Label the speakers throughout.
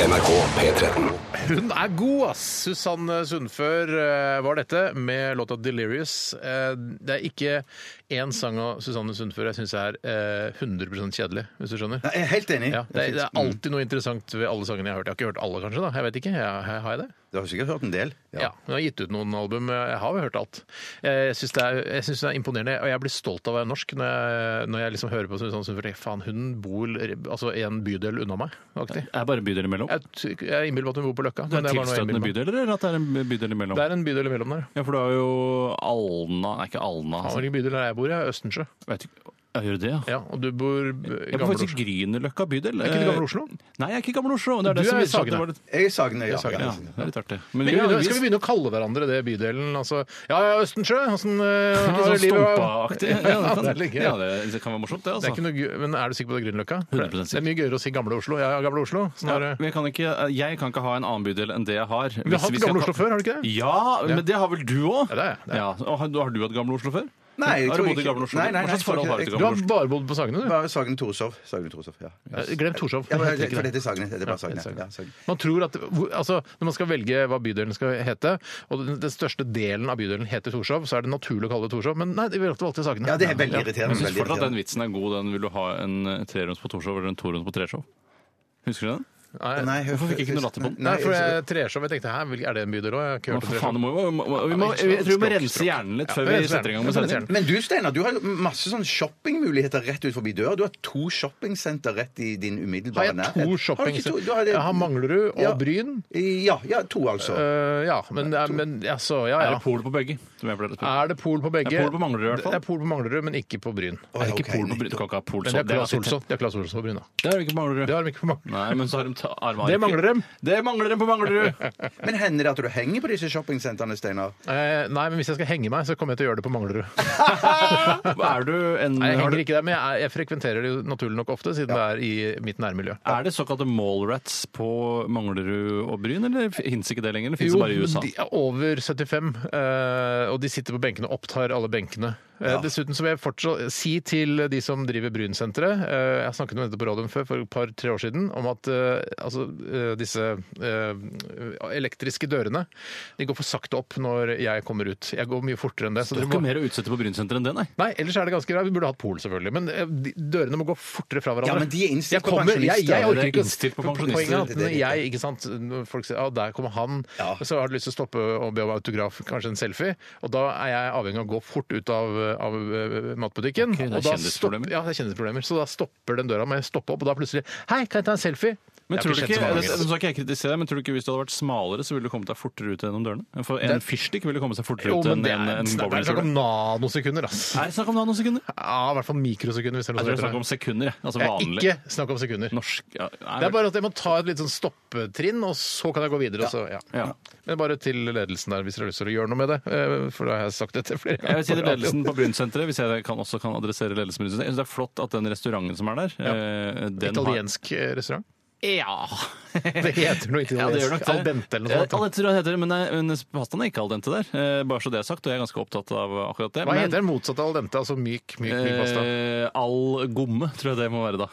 Speaker 1: NRK P13.
Speaker 2: Hun er god, ass! Susanne Sundfør eh, var dette, med låta 'Delirious'. Eh, Det er ikke én sang av Susanne Sundfør jeg syns er eh, 100 kjedelig, hvis du skjønner.
Speaker 3: Jeg er helt enig.
Speaker 2: Ja, det, er, det er
Speaker 4: mm.
Speaker 2: alltid noe interessant ved alle sangene jeg har hørt. Jeg har ikke hørt alle, kanskje. da, jeg vet ikke, jeg, jeg- Har jeg det?
Speaker 3: Du har sikkert hørt en del.
Speaker 2: Ja. Hun har gitt ut noen album. Jeg har jo hørt alt. Eh, Jeg syns det, er- jeg synes det er imponerende, og jeg blir stolt av å være norsk når jeg, når jeg liksom hører på Susanne Sundfør. tenker jeg, Faen, hun bor altså, en bydel unna meg, aktig.
Speaker 4: Er bare bydel imellom?
Speaker 2: Jeg, t- jeg innbiller meg at hun bor på Løkka.
Speaker 4: Det
Speaker 2: men
Speaker 4: er
Speaker 2: det er bare noe jeg
Speaker 4: tilstøtende
Speaker 2: innbiller meg.
Speaker 4: bydel, eller at det er en bydel imellom?
Speaker 2: Det er en bydel imellom der.
Speaker 4: Ja, for du har jo Alna Nei, ikke Alna.
Speaker 2: Ja,
Speaker 4: Altså.
Speaker 2: Hvilken bydel er jeg bor i? Østensjø.
Speaker 4: Vet ikke, jeg gjør det, ja.
Speaker 2: Ja, og du bor i
Speaker 4: Jeg bor
Speaker 2: Gamle
Speaker 4: faktisk
Speaker 2: Oslo.
Speaker 4: i Grünerløkka bydel.
Speaker 2: Er ikke det Gamle Oslo?
Speaker 4: Eh, Nei, jeg er ikke Gamle Oslo. Det er
Speaker 2: Du
Speaker 4: det som
Speaker 2: er
Speaker 4: er saken.
Speaker 2: Sagene.
Speaker 4: var litt-
Speaker 3: Jeg er Sagene, ja.
Speaker 4: Ja,
Speaker 3: ja.
Speaker 4: det er litt artig. Men
Speaker 2: Men,
Speaker 4: jo,
Speaker 2: skal vi begynne å kalle hverandre det bydelen? Altså, ja, ja, Østensjø! Åssen uh,
Speaker 4: Litt
Speaker 2: har
Speaker 4: sånn
Speaker 2: livet
Speaker 4: stompa-aktig.
Speaker 2: Ja, det
Speaker 4: kan-
Speaker 2: er litt gøy.
Speaker 4: ja, det, det kan være morsomt, det,
Speaker 2: Det er
Speaker 4: altså.
Speaker 2: ikke noe, gøy- men er du sikker på det Grünerløkka?
Speaker 4: 100%
Speaker 2: Det er mye gøyere å si Gamle Oslo. Ja, ja, Gamle Oslo. Sånn er
Speaker 4: Ja,
Speaker 2: det.
Speaker 4: men jeg, kan ikke, jeg kan ikke ha en annen bydel enn det jeg har.
Speaker 2: Vi har hatt Gamle Oslo før, har du ikke det?
Speaker 4: Ja, men det har vel du òg?
Speaker 2: Ja, det er jeg, det er jeg.
Speaker 4: har, har du hatt Gamle Oslo før?
Speaker 3: Nei, jeg
Speaker 4: har
Speaker 3: tror
Speaker 4: du bodd i
Speaker 3: ikke-
Speaker 4: Gamle Oslo?
Speaker 3: Nei, nei,
Speaker 4: Hva
Speaker 3: nei,
Speaker 4: slags forhold har du til
Speaker 2: Du
Speaker 4: Gamle
Speaker 2: har
Speaker 4: Oslo?
Speaker 2: bare bodd på Sagene, du.
Speaker 3: Bare Sagene Torshov. Sagene Torshov, ja. ja.
Speaker 2: Eh, Glem Torshov.
Speaker 3: ja men,
Speaker 2: Det heter
Speaker 3: for
Speaker 2: ikke det.
Speaker 3: dette er Sagene. Dette er bare
Speaker 2: Ja,
Speaker 3: Sagene.
Speaker 2: det er Sagene.
Speaker 3: Ja, Sagene.
Speaker 2: Man tror at, hvor- altså, Når man skal velge hva bydelen skal hete, og den, den største delen av bydelen heter Torshov, så er det naturlig å kalle det Torshov, men nei, vi valgte alltid Sagene.
Speaker 3: ja, det er veldig irriterende.
Speaker 4: Jeg syns
Speaker 3: veldig
Speaker 4: fortsatt den
Speaker 3: irriterende.
Speaker 4: vitsen er god. Den vil du ha en eh, treroms på Torshov eller en torons på Treshov. Husker du den?
Speaker 2: Nei,
Speaker 3: Nei,
Speaker 4: Hvorfor fikk jeg ikke noe latter på den?
Speaker 2: Nei, for jeg, Treshov, jeg tenkte, hæ, vil- er det en bydel òg? Jeg
Speaker 4: Hva
Speaker 2: har ikke hørt om
Speaker 4: faen,
Speaker 2: Treshov.
Speaker 4: det må, jo- må, må, vi må, jeg tror vi må
Speaker 2: Språk,
Speaker 4: rense
Speaker 2: språk.
Speaker 4: hjernen litt
Speaker 2: Ja,
Speaker 4: før
Speaker 2: vi
Speaker 4: vi
Speaker 2: renser
Speaker 4: setter i gang med
Speaker 2: hjernen. Vi renser
Speaker 4: sendingen.
Speaker 3: Men du, Steinar, du har jo masse sånn shoppingmuligheter rett ut forbi døra. Du har to shoppingsenter rett i din
Speaker 2: Har
Speaker 3: umiddelbare
Speaker 2: jeg
Speaker 3: Har
Speaker 2: to
Speaker 3: du ikke to?
Speaker 2: shoppingsenter?
Speaker 3: Du har det-
Speaker 2: Jeg har Manglerud og
Speaker 3: Ja.
Speaker 2: Bryn.
Speaker 3: Ja, ja, to, altså.
Speaker 4: Øh,
Speaker 2: Eh, ja, men, det er- men altså, ja,
Speaker 4: Er
Speaker 2: ja.
Speaker 4: det pol på begge? Som jeg pleier å spørre.
Speaker 2: Er det pol på begge?
Speaker 4: Det er pol på Manglerud i hvert fall.
Speaker 2: Det er pol på Manglerud, men ikke på Bryn.
Speaker 3: Å,
Speaker 4: Er det
Speaker 3: ok,
Speaker 4: ikke pol på
Speaker 3: nei.
Speaker 4: Bryn? Du kan ikke ha pol
Speaker 2: Men
Speaker 4: sånn.
Speaker 2: det er Claes
Speaker 4: alltid-
Speaker 2: Olsson. Det er Class Olsson på Bryn, da.
Speaker 4: Det er jo ikke på Manglerud.
Speaker 2: Det har de ikke på Manglerud.
Speaker 4: Nei, men så har de ta, arma
Speaker 2: Det mangler dem.
Speaker 4: Det mangler dem på Manglerud!
Speaker 3: Men hender det at du henger på disse shoppingsentrene, Steinar?
Speaker 2: Eh, nei, men hvis jeg skal henge meg, så kommer jeg til å gjøre det på Manglerud.
Speaker 4: er du en
Speaker 2: Nei, jeg
Speaker 4: har
Speaker 2: henger
Speaker 4: du-
Speaker 2: ikke der, men jeg, er- jeg frekventerer det jo naturlig nok ofte, siden det er i mitt nærmiljø.
Speaker 4: Er det såkalte mallrats på Manglerud og Bryn, eller fins ikke det lenger? Eller fins det bare i USA?
Speaker 2: de altså, er over 75, eh, og de sitter på benkene og opptar alle benkene. Eh, Dessuten så vil jeg fortsatt si til de som driver Brynsenteret eh, Jeg har snakket om dette på radioen før, for et par-tre år siden, om at eh, altså, eh, disse eh, elektriske dørene de går for sakte opp når jeg kommer ut. Jeg går mye fortere enn det. så
Speaker 4: Det er
Speaker 2: dere
Speaker 4: ikke
Speaker 2: må-
Speaker 4: mer å utsette på Brynsenteret enn det, nei.
Speaker 2: Nei, ellers er det ganske greit. Vi burde hatt pol, selvfølgelig. Men eh, de- dørene må gå fortere fra hverandre.
Speaker 3: Ja, men de er innstilt
Speaker 2: Jeg
Speaker 3: på
Speaker 2: kommer-
Speaker 3: pensjonister.
Speaker 2: Jeg, jeg
Speaker 4: Det
Speaker 2: orker
Speaker 4: er
Speaker 2: ikke å-
Speaker 4: innstilt på
Speaker 2: for
Speaker 4: pensjonister.
Speaker 2: Poenget er at
Speaker 3: Det er
Speaker 2: når
Speaker 3: det.
Speaker 2: jeg, ikke sant, når folk sier at der kommer han,
Speaker 3: Ja.
Speaker 2: så har du lyst til å stoppe og be om autograf, kanskje en selfie, og da er jeg avhengig av å gå fort ut av, av eh, matbutikken.
Speaker 4: det er
Speaker 2: og da
Speaker 4: kjendisproblemer.
Speaker 2: stopp- Ja, det er kjendisproblemer. Så da stopper den døra, må jeg stoppe opp, og da plutselig Hei, kan jeg ta en selfie?
Speaker 4: Men
Speaker 2: Jeg
Speaker 4: tror
Speaker 2: har
Speaker 4: du
Speaker 2: sett
Speaker 4: ikke, altså,
Speaker 2: så mange
Speaker 4: eller,
Speaker 2: ganger.
Speaker 4: så skal ikke jeg kritisere deg, men tror du ikke hvis du hadde vært smalere, så ville du kommet deg fortere ut gjennom dørene? For en
Speaker 2: Det-
Speaker 4: fyrstikk ville kommet seg fortere
Speaker 2: jo,
Speaker 4: ut
Speaker 2: men
Speaker 4: enn
Speaker 2: det
Speaker 4: en,
Speaker 2: er
Speaker 4: en
Speaker 2: snakk det er snakk
Speaker 4: bowlingkule.
Speaker 2: om nanosekunder, ass.
Speaker 4: Er det snakk om nanosekunder? Jeg
Speaker 2: Ja, I hvert fall mikrosekunder. hvis det er
Speaker 4: tror det
Speaker 2: noe
Speaker 4: er
Speaker 2: som
Speaker 4: snakk om sekunder, jeg. Altså
Speaker 2: heter det.
Speaker 4: vanlig
Speaker 2: Ikke snakk om sekunder.
Speaker 4: norsk ja, nei,
Speaker 2: Det er bare at jeg må ta et litt sånn stoppetrinn, og så kan jeg gå videre. og Så, ja.
Speaker 4: ja.
Speaker 2: Men bare til ledelsen der, hvis dere har lyst til å gjøre noe med det. eh, For da har jeg sagt dette flere
Speaker 4: Jeg vil si til
Speaker 2: på radio.
Speaker 4: ledelsen på Brynsenteret, hvis jeg kan, også kan adressere ledelsen på Brynsenteret. Jeg syns det er flott at den restauranten som er der, eh, den
Speaker 2: Italiensk eh, restaurant?
Speaker 4: har Ja!
Speaker 2: Det heter noe
Speaker 4: Ja,
Speaker 2: italiensk.
Speaker 4: det gjør nok det.
Speaker 2: Al dente eller
Speaker 4: Ja,
Speaker 2: noe
Speaker 4: Al
Speaker 2: sånt.
Speaker 4: dente tror jeg det heter, men, eh, men pastaen er ikke al dente der. Eh, Bare så det er sagt, og jeg er ganske opptatt av akkurat det.
Speaker 2: Hva
Speaker 4: men-
Speaker 2: heter det motsatte av al dente? Altså myk, myk, myk pasta? Ah.
Speaker 4: Eh, all gomme, tror jeg det må være da.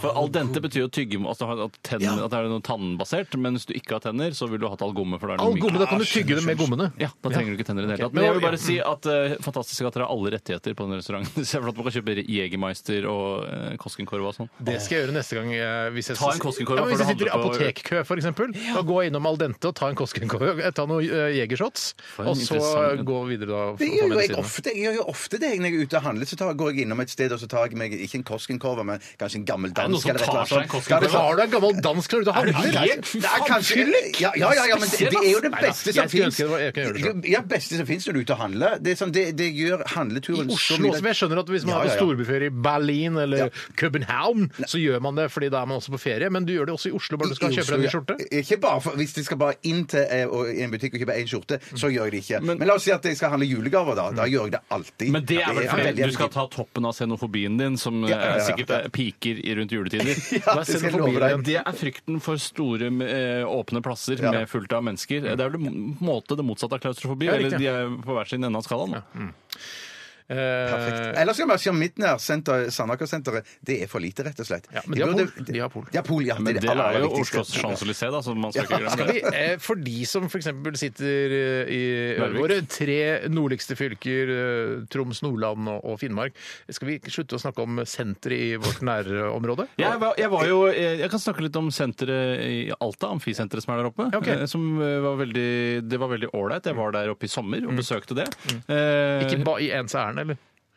Speaker 4: For al dente betyr jo tygge, altså at, tenn, at det er noe tannbasert, men hvis du ikke har tenner, så vil du ha hatt all gomme, for da er det
Speaker 2: Al
Speaker 4: noe mykt.
Speaker 2: gomme, da kan du tygge det med gommene.
Speaker 4: Ja, da trenger du ikke tenner i det hele tatt.
Speaker 2: Ok,
Speaker 4: Men jeg vil
Speaker 2: men-
Speaker 4: bare si at eh, fantastisk at dere har alle rettigheter på den restauranten. Så det er flott at man kan kjøpe Jegermeister og eh, Koskenkorva og sånn.
Speaker 2: Det skal jeg gjøre neste gang. eh, Hvis jeg,
Speaker 4: Ta en Koskenkorva
Speaker 2: ja, men Hvis
Speaker 4: før
Speaker 2: jeg
Speaker 4: du
Speaker 2: sitter i
Speaker 4: handler på-
Speaker 2: apotekkø, f.eks., da går jeg innom al dente og tar en Koskenkorva, eh, ta noen eh, Jegershots,
Speaker 4: en
Speaker 2: og så
Speaker 4: interessant-
Speaker 2: gå videre da.
Speaker 3: Det
Speaker 2: for å ta
Speaker 3: gjør jo jeg
Speaker 2: medisinene.
Speaker 3: ofte. Jeg gjør jo ofte det når jeg er ute og handler. Så tar, går jeg innom et sted og så tar jeg meg ikke en Koskenkorva, men kanskje en gammel
Speaker 4: det noen
Speaker 3: dansk.
Speaker 4: som
Speaker 3: eller et
Speaker 4: tar
Speaker 3: eller annet
Speaker 4: seg en
Speaker 3: sånt.
Speaker 4: Koskenkorva?
Speaker 3: Skal
Speaker 2: Har du en gammel dansk når du er ute og handler?
Speaker 3: det er- det er kanskje- Ja, ja, ja, ja, men det, det er jo det
Speaker 2: Nei, da,
Speaker 3: beste
Speaker 2: jeg
Speaker 3: som
Speaker 2: skulle
Speaker 3: fins.
Speaker 2: ønske det var- jeg kunne gjøre det selv.
Speaker 3: Ja, beste som fins når du er ute og handler. Det, er sånn, det, det gjør
Speaker 2: I
Speaker 3: handleturen så
Speaker 2: Oslo
Speaker 3: mye
Speaker 2: også, men jeg skjønner at Hvis man
Speaker 3: Ja,
Speaker 2: er
Speaker 3: ja,
Speaker 2: på
Speaker 3: ja.
Speaker 2: storbyferie i Berlin eller
Speaker 3: Ja.
Speaker 2: København, så gjør man det fordi da er man også på ferie. Men du du gjør det også i Oslo, bare
Speaker 3: I
Speaker 2: du skal kjøpe deg en ny
Speaker 3: Oslo,
Speaker 2: skjorte?
Speaker 3: ja. Ikke bare for, hvis de skal bare inn til eh, og- i en butikk og kjøpe én skjorte, så
Speaker 2: Mm.
Speaker 3: gjør jeg det ikke. Men, la oss si at jeg skal handle julegaver, da. Da gjør jeg det alltid.
Speaker 4: Men det er vel
Speaker 3: veldig
Speaker 4: fordi du skal
Speaker 3: effektivt.
Speaker 4: ta toppen av xenofobien din, som
Speaker 3: Ja, ja, ja.
Speaker 4: eh, sikkert eh, piker i rundt juletider.
Speaker 3: Ja,
Speaker 4: Da er
Speaker 3: det skal jeg love
Speaker 4: xenofobien-
Speaker 3: deg.
Speaker 4: det er frykten for store, eh, åpne plasser med fullt av mennesker. Det er vel det m- måte det motsatte av klaustrofobi.
Speaker 2: Ja,
Speaker 4: eller
Speaker 2: riktig,
Speaker 4: de er på hver sin ende av skalaen. da.
Speaker 2: Perfekt.
Speaker 3: Ellers skal jeg bare si om mitt nærsenter, Sandaker-senteret, det er for lite, rett og slett.
Speaker 2: Ja,
Speaker 3: Jeg
Speaker 2: men de har
Speaker 3: burde-
Speaker 2: pol. De har pol.
Speaker 3: Ja, pol, ja.
Speaker 4: Men
Speaker 3: det
Speaker 4: det
Speaker 3: aller,
Speaker 4: er
Speaker 3: aller
Speaker 4: jo
Speaker 3: viktigste.
Speaker 4: Oslos Champs-Élysées, da, så man skal ikke glemme
Speaker 2: Skal
Speaker 4: det.
Speaker 2: vi, eh, for de som f.eks. sitter eh, i
Speaker 4: Narvik.
Speaker 2: våre tre nordligste fylker, eh, Troms, Nordland og og Finnmark, skal vi slutte å snakke om sentre i vårt nærområde?
Speaker 4: Jeg var, jeg var jo eh, Jeg kan snakke litt om senteret i Alta, amfisenteret som er der oppe.
Speaker 2: Ja, ok.
Speaker 4: eh, Som eh, var veldig Det var veldig ålreit. Jeg var der oppe i sommer
Speaker 3: Mm.
Speaker 4: og besøkte det. Eh,
Speaker 2: Ikke bare i ens ærend, eller?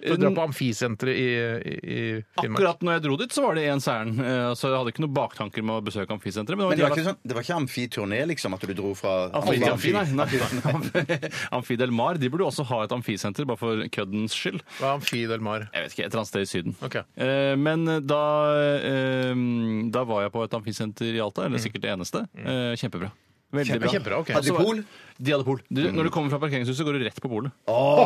Speaker 2: Du drar på amfisenteret i, i, i Finnmark.
Speaker 4: Akkurat når jeg dro dit, så var det ens ærend. Eh, Så jeg hadde ikke noen baktanker med å besøke amfisenteret. Men,
Speaker 3: Men
Speaker 4: det
Speaker 3: det var
Speaker 4: var
Speaker 3: ikke,
Speaker 4: jævla-
Speaker 3: sånn, det var ikke amfiturné, liksom, at du dro fra
Speaker 4: Amfi,
Speaker 3: Alle
Speaker 4: amfi, nei.
Speaker 3: amfi-
Speaker 4: nei. amfi Del Mar. De burde jo også ha et amfisenter, bare for køddens skyld.
Speaker 2: Hva er Amfi del Mar?
Speaker 4: Jeg vet ikke, et eller annet sted i Syden.
Speaker 2: Ok.
Speaker 4: Eh, men da, eh, da var jeg på et amfisenter i Alta, eller sikkert det eneste. Eh, kjempebra. Veldig
Speaker 2: Mm. Kjempe-
Speaker 4: bra.
Speaker 2: kjempebra, ok.
Speaker 3: Hadde de
Speaker 4: Altså,
Speaker 3: pol?
Speaker 4: De hadde pol. Du, når du kommer fra parkeringshuset, går du rett på polet.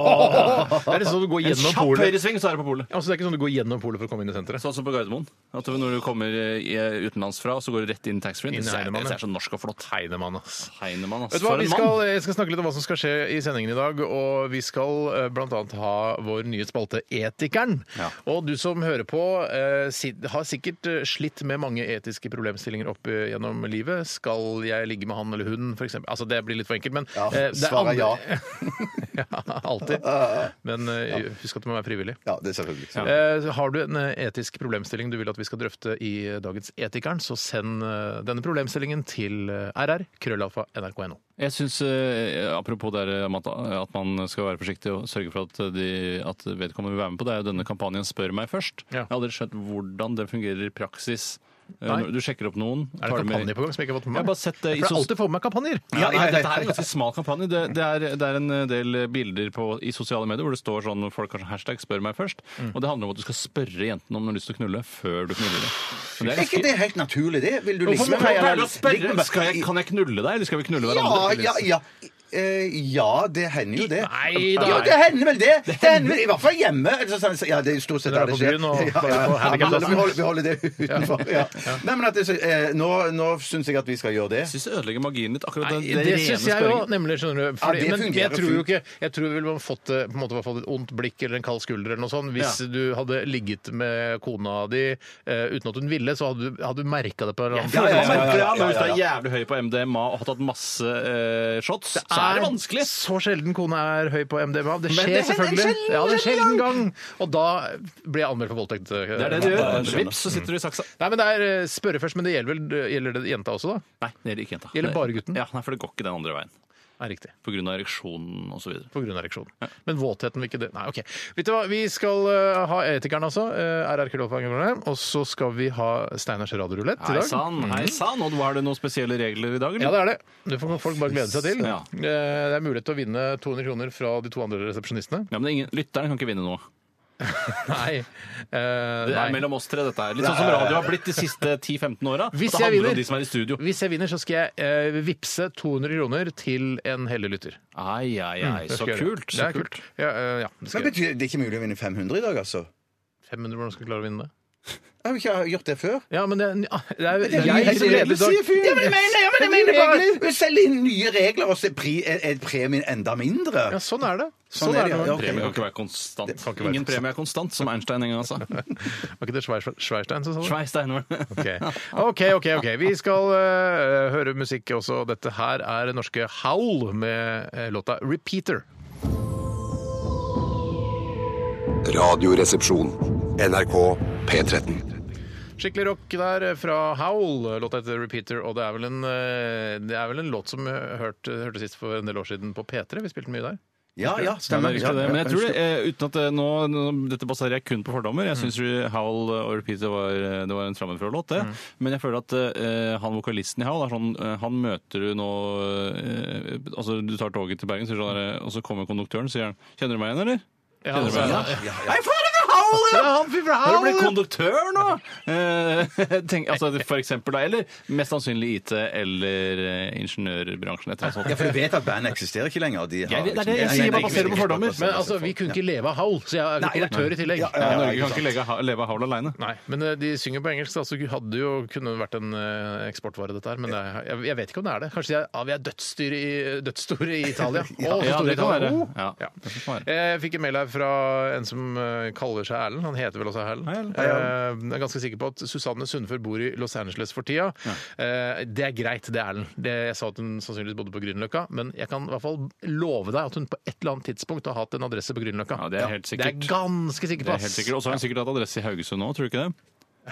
Speaker 2: Det er liksom sånn du går
Speaker 4: En
Speaker 2: gjennom
Speaker 4: kjapp
Speaker 2: polet.
Speaker 4: høyresving, så er du på polet.
Speaker 2: Altså, det er ikke sånn du går gjennom polet for å komme inn i senteret.
Speaker 4: Sånn som på Gardermoen. At du- når du kommer eh, utenlands fra, så går du rett inn i taxfree.
Speaker 2: Inn i
Speaker 4: Det er
Speaker 2: Heinemann,
Speaker 4: det
Speaker 2: ja.
Speaker 4: er så norsk og flott.
Speaker 2: Heinemann, ass.
Speaker 4: Heinemann, ass.
Speaker 2: Vet du hva,
Speaker 4: For
Speaker 2: vi
Speaker 4: en
Speaker 2: skal,
Speaker 4: mann!
Speaker 2: jeg skal snakke litt om hva som skal skje i sendingen i dag. Og vi skal eh, blant annet ha vår nye spalte Etikeren.
Speaker 4: Ja.
Speaker 2: Og du som hører på, eh, si- har sikkert eh, slitt med mange etiske problemstillinger opp eh, gjennom livet. Skal jeg ligge med han eller hun, f.eks.? Altså, det blir litt for enkelt, men
Speaker 3: Ja,
Speaker 2: eh, det er
Speaker 3: svaret ja.
Speaker 2: ja. Alltid. Men eh, husk at det må være frivillig.
Speaker 3: Ja, det er selvfølgelig.
Speaker 2: Eh, Har du en eh, etisk problemstilling du vil at vi skal drøfte i eh, dagens Etikeren, så send eh, denne problemstillingen til eh, rr. krøllalfa nrk.no.
Speaker 4: Jeg syns, eh, apropos det her, Amanda, at man skal være forsiktig og sørge for at, de, at vedkommende vil være med på, det er jo denne kampanjen Spør meg først.
Speaker 2: Ja.
Speaker 4: Jeg har aldri skjønt hvordan det fungerer i praksis. Eh,
Speaker 2: Nei.
Speaker 4: Du sjekker opp noen.
Speaker 2: Er
Speaker 4: tar det
Speaker 2: det
Speaker 4: med-
Speaker 2: kampanje på gang som jeg ikke har fått med meg?
Speaker 4: Jeg har bare sett det i
Speaker 2: For jeg har
Speaker 4: sos-
Speaker 2: alltid fått med meg kampanjer.
Speaker 4: Ja, nei, dette er en ganske smal kampanje. Det, det, er, det er en del bilder på, i sosiale medier hvor det står sånn folk har sånn hashtag 'spør meg først'.
Speaker 2: Mm.
Speaker 4: Og det handler om at du skal spørre jentene om de har lyst til å knulle, før du knuller dem. Men
Speaker 3: Er
Speaker 4: det er
Speaker 3: ikke
Speaker 4: ganske... Liksom.
Speaker 3: det helt naturlig, det? Vil du liksom
Speaker 4: Hvorfor
Speaker 3: ligge med
Speaker 4: må
Speaker 3: meg?
Speaker 4: man
Speaker 3: eller-
Speaker 4: pleier å
Speaker 3: Ligge
Speaker 2: Liksom,
Speaker 3: med meg?
Speaker 4: spørre skal jeg, 'Kan jeg knulle deg', eller skal vi knulle
Speaker 3: Ja,
Speaker 4: hverandre?
Speaker 3: ja, ja. Eh, ja, det hender jo det.
Speaker 2: Nei da.
Speaker 3: Jo, det hender vel det! det hender vel, I hvert fall hjemme. Altså, sånn- Ja, det er stort sett
Speaker 2: Dere er
Speaker 3: der det
Speaker 2: på
Speaker 3: skjer.
Speaker 2: byen og
Speaker 3: Ja,
Speaker 2: bare
Speaker 3: ja,
Speaker 2: på
Speaker 3: ja,
Speaker 2: handicap,
Speaker 3: men
Speaker 2: altså.
Speaker 3: vi, holder, vi holder det utenfor. Ja. Nei, men at det, så, eh, nå nå syns jeg at vi skal gjøre det.
Speaker 4: Jeg syns det ødelegger magien litt. akkurat
Speaker 2: Nei,
Speaker 4: den- den
Speaker 2: det
Speaker 4: rene
Speaker 2: syns jeg jo,
Speaker 4: spørringen.
Speaker 2: nemlig. skjønner du Fordi,
Speaker 3: det
Speaker 2: Men
Speaker 3: fungerer
Speaker 2: jeg tror jo
Speaker 3: fint.
Speaker 2: ikke Jeg tror vel man fått eh, på en måte, i hvert fall et ondt blikk eller en kald skulder eller noe sånt hvis
Speaker 4: Ja.
Speaker 2: du hadde ligget med kona di eh, uten at hun ville, så hadde du, hadde du merka det på en eller annen
Speaker 3: Ja,
Speaker 4: Ja,
Speaker 3: ja, ja, ja, ja, ja,
Speaker 4: Men hvis du
Speaker 3: ja,
Speaker 4: er jævlig høy på MDMA og har tatt masse eh, shots, så er det vanskelig.
Speaker 2: Så sjelden kona er høy på MDMA. Det
Speaker 4: Men
Speaker 2: skjer
Speaker 4: det hender en
Speaker 2: selvfølgelig.
Speaker 4: sjelden,
Speaker 2: Ja, det er
Speaker 4: sjelden
Speaker 2: sjelden gang! Og da blir jeg anmeldt for voldtekt.
Speaker 4: Det er det du gjør.
Speaker 3: skjønner.
Speaker 4: Vips, så sitter du i saksa.
Speaker 2: Nei, men det er eh, spørre først, men det gjelder vel gjelder det jenta også, da?
Speaker 4: Nei, det gjelder ikke jenta.
Speaker 2: Gjelder bare gutten?
Speaker 4: Ja, nei, For det går ikke den andre veien.
Speaker 2: Er riktig.
Speaker 4: Pga. ereksjonen osv.
Speaker 2: på grunn av ereksjonen. Men våtheten vil ikke det. Nei, OK. Vet du hva, vi skal eh, ha Etikeren, altså. Uh, RR Krøllalfa.no. Og så skal vi ha Steiners radiorulett i
Speaker 4: Hei
Speaker 2: dag. Mhm.
Speaker 4: sann, hei sann. Og var det noen spesielle regler i dag,
Speaker 2: Ja,
Speaker 4: eller?
Speaker 2: det er det. Det får folk bare glede seg til.
Speaker 4: Ja.
Speaker 2: Eh, Det er mulighet til å vinne 200 kroner fra de to andre resepsjonistene.
Speaker 4: Ja, men ingen, Lytteren kan ikke vinne noe.
Speaker 2: Nei. Eh,
Speaker 4: Det er
Speaker 2: nei.
Speaker 4: mellom oss tre, dette her. Litt sånn som radio har blitt de siste 10-15 åra.
Speaker 2: Hvis
Speaker 4: Det
Speaker 2: jeg
Speaker 4: handler
Speaker 2: vinner.
Speaker 4: om de som er i studio.
Speaker 2: Hvis jeg vinner, så skal jeg eh, vippse 200 kroner til en heldig lytter.
Speaker 4: Ai, ai, ai.
Speaker 2: Mm, Det
Speaker 4: Så
Speaker 2: skal jeg gjøre.
Speaker 4: kult.
Speaker 2: Det
Speaker 4: Så
Speaker 2: er kult. Ja, eh, ja, det
Speaker 3: Men
Speaker 2: skal jeg. gjøre.
Speaker 3: betyr, Det er ikke mulig å vinne 500 i dag, altså?
Speaker 2: 500, hvordan skal jeg klare å vinne det?
Speaker 3: Jeg har ikke gjort det før.
Speaker 2: Ja, men det, er- ja, det er,
Speaker 3: Det er nye
Speaker 2: jeg som
Speaker 3: regler,
Speaker 2: leder i dag.
Speaker 3: sier fyren. Ja, men jeg mener, ja, men jeg
Speaker 2: Det er nye
Speaker 3: mener bare
Speaker 2: regler.
Speaker 3: vi selger inn nye regler, og så er pri- er er premien enda mindre.
Speaker 2: Ja, sånn er det.
Speaker 3: Sånn er det, ja.
Speaker 2: med-
Speaker 3: Ja, ok.
Speaker 4: Premie kan ikke være konstant.
Speaker 2: kan ikke være
Speaker 4: Ingen premie er konstant, som Einstein en gang sa.
Speaker 2: Var ikke det Schweiz- Schweizstein som sa det?
Speaker 4: Sveis deg, Einar.
Speaker 2: Ok, ok, ok. ok. Vi skal eh, høre musikk også. Dette her er norske Howl med eh, låta 'Repeater'.
Speaker 5: Radioresepsjon. NRK P13.
Speaker 2: Skikkelig rock der fra Howl. Låta heter 'Repeater', og det er vel en, eh, det er vel en låt som jeg hørte, hørte sist for en del år siden på P3. Vi spilte mye der.
Speaker 3: Ja, ja,
Speaker 4: Ja, det
Speaker 3: stemmer.
Speaker 4: er riktig,
Speaker 3: Ja,
Speaker 4: det. Men jeg Mm.
Speaker 3: ja,
Speaker 4: tror det, eh, uten at det, nå, nå, Dette baserer jeg kun på fordommer. Jeg syns Howl og Repeater var, eh, det var en framenfra-låt, det. Men jeg føler at eh, han vokalisten i Howl er sånn eh, Han møter du nå eh, Altså, du tar toget til Bergen, så er det sånn der, eh, og så kommer konduktøren og sier han, 'Kjenner du meg igjen, eller?'
Speaker 2: Ja, altså,
Speaker 4: du meg
Speaker 2: ja.
Speaker 4: igjen?
Speaker 3: ja, ja.
Speaker 4: Nei, faen, det er Howl! Howl, ja!
Speaker 2: Ja, han fyren fra
Speaker 4: Har du blitt
Speaker 2: Howl!
Speaker 4: konduktør nå? Eh, tenk, altså, for eksempel, da, eller mest sannsynlig IT eller eh, ingeniørbransjen. Et eller annet sånt.
Speaker 3: Ja, for du vet at bandet eksisterer ikke lenger. og De har,
Speaker 4: Jeg vet- det er det jeg
Speaker 3: Nei,
Speaker 4: sier,
Speaker 3: nei,
Speaker 4: bare
Speaker 3: nei,
Speaker 4: baserer
Speaker 3: ikke-
Speaker 4: på fordommer.
Speaker 2: Men altså, vi kunne ikke leve av Howl, så jeg er
Speaker 3: Nei, nei.
Speaker 2: konduktør i tillegg.
Speaker 3: Ja, ja,
Speaker 4: Ja,
Speaker 3: ja,
Speaker 4: Norge
Speaker 3: ikke
Speaker 4: kan ikke leve, leve av Howl alene.
Speaker 2: Nei, men eh, de synger på engelsk, da, så hadde jo kunne vært en eh, eksportvare, dette her. Men det, er- jeg, jeg vet ikke om det er det. Kanskje de er, ah, vi er dødsdyre i, dødsstore i Italia. Å, så
Speaker 4: ja, det
Speaker 2: store i
Speaker 4: kan
Speaker 2: Italia.
Speaker 4: være.
Speaker 2: Oh!
Speaker 4: Ja,
Speaker 2: Ja.
Speaker 4: det kan være.
Speaker 2: Jeg Eh, fikk en mail her fra en som eh, kaller seg Erlend. Han heter vel også Erlend.
Speaker 4: Hei, Erlend.
Speaker 2: Eh, Jeg er ganske sikker på at Susanne Sundfør bor i Los Angeles for tida. Eh, Det er greit, det er Erlend. Det, jeg sa at hun sannsynligvis bodde på Grünerløkka, men jeg kan i hvert fall love deg at hun på et eller annet tidspunkt har hatt en adresse på Grünerløkka.
Speaker 4: Ja, det er helt sikkert.
Speaker 2: Det er jeg ganske sikker
Speaker 4: Det
Speaker 2: på.
Speaker 4: er helt sikkert. Og så har hun sikkert hatt adresse i Haugesund nå, tror du ikke det?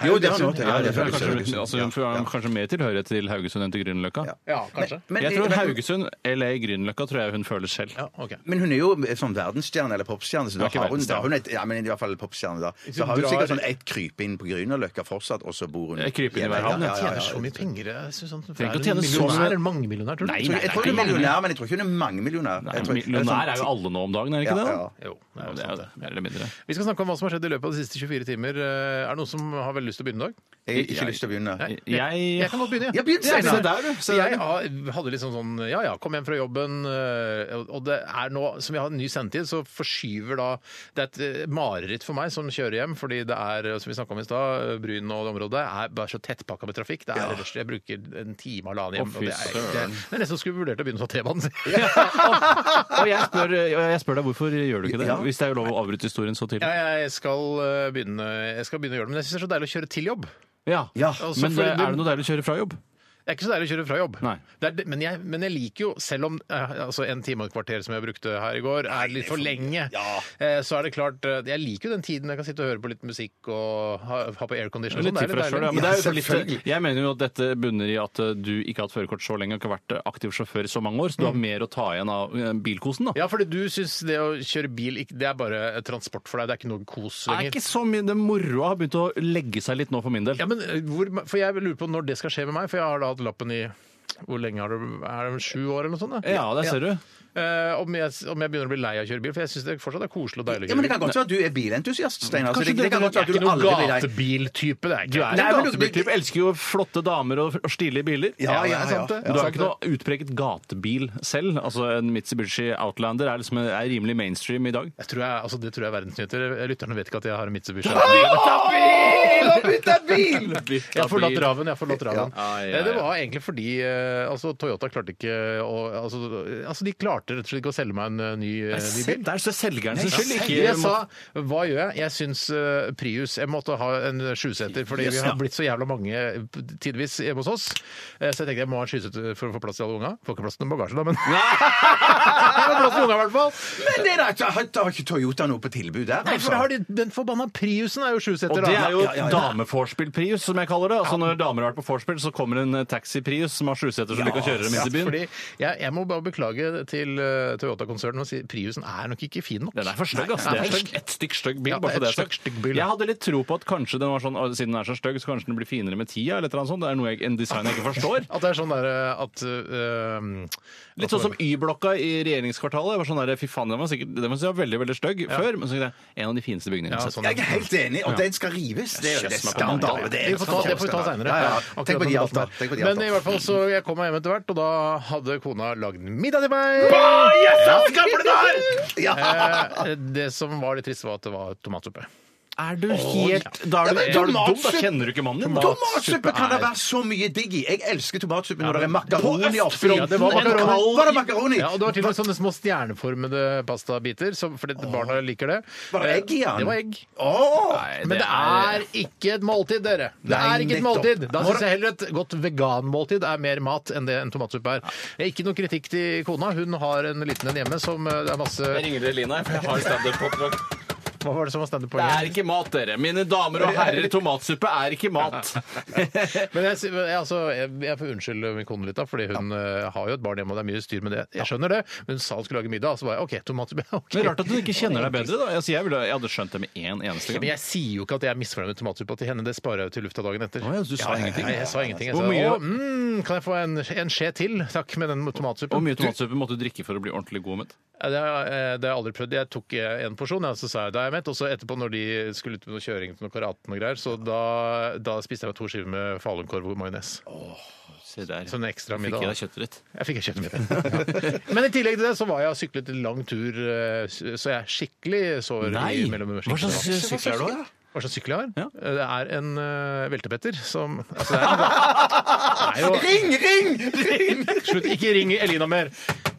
Speaker 3: Jo, det har han også. Ja,
Speaker 4: Ja,
Speaker 3: det er
Speaker 4: kanskje,
Speaker 3: Haugesund.
Speaker 4: altså, hun har kanskje mer tilhørighet til Haugesund enn til Grünerløkka.
Speaker 2: Ja, kanskje.
Speaker 3: Men-
Speaker 4: Jeg tror
Speaker 3: men-
Speaker 4: Haugesund, LA, Grünerløkka tror jeg hun føler selv.
Speaker 2: Ja, ok.
Speaker 3: Men hun er jo sånn verdensstjerne eller popstjerne, så da
Speaker 4: er ikke
Speaker 3: har hun, da
Speaker 4: verdensstjerne.
Speaker 3: har hun et, ja, men i hvert fall popstjerne da.
Speaker 2: Hvis
Speaker 3: Så
Speaker 2: hun
Speaker 3: har hun
Speaker 2: drar-
Speaker 3: sikkert sånn ett kryp inn på Grünerløkka fortsatt, og så bor hun
Speaker 4: Jeg kryper
Speaker 3: Ja,
Speaker 4: inn i hver havn,
Speaker 3: ja, ja,
Speaker 2: Jeg
Speaker 3: ja,
Speaker 2: tjener
Speaker 3: ja.
Speaker 2: så mye penger. eh, jeg, Susann. Er
Speaker 4: Trenger ikke å
Speaker 2: hun
Speaker 4: tjene så
Speaker 2: millionær
Speaker 4: mye.
Speaker 2: eller mangemillionær, tror du?
Speaker 4: Nei,
Speaker 3: Jeg tror- Jeg tror hun er
Speaker 4: Nei, nei, nei.
Speaker 3: millionær, men jeg tror ikke hun er mangemillionær. Jeg tror-
Speaker 4: Millionær er jo alle nå om dagen, er det ikke
Speaker 3: Ja,
Speaker 4: det?
Speaker 3: ja.
Speaker 4: da?
Speaker 2: Jo, det er jo
Speaker 4: det er
Speaker 2: sant,
Speaker 4: jo
Speaker 2: det.
Speaker 4: det, mer eller mindre.
Speaker 2: Vi skal snakke om hva som har skjedd i løpet av de siste 24 timer. Eh, Er det noen som har veldig lyst til å begynne i dag?
Speaker 3: Jeg har ikke lyst til å begynne.
Speaker 2: Nei,
Speaker 4: Jeg-
Speaker 2: jeg kan godt begynne.
Speaker 3: Ja, begynn,
Speaker 2: se
Speaker 3: Steinar.
Speaker 2: der, du.
Speaker 4: Se der,
Speaker 2: jeg har- hadde liksom sånn Ja ja, kom hjem fra jobben, eh, og det er nå Som vi har en ny sendetid, så forskyver da Det er et eh, mareritt for meg som kjører hjem, fordi det er, eh, som vi snakka om i stad, eh, Bryn og det området er bare så tettpakka med trafikk. Det er rush. Jeg bruker en time halvannen hjem.
Speaker 4: Å,
Speaker 2: og det,
Speaker 4: fy
Speaker 2: er, det,
Speaker 4: søren.
Speaker 2: det er nesten skulle vurdert å begynne som T-banen. sier jeg.
Speaker 4: Og jeg spør, og jeg spør deg hvorfor gjør du ikke det?
Speaker 3: Ja.
Speaker 4: Hvis det er jo lov å avbryte historien så tidlig.
Speaker 2: Ja, jeg, skal eh, begynne, jeg skal begynne å gjøre det, men jeg syns det er så deilig å kjøre til jobb.
Speaker 4: Ja,
Speaker 3: Ja,
Speaker 2: altså,
Speaker 4: Men
Speaker 2: for-
Speaker 4: eh, er det noe deilig å kjøre fra jobb?
Speaker 2: Det er ikke så deilig å kjøre fra jobb.
Speaker 4: Nei.
Speaker 2: Det er, det- men, jeg, men jeg liker jo, selv om eh, altså en time og et kvarter som jeg brukte her i går, er litt for lenge, eh, så er det klart eh, Jeg liker jo den tiden jeg kan sitte og høre på litt musikk og ha, ha på aircondition. og
Speaker 4: Litt
Speaker 2: sånn.
Speaker 4: tid for deg
Speaker 2: Det er
Speaker 4: selv, ja, men det er jo for
Speaker 2: litt deilig.
Speaker 3: selvfølgelig.
Speaker 4: litt, jeg mener jo at dette bunner i at eh, du ikke har hatt førerkort så lenge og ikke har vært eh, aktiv sjåfør i så mange år, så du har mer å ta igjen av eh, bilkosen, da.
Speaker 2: Ja, fordi du syns det å kjøre bil ikke- det er bare eh, transport for deg, det er ikke noe kos
Speaker 4: Det er
Speaker 2: lenger.
Speaker 4: ikke så mye Det moroa har begynt å legge seg litt nå for min del.
Speaker 2: Ja, men eh, hvor, for jeg lurer på når det skal skje med meg, for jeg har da hatt lappen i hvor lenge har du Er det sju år eller noe sånt? da?
Speaker 4: Ja, der ser du.
Speaker 2: Eh, om, jeg, om jeg begynner å bli lei av å kjøre bil, for jeg syns det fortsatt er koselig og
Speaker 3: Ja,
Speaker 2: deilig å kjøre
Speaker 3: men Det
Speaker 2: bil.
Speaker 3: kan godt være at du er bilentusiast, Steinar. så
Speaker 4: Kanskje
Speaker 3: det- det kan
Speaker 4: det-
Speaker 3: godt være at
Speaker 2: Jeg er
Speaker 3: du
Speaker 2: ikke
Speaker 3: aldri
Speaker 2: noen
Speaker 3: blir lei.
Speaker 2: gatebiltype. Det er
Speaker 4: Du
Speaker 2: ikke
Speaker 4: er
Speaker 3: Nei,
Speaker 4: en
Speaker 3: men du-
Speaker 4: gatebiltyp. Elsker jo flotte damer og, og stilige biler.
Speaker 3: Ja, ja,
Speaker 2: det er sant, det.
Speaker 4: Men Du er jo ikke noe utpreget gatebil selv. Altså En Mitsubishi Outlander er, liksom, er rimelig mainstream i dag.
Speaker 2: Jeg tror jeg, altså det tror jeg er verdensnyheter. Lytterne vet ikke at jeg har en Mitsubishi. Jeg har forlatt Raven. jeg har forlatt raven.
Speaker 4: Ja, Ah, ja, ja.
Speaker 2: Eh, Det var egentlig fordi eh, altså, Toyota klarte ikke å altså, altså, de klarte rett og slett ikke å selge meg en eh, ny, eh, ny
Speaker 4: Se,
Speaker 2: bil.
Speaker 4: Der er selgeren sin skyld, ikke
Speaker 2: Jeg sa hva gjør jeg? Jeg syns eh, Prius Jeg måtte ha en sjuseter, fordi vi har blitt så jævla mange tidvis hjemme hos oss. Eh, Så jeg tenkte jeg må ha en sjuseter for å få plass til alle unga. Får ikke plass til noen bagasje, da, men Jeg har plass til unga, i hvert fall.
Speaker 3: Men det er da, da har ikke Toyota noe på tilbud der.
Speaker 2: Nei,
Speaker 3: altså.
Speaker 2: for da har de, Den forbanna Priusen er jo sjuseter.
Speaker 4: Og
Speaker 2: da.
Speaker 4: det er jo
Speaker 3: Ja, ja, ja.
Speaker 4: dameforspill-prius, som jeg kaller det. Altså Når damer har vært på vorspiel, så kommer en eh, taxi-prius som har sjuseter, så de kan kjøre dem inn til byen.
Speaker 2: Fordi jeg, jeg må bare beklage til eh, Toyota-konsernet og si Priusen er nok ikke fin nok.
Speaker 4: Den er for stygg, ass.
Speaker 2: Nei,
Speaker 4: Det
Speaker 2: den er
Speaker 4: er
Speaker 2: for stygg.
Speaker 4: et stykk stygg bil.
Speaker 2: Ja,
Speaker 4: bare
Speaker 2: det
Speaker 4: for
Speaker 2: er
Speaker 4: det er
Speaker 2: et
Speaker 4: sagt.
Speaker 2: stygg- stygg bil.
Speaker 4: Jeg hadde litt tro på at kanskje den var sånn, «Å, siden den er så stygg, så kanskje den blir finere med tida. eller et eller annet sånt. Det er noe jeg, en design jeg ikke forstår.
Speaker 2: At det er sånn derre at eh,
Speaker 4: Litt sånn som Y-blokka i regjeringskvartalet. Jeg var sånn der, fy faen, Den var sikkert den var sikkert veldig veldig stygg før, men så tenkte jeg en av de fineste bygningene jeg
Speaker 2: ja,
Speaker 4: har sett.
Speaker 2: sånn,
Speaker 3: Jeg er helt enig, og den skal rives. Det er jo det
Speaker 4: Kjøss meg på
Speaker 3: skandale.
Speaker 4: meg.
Speaker 3: Det, er
Speaker 2: Vi får ta, det får vi ta
Speaker 3: skandale.
Speaker 2: seinere.
Speaker 3: Ja, ja. Tenk på de alt, da. Tenk på de alt,
Speaker 2: Men i
Speaker 3: da.
Speaker 2: hvert fall så jeg kom meg hjem etter hvert, og da hadde kona lagd middag til meg. Eh, det som var litt trist, var at det var tomatsuppe.
Speaker 4: Er du helt Da er
Speaker 3: men
Speaker 4: du, da er du dum, da
Speaker 3: tomatsuppe-
Speaker 4: kjenner du ikke mannen din.
Speaker 3: Tomatsuppe kan det
Speaker 4: er-
Speaker 3: være så mye digg i. Jeg elsker tomatsuppe når det er makaroni
Speaker 4: På
Speaker 3: oppi.
Speaker 4: Østfronten,
Speaker 2: Ja, det var
Speaker 4: en
Speaker 2: makaroni.
Speaker 4: kald-
Speaker 3: Var det makaroni?
Speaker 2: Ja, og det var til og med sånne små stjerneformede pastabiter, som- fordi barna liker det.
Speaker 3: Var det egg i
Speaker 2: Eh,
Speaker 3: den?
Speaker 2: Det var egg.
Speaker 3: Åh!
Speaker 4: Nei,
Speaker 2: Men det er ikke et måltid, dere. Det
Speaker 3: Nei,
Speaker 2: er ikke et
Speaker 3: nettopp.
Speaker 2: måltid. Da syns jeg heller et godt veganmåltid er mer mat enn det en tomatsuppe er. Det er Ikke noe kritikk til kona. Hun har en liten en hjemme som eh, det er masse
Speaker 4: Jeg ringer til Lina, for jeg har standup-oppdrag.
Speaker 2: Hva var det som var
Speaker 4: Det er
Speaker 2: standup-poenget?
Speaker 4: ikke mat, dere. Mine damer og herrer, tomatsuppe er ikke mat.
Speaker 2: Men jeg, sy- jeg, altså, jeg, jeg får unnskylde min kone litt, da, fordi hun eh, har jo et barn hjemme, og det er mye styr med det. Jeg skjønner det, men hun sa hun skulle lage middag, så var jeg OK, tomatsuppe. ok.
Speaker 4: Men Rart at du ikke kjenner deg bedre. da. Altså, jeg, ville, jeg hadde skjønt det med én eneste
Speaker 2: Men
Speaker 4: gang.
Speaker 2: jeg sier jo ikke at jeg er misfornøyd med tomatsuppa til henne. Det sparer jeg jo til lufta dagen etter.
Speaker 4: Å ja, du sa ingenting.
Speaker 2: Nei, jeg sa ingenting. Jeg
Speaker 4: Hvor
Speaker 2: sa,
Speaker 4: mye-
Speaker 2: «Å, mm, kan jeg få en, en skje til, takk, med den tomatsuppen?
Speaker 4: Hvor mye tomatsuppe måtte du drikke for å bli ordentlig god med?
Speaker 2: Ja, Det har, eh, det har jeg aldri prøvd. Jeg tok eh, en porsjon, og så sa jeg da er jeg jeg mett. Og så etterpå, når de skulle ut på noe kjøring til noe karaten og greier, så da, da spiste jeg meg to skiver med falunkorv og majones.
Speaker 4: Se der.
Speaker 2: Sånn ekstra middag.
Speaker 4: Fikk jeg deg kjøttrett.
Speaker 2: Jeg fikk kjøttet mitt. Men i tillegg til det så var jeg og syklet en lang tur, eh, så jeg er skikkelig sår i mellom
Speaker 4: Hva slags
Speaker 2: skikkene.
Speaker 4: sykkel er du har?
Speaker 2: Hva slags sykkel jeg har?
Speaker 4: Ja.
Speaker 2: Det er en eh, veltepetter som altså, det er, det er jo,
Speaker 3: Ring, ring! ring!
Speaker 2: Slutt, ikke ring Elina mer!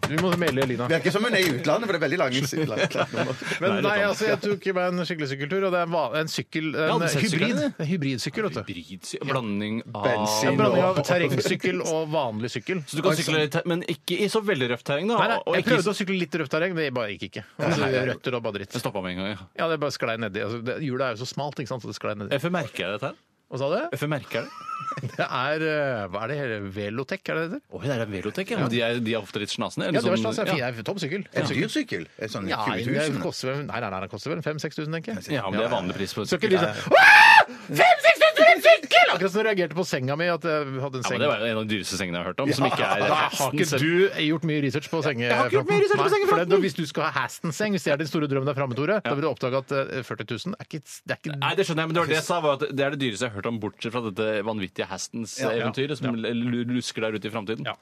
Speaker 2: Vi må melde Elina.
Speaker 3: Virker som hun er i utlandet, for det er veldig lange sykler.
Speaker 2: Men
Speaker 4: Nei,
Speaker 2: nei,
Speaker 4: litt
Speaker 2: altså, jeg tok meg en skikkelig sykkeltur, og det er en, va- en sykkel En
Speaker 4: hadde sett
Speaker 2: hybrid.
Speaker 4: sykkelen,
Speaker 2: En hybridsykkel, vet du.
Speaker 4: Hybridsy- Blanding av
Speaker 3: Bensin.
Speaker 2: En blanding av terrengsykkel og vanlig sykkel.
Speaker 4: Så du kan sykle, i ter- men ikke i så veldig røft terreng, da.
Speaker 2: Nei, nei,
Speaker 4: og
Speaker 2: jeg
Speaker 4: ikke-
Speaker 2: prøvde å sykle litt røft terreng, det bare gikk ikke. Altså, røtter og bare dritt.
Speaker 4: Jeg stoppa med en gang, ja.
Speaker 2: Ja, det bare sklei nedi. Altså, det- hjulet er jo så smalt, ikke sant, så det sklei nedi.
Speaker 4: Hvorfor merker jeg dette her?
Speaker 2: Hva sa du?
Speaker 4: Hvorfor merker jeg det?
Speaker 2: Det er eh, Hva er det her? Velotek, er det det heter?
Speaker 4: Oi, det er en velotek, ja. Men de er, de er ofte litt snasende. sånn-
Speaker 2: Ja, det var slags jeg er Tom sykkel.
Speaker 3: En dyr sykkel? En sånn
Speaker 2: Ja,
Speaker 3: 20
Speaker 2: det
Speaker 3: 000?
Speaker 2: koster vel, nei, nei, nei, det koster vel 5000-6000, tenker jeg.
Speaker 4: Ja, men det er vanlig pris på
Speaker 2: Så ikke
Speaker 4: sykkel.
Speaker 2: de sånn «Åh! 5000 for en sykkel! Akkurat som jeg reagerte på senga mi. At jeg
Speaker 4: Ja,
Speaker 2: hadde en
Speaker 4: men
Speaker 2: seng.
Speaker 4: det var jo en av de dyreste sengene jeg har hørt om, som ikke er
Speaker 2: Da har ikke
Speaker 4: selv.
Speaker 2: du gjort mye research på senge...
Speaker 4: har ikke gjort mye research på
Speaker 2: Nei, for
Speaker 4: sengefronten.
Speaker 2: det- Hvis du skal ha Haston-seng, hvis det er din store drøm der framme, Tore, da vil du oppdage at eh, 40 000 er ikke, det er ikke
Speaker 4: Nei, det skjønner jeg, men det var det jeg sa, var at det er det dyreste jeg har hørt om, bortsett fra dette vanvittige Hastens-eventyret som l- l- lusker der ute i framtiden.
Speaker 2: Ja.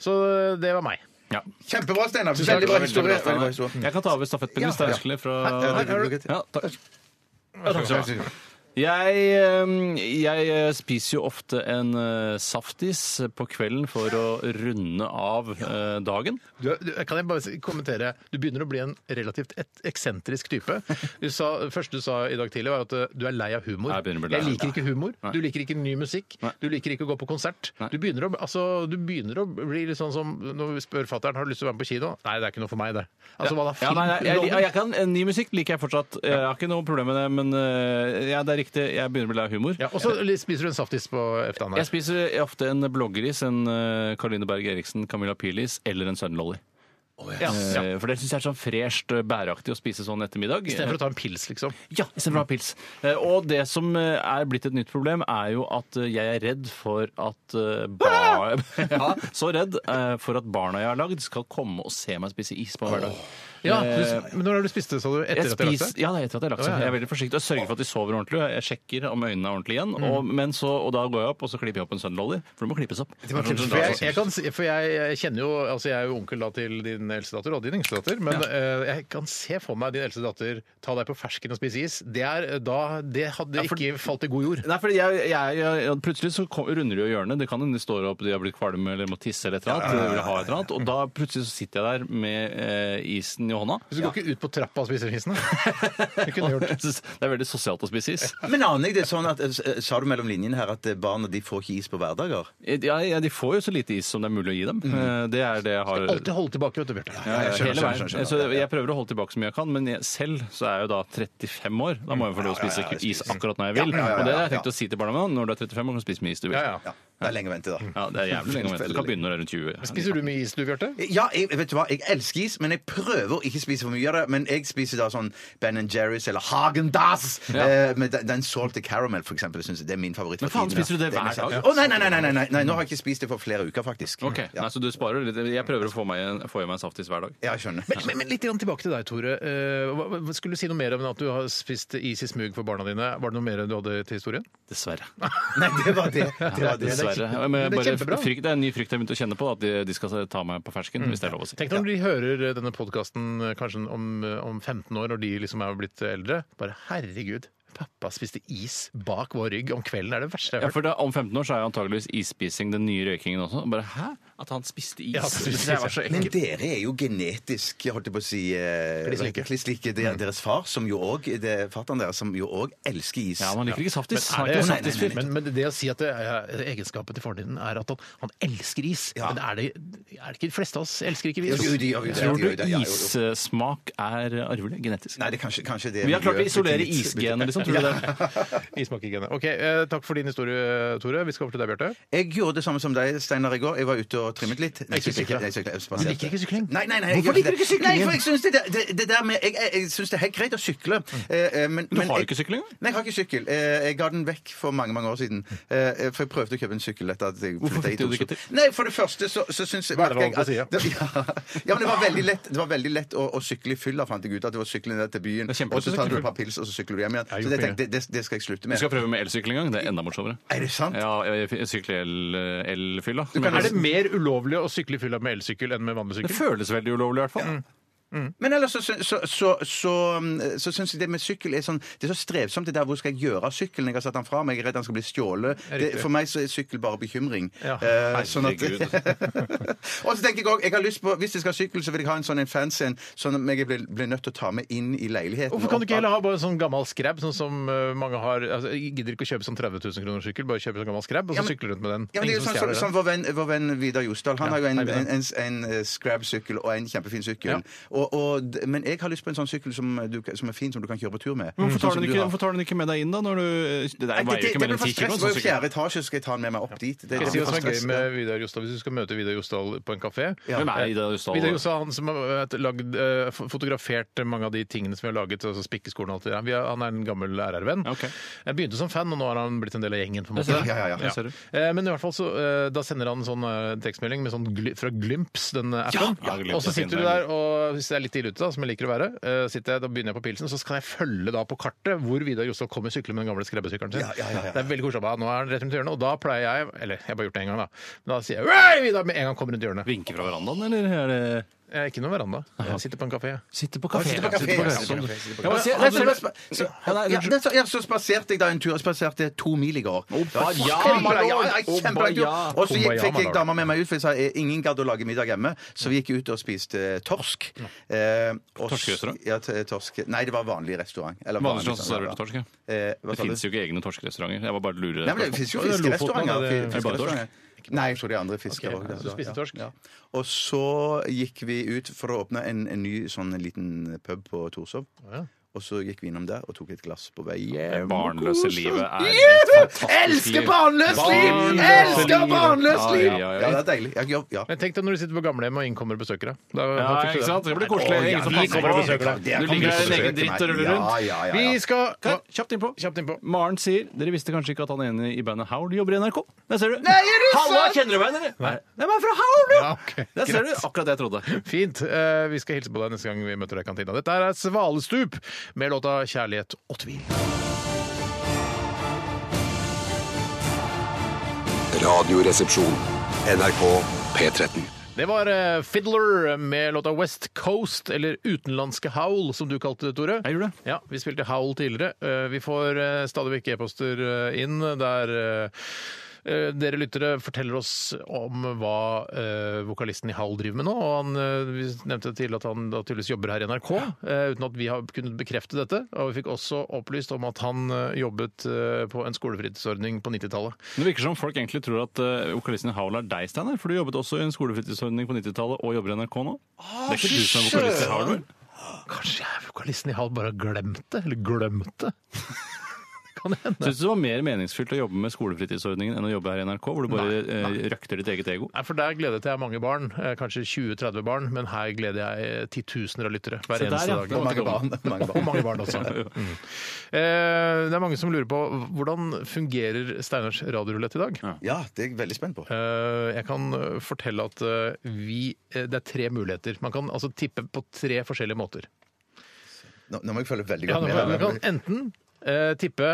Speaker 2: Så eh, det var meg.
Speaker 4: Ja.
Speaker 3: Kjempebra, Steinar. Veldig bra historie. Veldig bra historie.
Speaker 4: Jeg kan ta over stafettpinnen hvis det er ønskelig fra
Speaker 3: Her er det.
Speaker 4: Ja, takk. Ja, takk skal du ha. Jeg, eh, jeg spiser jo ofte en eh, saftis på kvelden for å runde av eh, dagen.
Speaker 2: Du, du, kan jeg bare si- kommentere? Du begynner å bli en relativt et, eksentrisk type. Du sa, det første du sa i dag tidlig, var at eh, du er lei av humor.
Speaker 4: Jeg begynner å bli lei av
Speaker 2: liker
Speaker 4: det.
Speaker 2: ikke humor.
Speaker 4: Nei.
Speaker 2: Du liker ikke ny musikk.
Speaker 4: Nei.
Speaker 2: Du liker ikke å gå på konsert.
Speaker 4: Nei.
Speaker 2: Du begynner, å, altså, du begynner å bli litt sånn som når vi spør fatter'n har du lyst til å være med på kino. Nei, det er ikke noe for meg, det. Altså, hva
Speaker 4: Ja,
Speaker 2: da? Film?
Speaker 4: nei, nei, jeg, jeg,
Speaker 2: underholdning?
Speaker 4: jeg kan, eh, Ny musikk liker jeg fortsatt. Eh, Jeg har ikke noe problem med det, men eh, ja, det er riktig, jeg begynner å bli lei av humor.
Speaker 2: Ja, og så spiser du en saftis på eftan
Speaker 4: Jeg
Speaker 2: her.
Speaker 4: spiser ofte en bloggeris, en eh, Caroline Berg Eriksen, Camilla Pilis eller en Sunlolly.
Speaker 2: Ja, ja.
Speaker 4: Eh, For det syns jeg er sånn fresht eh, bæreaktig å spise sånn etter middag.
Speaker 2: Istedenfor å ta en pils, liksom.
Speaker 4: Ja, istedenfor å ha pils. Eh, Og det som eh, er blitt et nytt problem, er jo at eh, jeg er redd for at eh, bar... ja, Så redd eh, for at barna jeg har lagd, skal komme og se meg spise is på en hverdag.
Speaker 2: Ja, du, Eh, men når har du spist det, sa du? Etter
Speaker 4: Jeg
Speaker 2: at du lagde
Speaker 4: spiser, ja, det er etter at jeg har lagt seg.
Speaker 2: Å, ja, ja.
Speaker 4: Jeg er veldig forsiktig og sørger for at de sover ordentlig. og Jeg sjekker om øynene er ordentlige igjen.
Speaker 2: Mm.
Speaker 4: Og, men så, og da går jeg opp, og så klipper jeg opp en Sunlolly. For det sånn må klippes opp.
Speaker 2: For jeg, jeg, kan, si- for jeg, jeg kjenner jo altså Jeg er jo onkel da til din eldste datter og din yngste datter, men eh, jeg kan se for meg din eldste datter ta deg på fersken og spise is. Det, er, eh, da, det hadde
Speaker 4: for-
Speaker 2: ikke falt i god jord.
Speaker 4: Nei, fordi jeg, jeg, jeg, jeg, Plutselig så kom, runder de jo hjørnet. Det kan hende de står opp, de har blitt kvalme eller må tisse eller et eller annet. Eller vil ha et eller annet. Og da plutselig så sitter jeg der med eh, isen i hånda.
Speaker 2: Så du går ikke ut på trappa og spiser isen? da? Det kunne jeg gjort.
Speaker 4: Jeg synes Det er veldig sosialt å spise is.
Speaker 3: Men aner jeg det sånn at eh, Sa du mellom linjene her at eh, barna de får ikke is på hverdager?
Speaker 4: Ja, ja, de får jo så lite is som det er mulig å gi dem. Eh, Det er det jeg har
Speaker 2: Alltid holde tilbake, vet du, Bjarte.
Speaker 4: Ja,
Speaker 3: jeg skjønner,
Speaker 4: hele
Speaker 3: skjønner,
Speaker 4: veien.
Speaker 3: skjønner,
Speaker 4: Så
Speaker 3: skjønner.
Speaker 4: jeg prøver å holde tilbake så mye jeg kan, men jeg selv så er jeg jo da 35 år. Da må jeg få lov å spise is akkurat når jeg vil.
Speaker 3: ja, ja,
Speaker 4: Og det har jeg
Speaker 3: ja.
Speaker 4: tenkt å si til barna mine. Når du er 35 år, kan du spise mye is du vil.
Speaker 2: Ja, ja.
Speaker 3: Ja. Det er lenge å vente, da.
Speaker 4: Ja, det er jævlig lenge å vente. Du kan begynne når du er rundt 20.
Speaker 2: Spiser du mye is, du, Bjarte?
Speaker 3: Ja, jeg, vet du hva, jeg elsker is, men jeg prøver å ikke spise for mye av det. Men jeg spiser da sånn Ben Jerry's eller Hagen Dass. Eh, med den- den salty caramel, for eksempel. Synes jeg, det er min favoritt.
Speaker 4: Men faen, spiser du det hver dag?
Speaker 3: Å nei, nei, nei, nei, nei, nei, nei, nå har jeg ikke spist det for flere uker, faktisk.
Speaker 4: Ok,
Speaker 3: ja.
Speaker 4: Nei, Så du sparer litt. Jeg prøver å få, meg en, få i meg en saftis hver dag.
Speaker 3: ja, jeg skjønner.
Speaker 2: Men, men, men litt grann tilbake til deg, Tore. Eh, hva- hva- skulle du si noe mer om at du har spist is i smug for barna dine? Var det noe mer du hadde til historien?
Speaker 4: Dessverre.
Speaker 3: Nei, det var det. det, var det.
Speaker 4: Dessverre. Ja, Men
Speaker 2: Men det er
Speaker 4: bare
Speaker 2: kjempebra.
Speaker 4: frykt, det er en ny frykt jeg har begynt å kjenne på, at de, de skal ta meg på fersken, hvis det er lov å si.
Speaker 2: Tenk når de hører denne podkasten kanskje om, eh, om 15 år, når de liksom er blitt eldre. Bare herregud, pappa spiste is bak vår rygg om kvelden. Det er det verste jeg
Speaker 4: Ja,
Speaker 2: har hørt.
Speaker 4: for da, Om 15 år så er jo antageligvis isspising den nye røykingen også. Bare hæ? At han spiste is?
Speaker 2: Ja, han spiste is,
Speaker 4: det var så
Speaker 3: Men
Speaker 4: ekkelt.
Speaker 3: dere er jo genetisk jeg holdt jeg på å si, eh,
Speaker 2: Kliss like.
Speaker 3: kliss like det- deres far, som jo også, det er fatteren deres, som jo òg elsker is.
Speaker 4: Ja, man liker ikke saftis.
Speaker 2: Men,
Speaker 4: Man er
Speaker 2: er det,
Speaker 4: ikke
Speaker 3: nei, nei,
Speaker 4: saftis
Speaker 3: nei, nei.
Speaker 2: men, men det å si at det er, egenskapet til faren din er at han, han elsker is
Speaker 3: Ja.
Speaker 2: Men er det, er det ikke de fleste av oss elsker ikke
Speaker 3: Jo, jo,
Speaker 2: is?
Speaker 3: de gjør jo det, de
Speaker 4: Tror
Speaker 3: gjør jo det, ja, jo,
Speaker 4: du
Speaker 3: jo.
Speaker 4: issmak er arvelig genetisk?
Speaker 3: Nei, det er kanskje, kanskje det
Speaker 4: Vi har klart å
Speaker 3: miljøet-
Speaker 4: isolere isgenet, liksom. så tror du det?
Speaker 2: Ismakkegenet. Ok, eh, takk for din historie, Tore. Vi skal over til deg, Bjarte.
Speaker 3: Jeg gjorde det samme som deg, Steinar, i går. Jeg var ute og trimmet litt. Nei,
Speaker 2: Ikke
Speaker 3: syklet-
Speaker 2: syklet.
Speaker 3: nei, syklet. Jeg spaserte.
Speaker 2: Du liker ikke sykling?
Speaker 3: Nei, nei, nei. jeg
Speaker 2: Hvorfor
Speaker 3: gjør
Speaker 2: liker du
Speaker 3: det.
Speaker 2: ikke syklingen?
Speaker 3: Nei, for jeg synes det, det, det der med Jeg, jeg, jeg syns det er helt greit å sykle. eh, eh, men,
Speaker 4: Du
Speaker 3: men
Speaker 4: har jo
Speaker 3: jeg-
Speaker 4: ikke sykling?
Speaker 3: Nei, jeg har ikke sykkel. Eh, Jeg ga den vekk for mange mange år siden. Eh, For jeg prøvde å kjøpe en sykkel etter at jeg flytta
Speaker 4: Hvorfor fikk
Speaker 3: hit.
Speaker 4: du det
Speaker 3: til
Speaker 4: ikke
Speaker 3: Oslo. Nei, for det første så, så syns jeg
Speaker 2: Hva er det man
Speaker 3: merker jeg
Speaker 2: holdt på å
Speaker 3: at- Ja, ja, men det var veldig lett, det var veldig lett å, å sykle i fylla, fant jeg ut. At det var sykling ned til byen,
Speaker 4: Det er kjempelett
Speaker 3: og så
Speaker 4: å
Speaker 3: tar
Speaker 4: sykle
Speaker 3: du
Speaker 4: i
Speaker 3: et par pils, og så sykler du hjem igjen.
Speaker 2: Jeg
Speaker 3: Så
Speaker 2: har
Speaker 3: det,
Speaker 2: gjort
Speaker 3: tenkte jeg, det, det skal jeg slutte
Speaker 4: Du
Speaker 3: med.
Speaker 4: skal prøve med elsykling en gang. Det er enda morsommere.
Speaker 3: Er det sant?
Speaker 4: Ja, jeg, jeg sykler el- elfylla. som
Speaker 3: kan-
Speaker 4: heter.
Speaker 2: Er det mer ulovlig å sykle i fylla med elsykkel enn med vanlig
Speaker 4: Det
Speaker 2: sykkel?
Speaker 4: føles veldig ulovlig, i hvert fall.
Speaker 3: Men ellers så, sy- så, så, så, mm, så syns jeg det med sykkel er sånn Det er så strevsomt det der hvor skal jeg gjøre av sykkelen? Jeg har satt den fra meg, jeg er redd den skal bli stjålet. Det,
Speaker 2: Riktig.
Speaker 3: for meg så er sykkel bare bekymring.
Speaker 2: Ja.
Speaker 3: Eh, sånn at,
Speaker 4: Herregud.
Speaker 3: og så tenker jeg òg, jeg har lyst på hvis jeg skal ha sykkel, så vil jeg ha en sånn en fancy en som jeg blir, blir nødt til å ta med inn i leiligheten.
Speaker 2: Hvorfor kan du ikke heller ha bare en sånn gammel skrab, sånn som eh, mange har altså, jeg Gidder ikke å kjøpe sånn 30 000 kroner sykkel, bare kjøpe sånn gammel skrab og så
Speaker 3: Ja, men-
Speaker 2: sykle rundt med den.
Speaker 3: Ja, men det er jo
Speaker 2: Ingen som
Speaker 3: sånn,
Speaker 2: stjeler
Speaker 3: som, som
Speaker 2: den.
Speaker 3: vår, venn, vår venn Vidar Josdal. Han
Speaker 2: Ja,
Speaker 3: har jo en,
Speaker 2: hei, Vidar.
Speaker 3: en, en, en eh, Scrab-sykkel og en kjempefin sykkel.
Speaker 2: Ja.
Speaker 3: Og, og, d- men jeg har lyst på en sånn sykkel som, du, kan- som er fin, som du kan kjøre på tur med.
Speaker 4: Hvorfor
Speaker 3: Sånn
Speaker 4: tar,
Speaker 3: som
Speaker 4: den
Speaker 3: du
Speaker 4: ikke,
Speaker 3: har.
Speaker 4: hvorfor tar den ikke med deg inn, Mm, da? Når du, det
Speaker 3: Nei,
Speaker 4: er-
Speaker 3: det,
Speaker 4: veier
Speaker 3: det, det
Speaker 4: ikke mer
Speaker 3: blir
Speaker 4: enn
Speaker 3: for
Speaker 4: 10 kilo.
Speaker 3: stress. Det var jo fjerde etasje, skal jeg ta den med meg opp dit? Det, det
Speaker 2: Skal jeg si
Speaker 3: blir
Speaker 2: hva som
Speaker 3: for
Speaker 2: er gøy
Speaker 3: stress.
Speaker 2: med Vidar Jostad hvis du skal møte Vidar Jostad på en kafé?
Speaker 3: Ja.
Speaker 4: Hvem er Ida Ustad?
Speaker 2: Vidar Jostad han som har vet, lagd, eh, fo- fotografert mange av de tingene som vi har laget, altså spikkeskolen og alt det der. Vi er- Han er en gammel RR-venn.
Speaker 4: Ok.
Speaker 2: Jeg begynte som fan, og nå har han blitt en del av gjengen. på en måte.
Speaker 4: ser det.
Speaker 3: Ja, ja, ja.
Speaker 4: Jeg ser det.
Speaker 2: Eh, Men i hvert fall så, eh, da sender han sånn eh, tekstmelding med sånn gly fra Glymps, den eh, appen.
Speaker 4: Ja, ja, Glymps
Speaker 2: og så
Speaker 4: er fin,
Speaker 2: sitter du
Speaker 4: det er
Speaker 2: der, og hvis det er litt tidlig ute, da, som jeg liker å være, eh, sitter jeg, da begynner jeg på pilsen, så skal jeg følge da på kartet hvor Vidar Jostad kommer syklende med den gamle skrebbesykkelen sin.
Speaker 3: Ja, ja, ja, ja.
Speaker 2: Det er veldig koselig. Bare, Nå er han rett rundt hjørnet, og da pleier jeg, eller jeg har bare gjort det en gang, da, men da sier jeg «Hei, Vidar! med en gang han kommer rundt hjørnet.
Speaker 4: Vinke fra verandaen, eller er det
Speaker 2: Jeg er ikke noen veranda. Jeg sitter på en kafé.
Speaker 4: Sitte på
Speaker 3: Ja,
Speaker 4: kafé.
Speaker 3: sitte på kafé, ja, sitte på kafé, sitte på kafé.
Speaker 4: Ja, men se,
Speaker 3: sånn- Ja,
Speaker 4: altså,
Speaker 3: så- så-
Speaker 4: Ja, nei,
Speaker 3: ja,
Speaker 4: unnskyld.
Speaker 3: det- så- ja, så spaserte jeg da en tur. Jeg spaserte to mil i går.
Speaker 4: Opa,
Speaker 3: Ja,
Speaker 4: ja,
Speaker 3: kjempe-
Speaker 4: my
Speaker 3: ja,
Speaker 4: lord.
Speaker 3: ja, kjempelang tur.
Speaker 4: Opa, ja.
Speaker 3: Og så gikk-
Speaker 2: Opa, ja,
Speaker 3: fikk
Speaker 2: my
Speaker 3: jeg
Speaker 2: lord.
Speaker 3: dama med meg ut, for jeg sa eh, ingen gadd å lage middag hjemme. Så vi gikk ut og spiste torsk. Eh, og s-
Speaker 4: Torskerestaurant?
Speaker 3: Ja, t- torsk. Nei, det var vanlig restaurant. Eller
Speaker 4: Vanligvis så
Speaker 3: restaurant,
Speaker 4: serverer du torsk, sånn, ja.
Speaker 3: ja. Eh, hva
Speaker 4: Det
Speaker 3: sa du?
Speaker 4: fins jo ikke egne torskerestauranter. Jeg var bare lurer.
Speaker 3: Nei, men det fins jo
Speaker 2: Ja, det er Lofoten,
Speaker 3: fiskerestauranter.
Speaker 2: da, det-
Speaker 3: fi-
Speaker 4: Er det bare torsk?
Speaker 3: fiskerestauranter. Nei, jeg tror de andre fisker
Speaker 2: Ok,
Speaker 3: også,
Speaker 2: ja, så
Speaker 3: da,
Speaker 2: spiste
Speaker 3: ja.
Speaker 2: torsk.
Speaker 3: Ja. Og så gikk vi ut for å åpne en, en ny sånn liten pub på Torshov.
Speaker 2: Ja.
Speaker 3: Og så gikk vi innom der og tok et glass på vei
Speaker 4: Det
Speaker 3: hjem.
Speaker 4: barnløse livet er et
Speaker 3: Yeah!
Speaker 4: fantastisk
Speaker 3: Elsker
Speaker 4: liv.
Speaker 3: barnløst liv!
Speaker 2: Barnløse
Speaker 3: Elsker
Speaker 2: liv!
Speaker 3: barnløst
Speaker 4: Ja,
Speaker 3: liv!
Speaker 4: ja, ja, ja.
Speaker 3: Ja, det er deilig. Ja, ja, ja.
Speaker 2: Men tenk deg når du sitter på gamlehjem og innkommer besøkere. Da,
Speaker 4: Ja,
Speaker 2: da fikk du
Speaker 4: ikke
Speaker 2: det.
Speaker 4: sant? Det blir koselig.
Speaker 2: Å, ja,
Speaker 4: Ingen som
Speaker 2: vi
Speaker 4: passer
Speaker 2: kommer og
Speaker 4: på.
Speaker 2: besøker deg.
Speaker 3: Det er
Speaker 4: Du
Speaker 3: kongen
Speaker 4: ligger der i en egen
Speaker 3: besøker
Speaker 4: dritt og
Speaker 3: meg.
Speaker 4: ruller rundt.
Speaker 3: Ja, ja, ja, ja.
Speaker 2: Vi skal
Speaker 4: Kan jeg- Kjapt innpå.
Speaker 2: Kjapt innpå.
Speaker 4: Maren sier dere visste kanskje ikke at han ene i bandet Howard jobber i NRK. Der ser du.
Speaker 3: Nei, er det
Speaker 4: Halla,
Speaker 3: sant?
Speaker 4: kjenner du meg, eller? Nei, Nei, men jeg er fra Howard, jo!
Speaker 2: Ja, ok.
Speaker 4: Der ser du. Akkurat det jeg trodde.
Speaker 2: Fint. Eh, Vi skal hilse på deg neste gang vi møter deg i kantina. Dette er Svalestup med låta 'Kjærlighet og tvil'.
Speaker 5: Radioresepsjon. NRK P13.
Speaker 2: Det var eh, Fiddler med låta 'West Coast', eller 'Utenlandske howl', som du kalte det, Tore.
Speaker 4: Jeg gjorde det.
Speaker 2: Ja, Vi spilte howl tidligere. Eh, Vi får eh, stadig vekk e-poster eh, inn der eh, eh, dere lyttere forteller oss om hva eh, vokalisten i Howl driver med nå. og han, eh, Vi nevnte til at han da tydeligvis jobber her i NRK, eh, uten at vi har kunnet bekrefte dette. Og vi fikk også opplyst om at han eh, jobbet eh, på en skolefritidsordning på 90-tallet.
Speaker 4: Det virker som folk egentlig tror at eh, vokalisten i Howl er deg, Steinar. For du jobbet også i en skolefritidsordning på 90-tallet og jobber i NRK nå. Det er ikke du som er vokalist i Howl, vel?
Speaker 2: Kanskje jeg, vokalisten i Howl bare har glemt det? Eller glemt det? kan det hende.
Speaker 4: Syns du det var mer meningsfylt å jobbe med skolefritidsordningen enn å jobbe her i NRK, hvor du bare eh, røkter ditt eget ego?
Speaker 2: Nei, for Der gledet jeg mange barn, eh, kanskje 20-30 barn, men her gleder jeg titusener av lyttere hver
Speaker 4: Se der,
Speaker 2: eneste
Speaker 4: ja.
Speaker 2: dag.
Speaker 4: Nå
Speaker 3: Mange barn. Mange
Speaker 2: Og
Speaker 3: barn.
Speaker 2: mange barn også. Mm. Eh, det er mange som lurer på hvordan fungerer Steinars radiorulett i dag.
Speaker 3: Ja, det er jeg veldig spent på.
Speaker 2: Eh, jeg kan eh, fortelle at eh, vi, eh, det er tre muligheter. Man kan altså tippe på tre forskjellige måter.
Speaker 3: Nå, nå må jeg følge veldig
Speaker 2: Ja,
Speaker 3: godt
Speaker 2: man,
Speaker 3: med.
Speaker 2: kan,
Speaker 3: her.
Speaker 2: man kan enten eh, tippe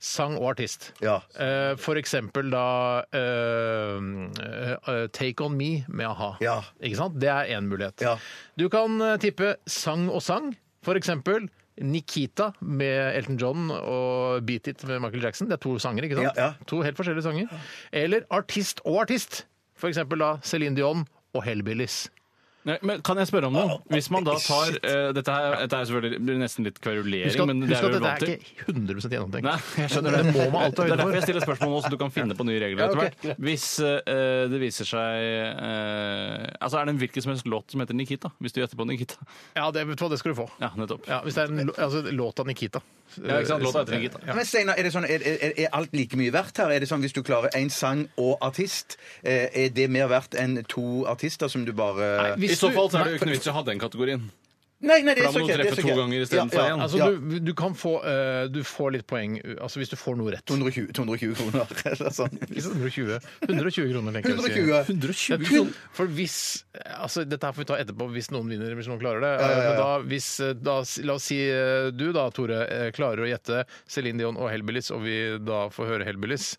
Speaker 2: sang og artist.
Speaker 3: Ja.
Speaker 2: Eh, for eksempel da eh, eh, Take On Me med a-ha.
Speaker 3: Ja.
Speaker 2: Ikke sant? Det er én mulighet.
Speaker 3: Ja.
Speaker 2: Du kan eh, tippe sang og sang. For eksempel Nikita med Elton John og Beat It med Michael Jackson. Det er to sanger, ikke sant?
Speaker 3: Ja, ja.
Speaker 2: To helt forskjellige sanger. Eller artist og artist. For eksempel da Céline Dion og Hellbillies.
Speaker 4: Nei, men kan jeg spørre om noe? Hvis man da tar eh, dette, her, dette er selvfølgelig blir nesten litt kverulering,
Speaker 2: Husk at,
Speaker 4: men det
Speaker 2: husk
Speaker 4: er vi jo
Speaker 2: at dette
Speaker 4: vant
Speaker 2: er
Speaker 4: til.
Speaker 2: ikke 100 gjennomtenkt.
Speaker 4: Nei, jeg skjønner
Speaker 2: det. må man alltid
Speaker 4: Det er
Speaker 2: ha
Speaker 4: derfor
Speaker 2: høyde
Speaker 4: jeg
Speaker 2: for.
Speaker 4: stiller spørsmål nå, så du kan finne på nye regler
Speaker 2: Ja,
Speaker 4: etter
Speaker 2: ok,
Speaker 4: hvert. Hvis eh, det viser seg eh, Altså, er det en hvilken som helst låt som heter Nikita? Hvis du gjetter på Nikita.
Speaker 2: Ja, det, vet du hva, det skal du få.
Speaker 4: Ja, nettopp. Eh,
Speaker 2: Ja, hvis det er en lo- altså, låt av Nikita.
Speaker 4: Ja, ikke sant? Låta heter Nikita.
Speaker 3: Men Steinar, er, det sånn, er, er, er alt like mye verdt her? Er det sånn Hvis du klarer én sang og artist, eh, er det mer verdt enn to artister som du bare Nei,
Speaker 4: I så fall så er det jo
Speaker 2: Nei,
Speaker 4: ikke noe vits i å ha den kategorien.
Speaker 3: nei, det
Speaker 4: da
Speaker 3: er
Speaker 4: må
Speaker 3: så
Speaker 4: du
Speaker 3: ikke. det er
Speaker 4: treffe
Speaker 3: så ikke.
Speaker 4: to ganger i stedet for én.
Speaker 2: Altså,
Speaker 3: Ja,
Speaker 2: du, du kan få eh, Du får litt poeng uh, altså, hvis du får noe rett.
Speaker 3: 220, 220 kroner, eller sånn.
Speaker 2: Ikke sant? 120, 120 kroner, tenker jeg. å si.
Speaker 3: 120.
Speaker 2: 120 kroner. For hvis altså Dette her får vi ta etterpå hvis noen vinner hvis noen klarer det. Men da, hvis, eh, da, s- la oss si eh, du da, Tore, eh, klarer å gjette Céline Dion og Hellbillies, og vi da får høre Hellbillies,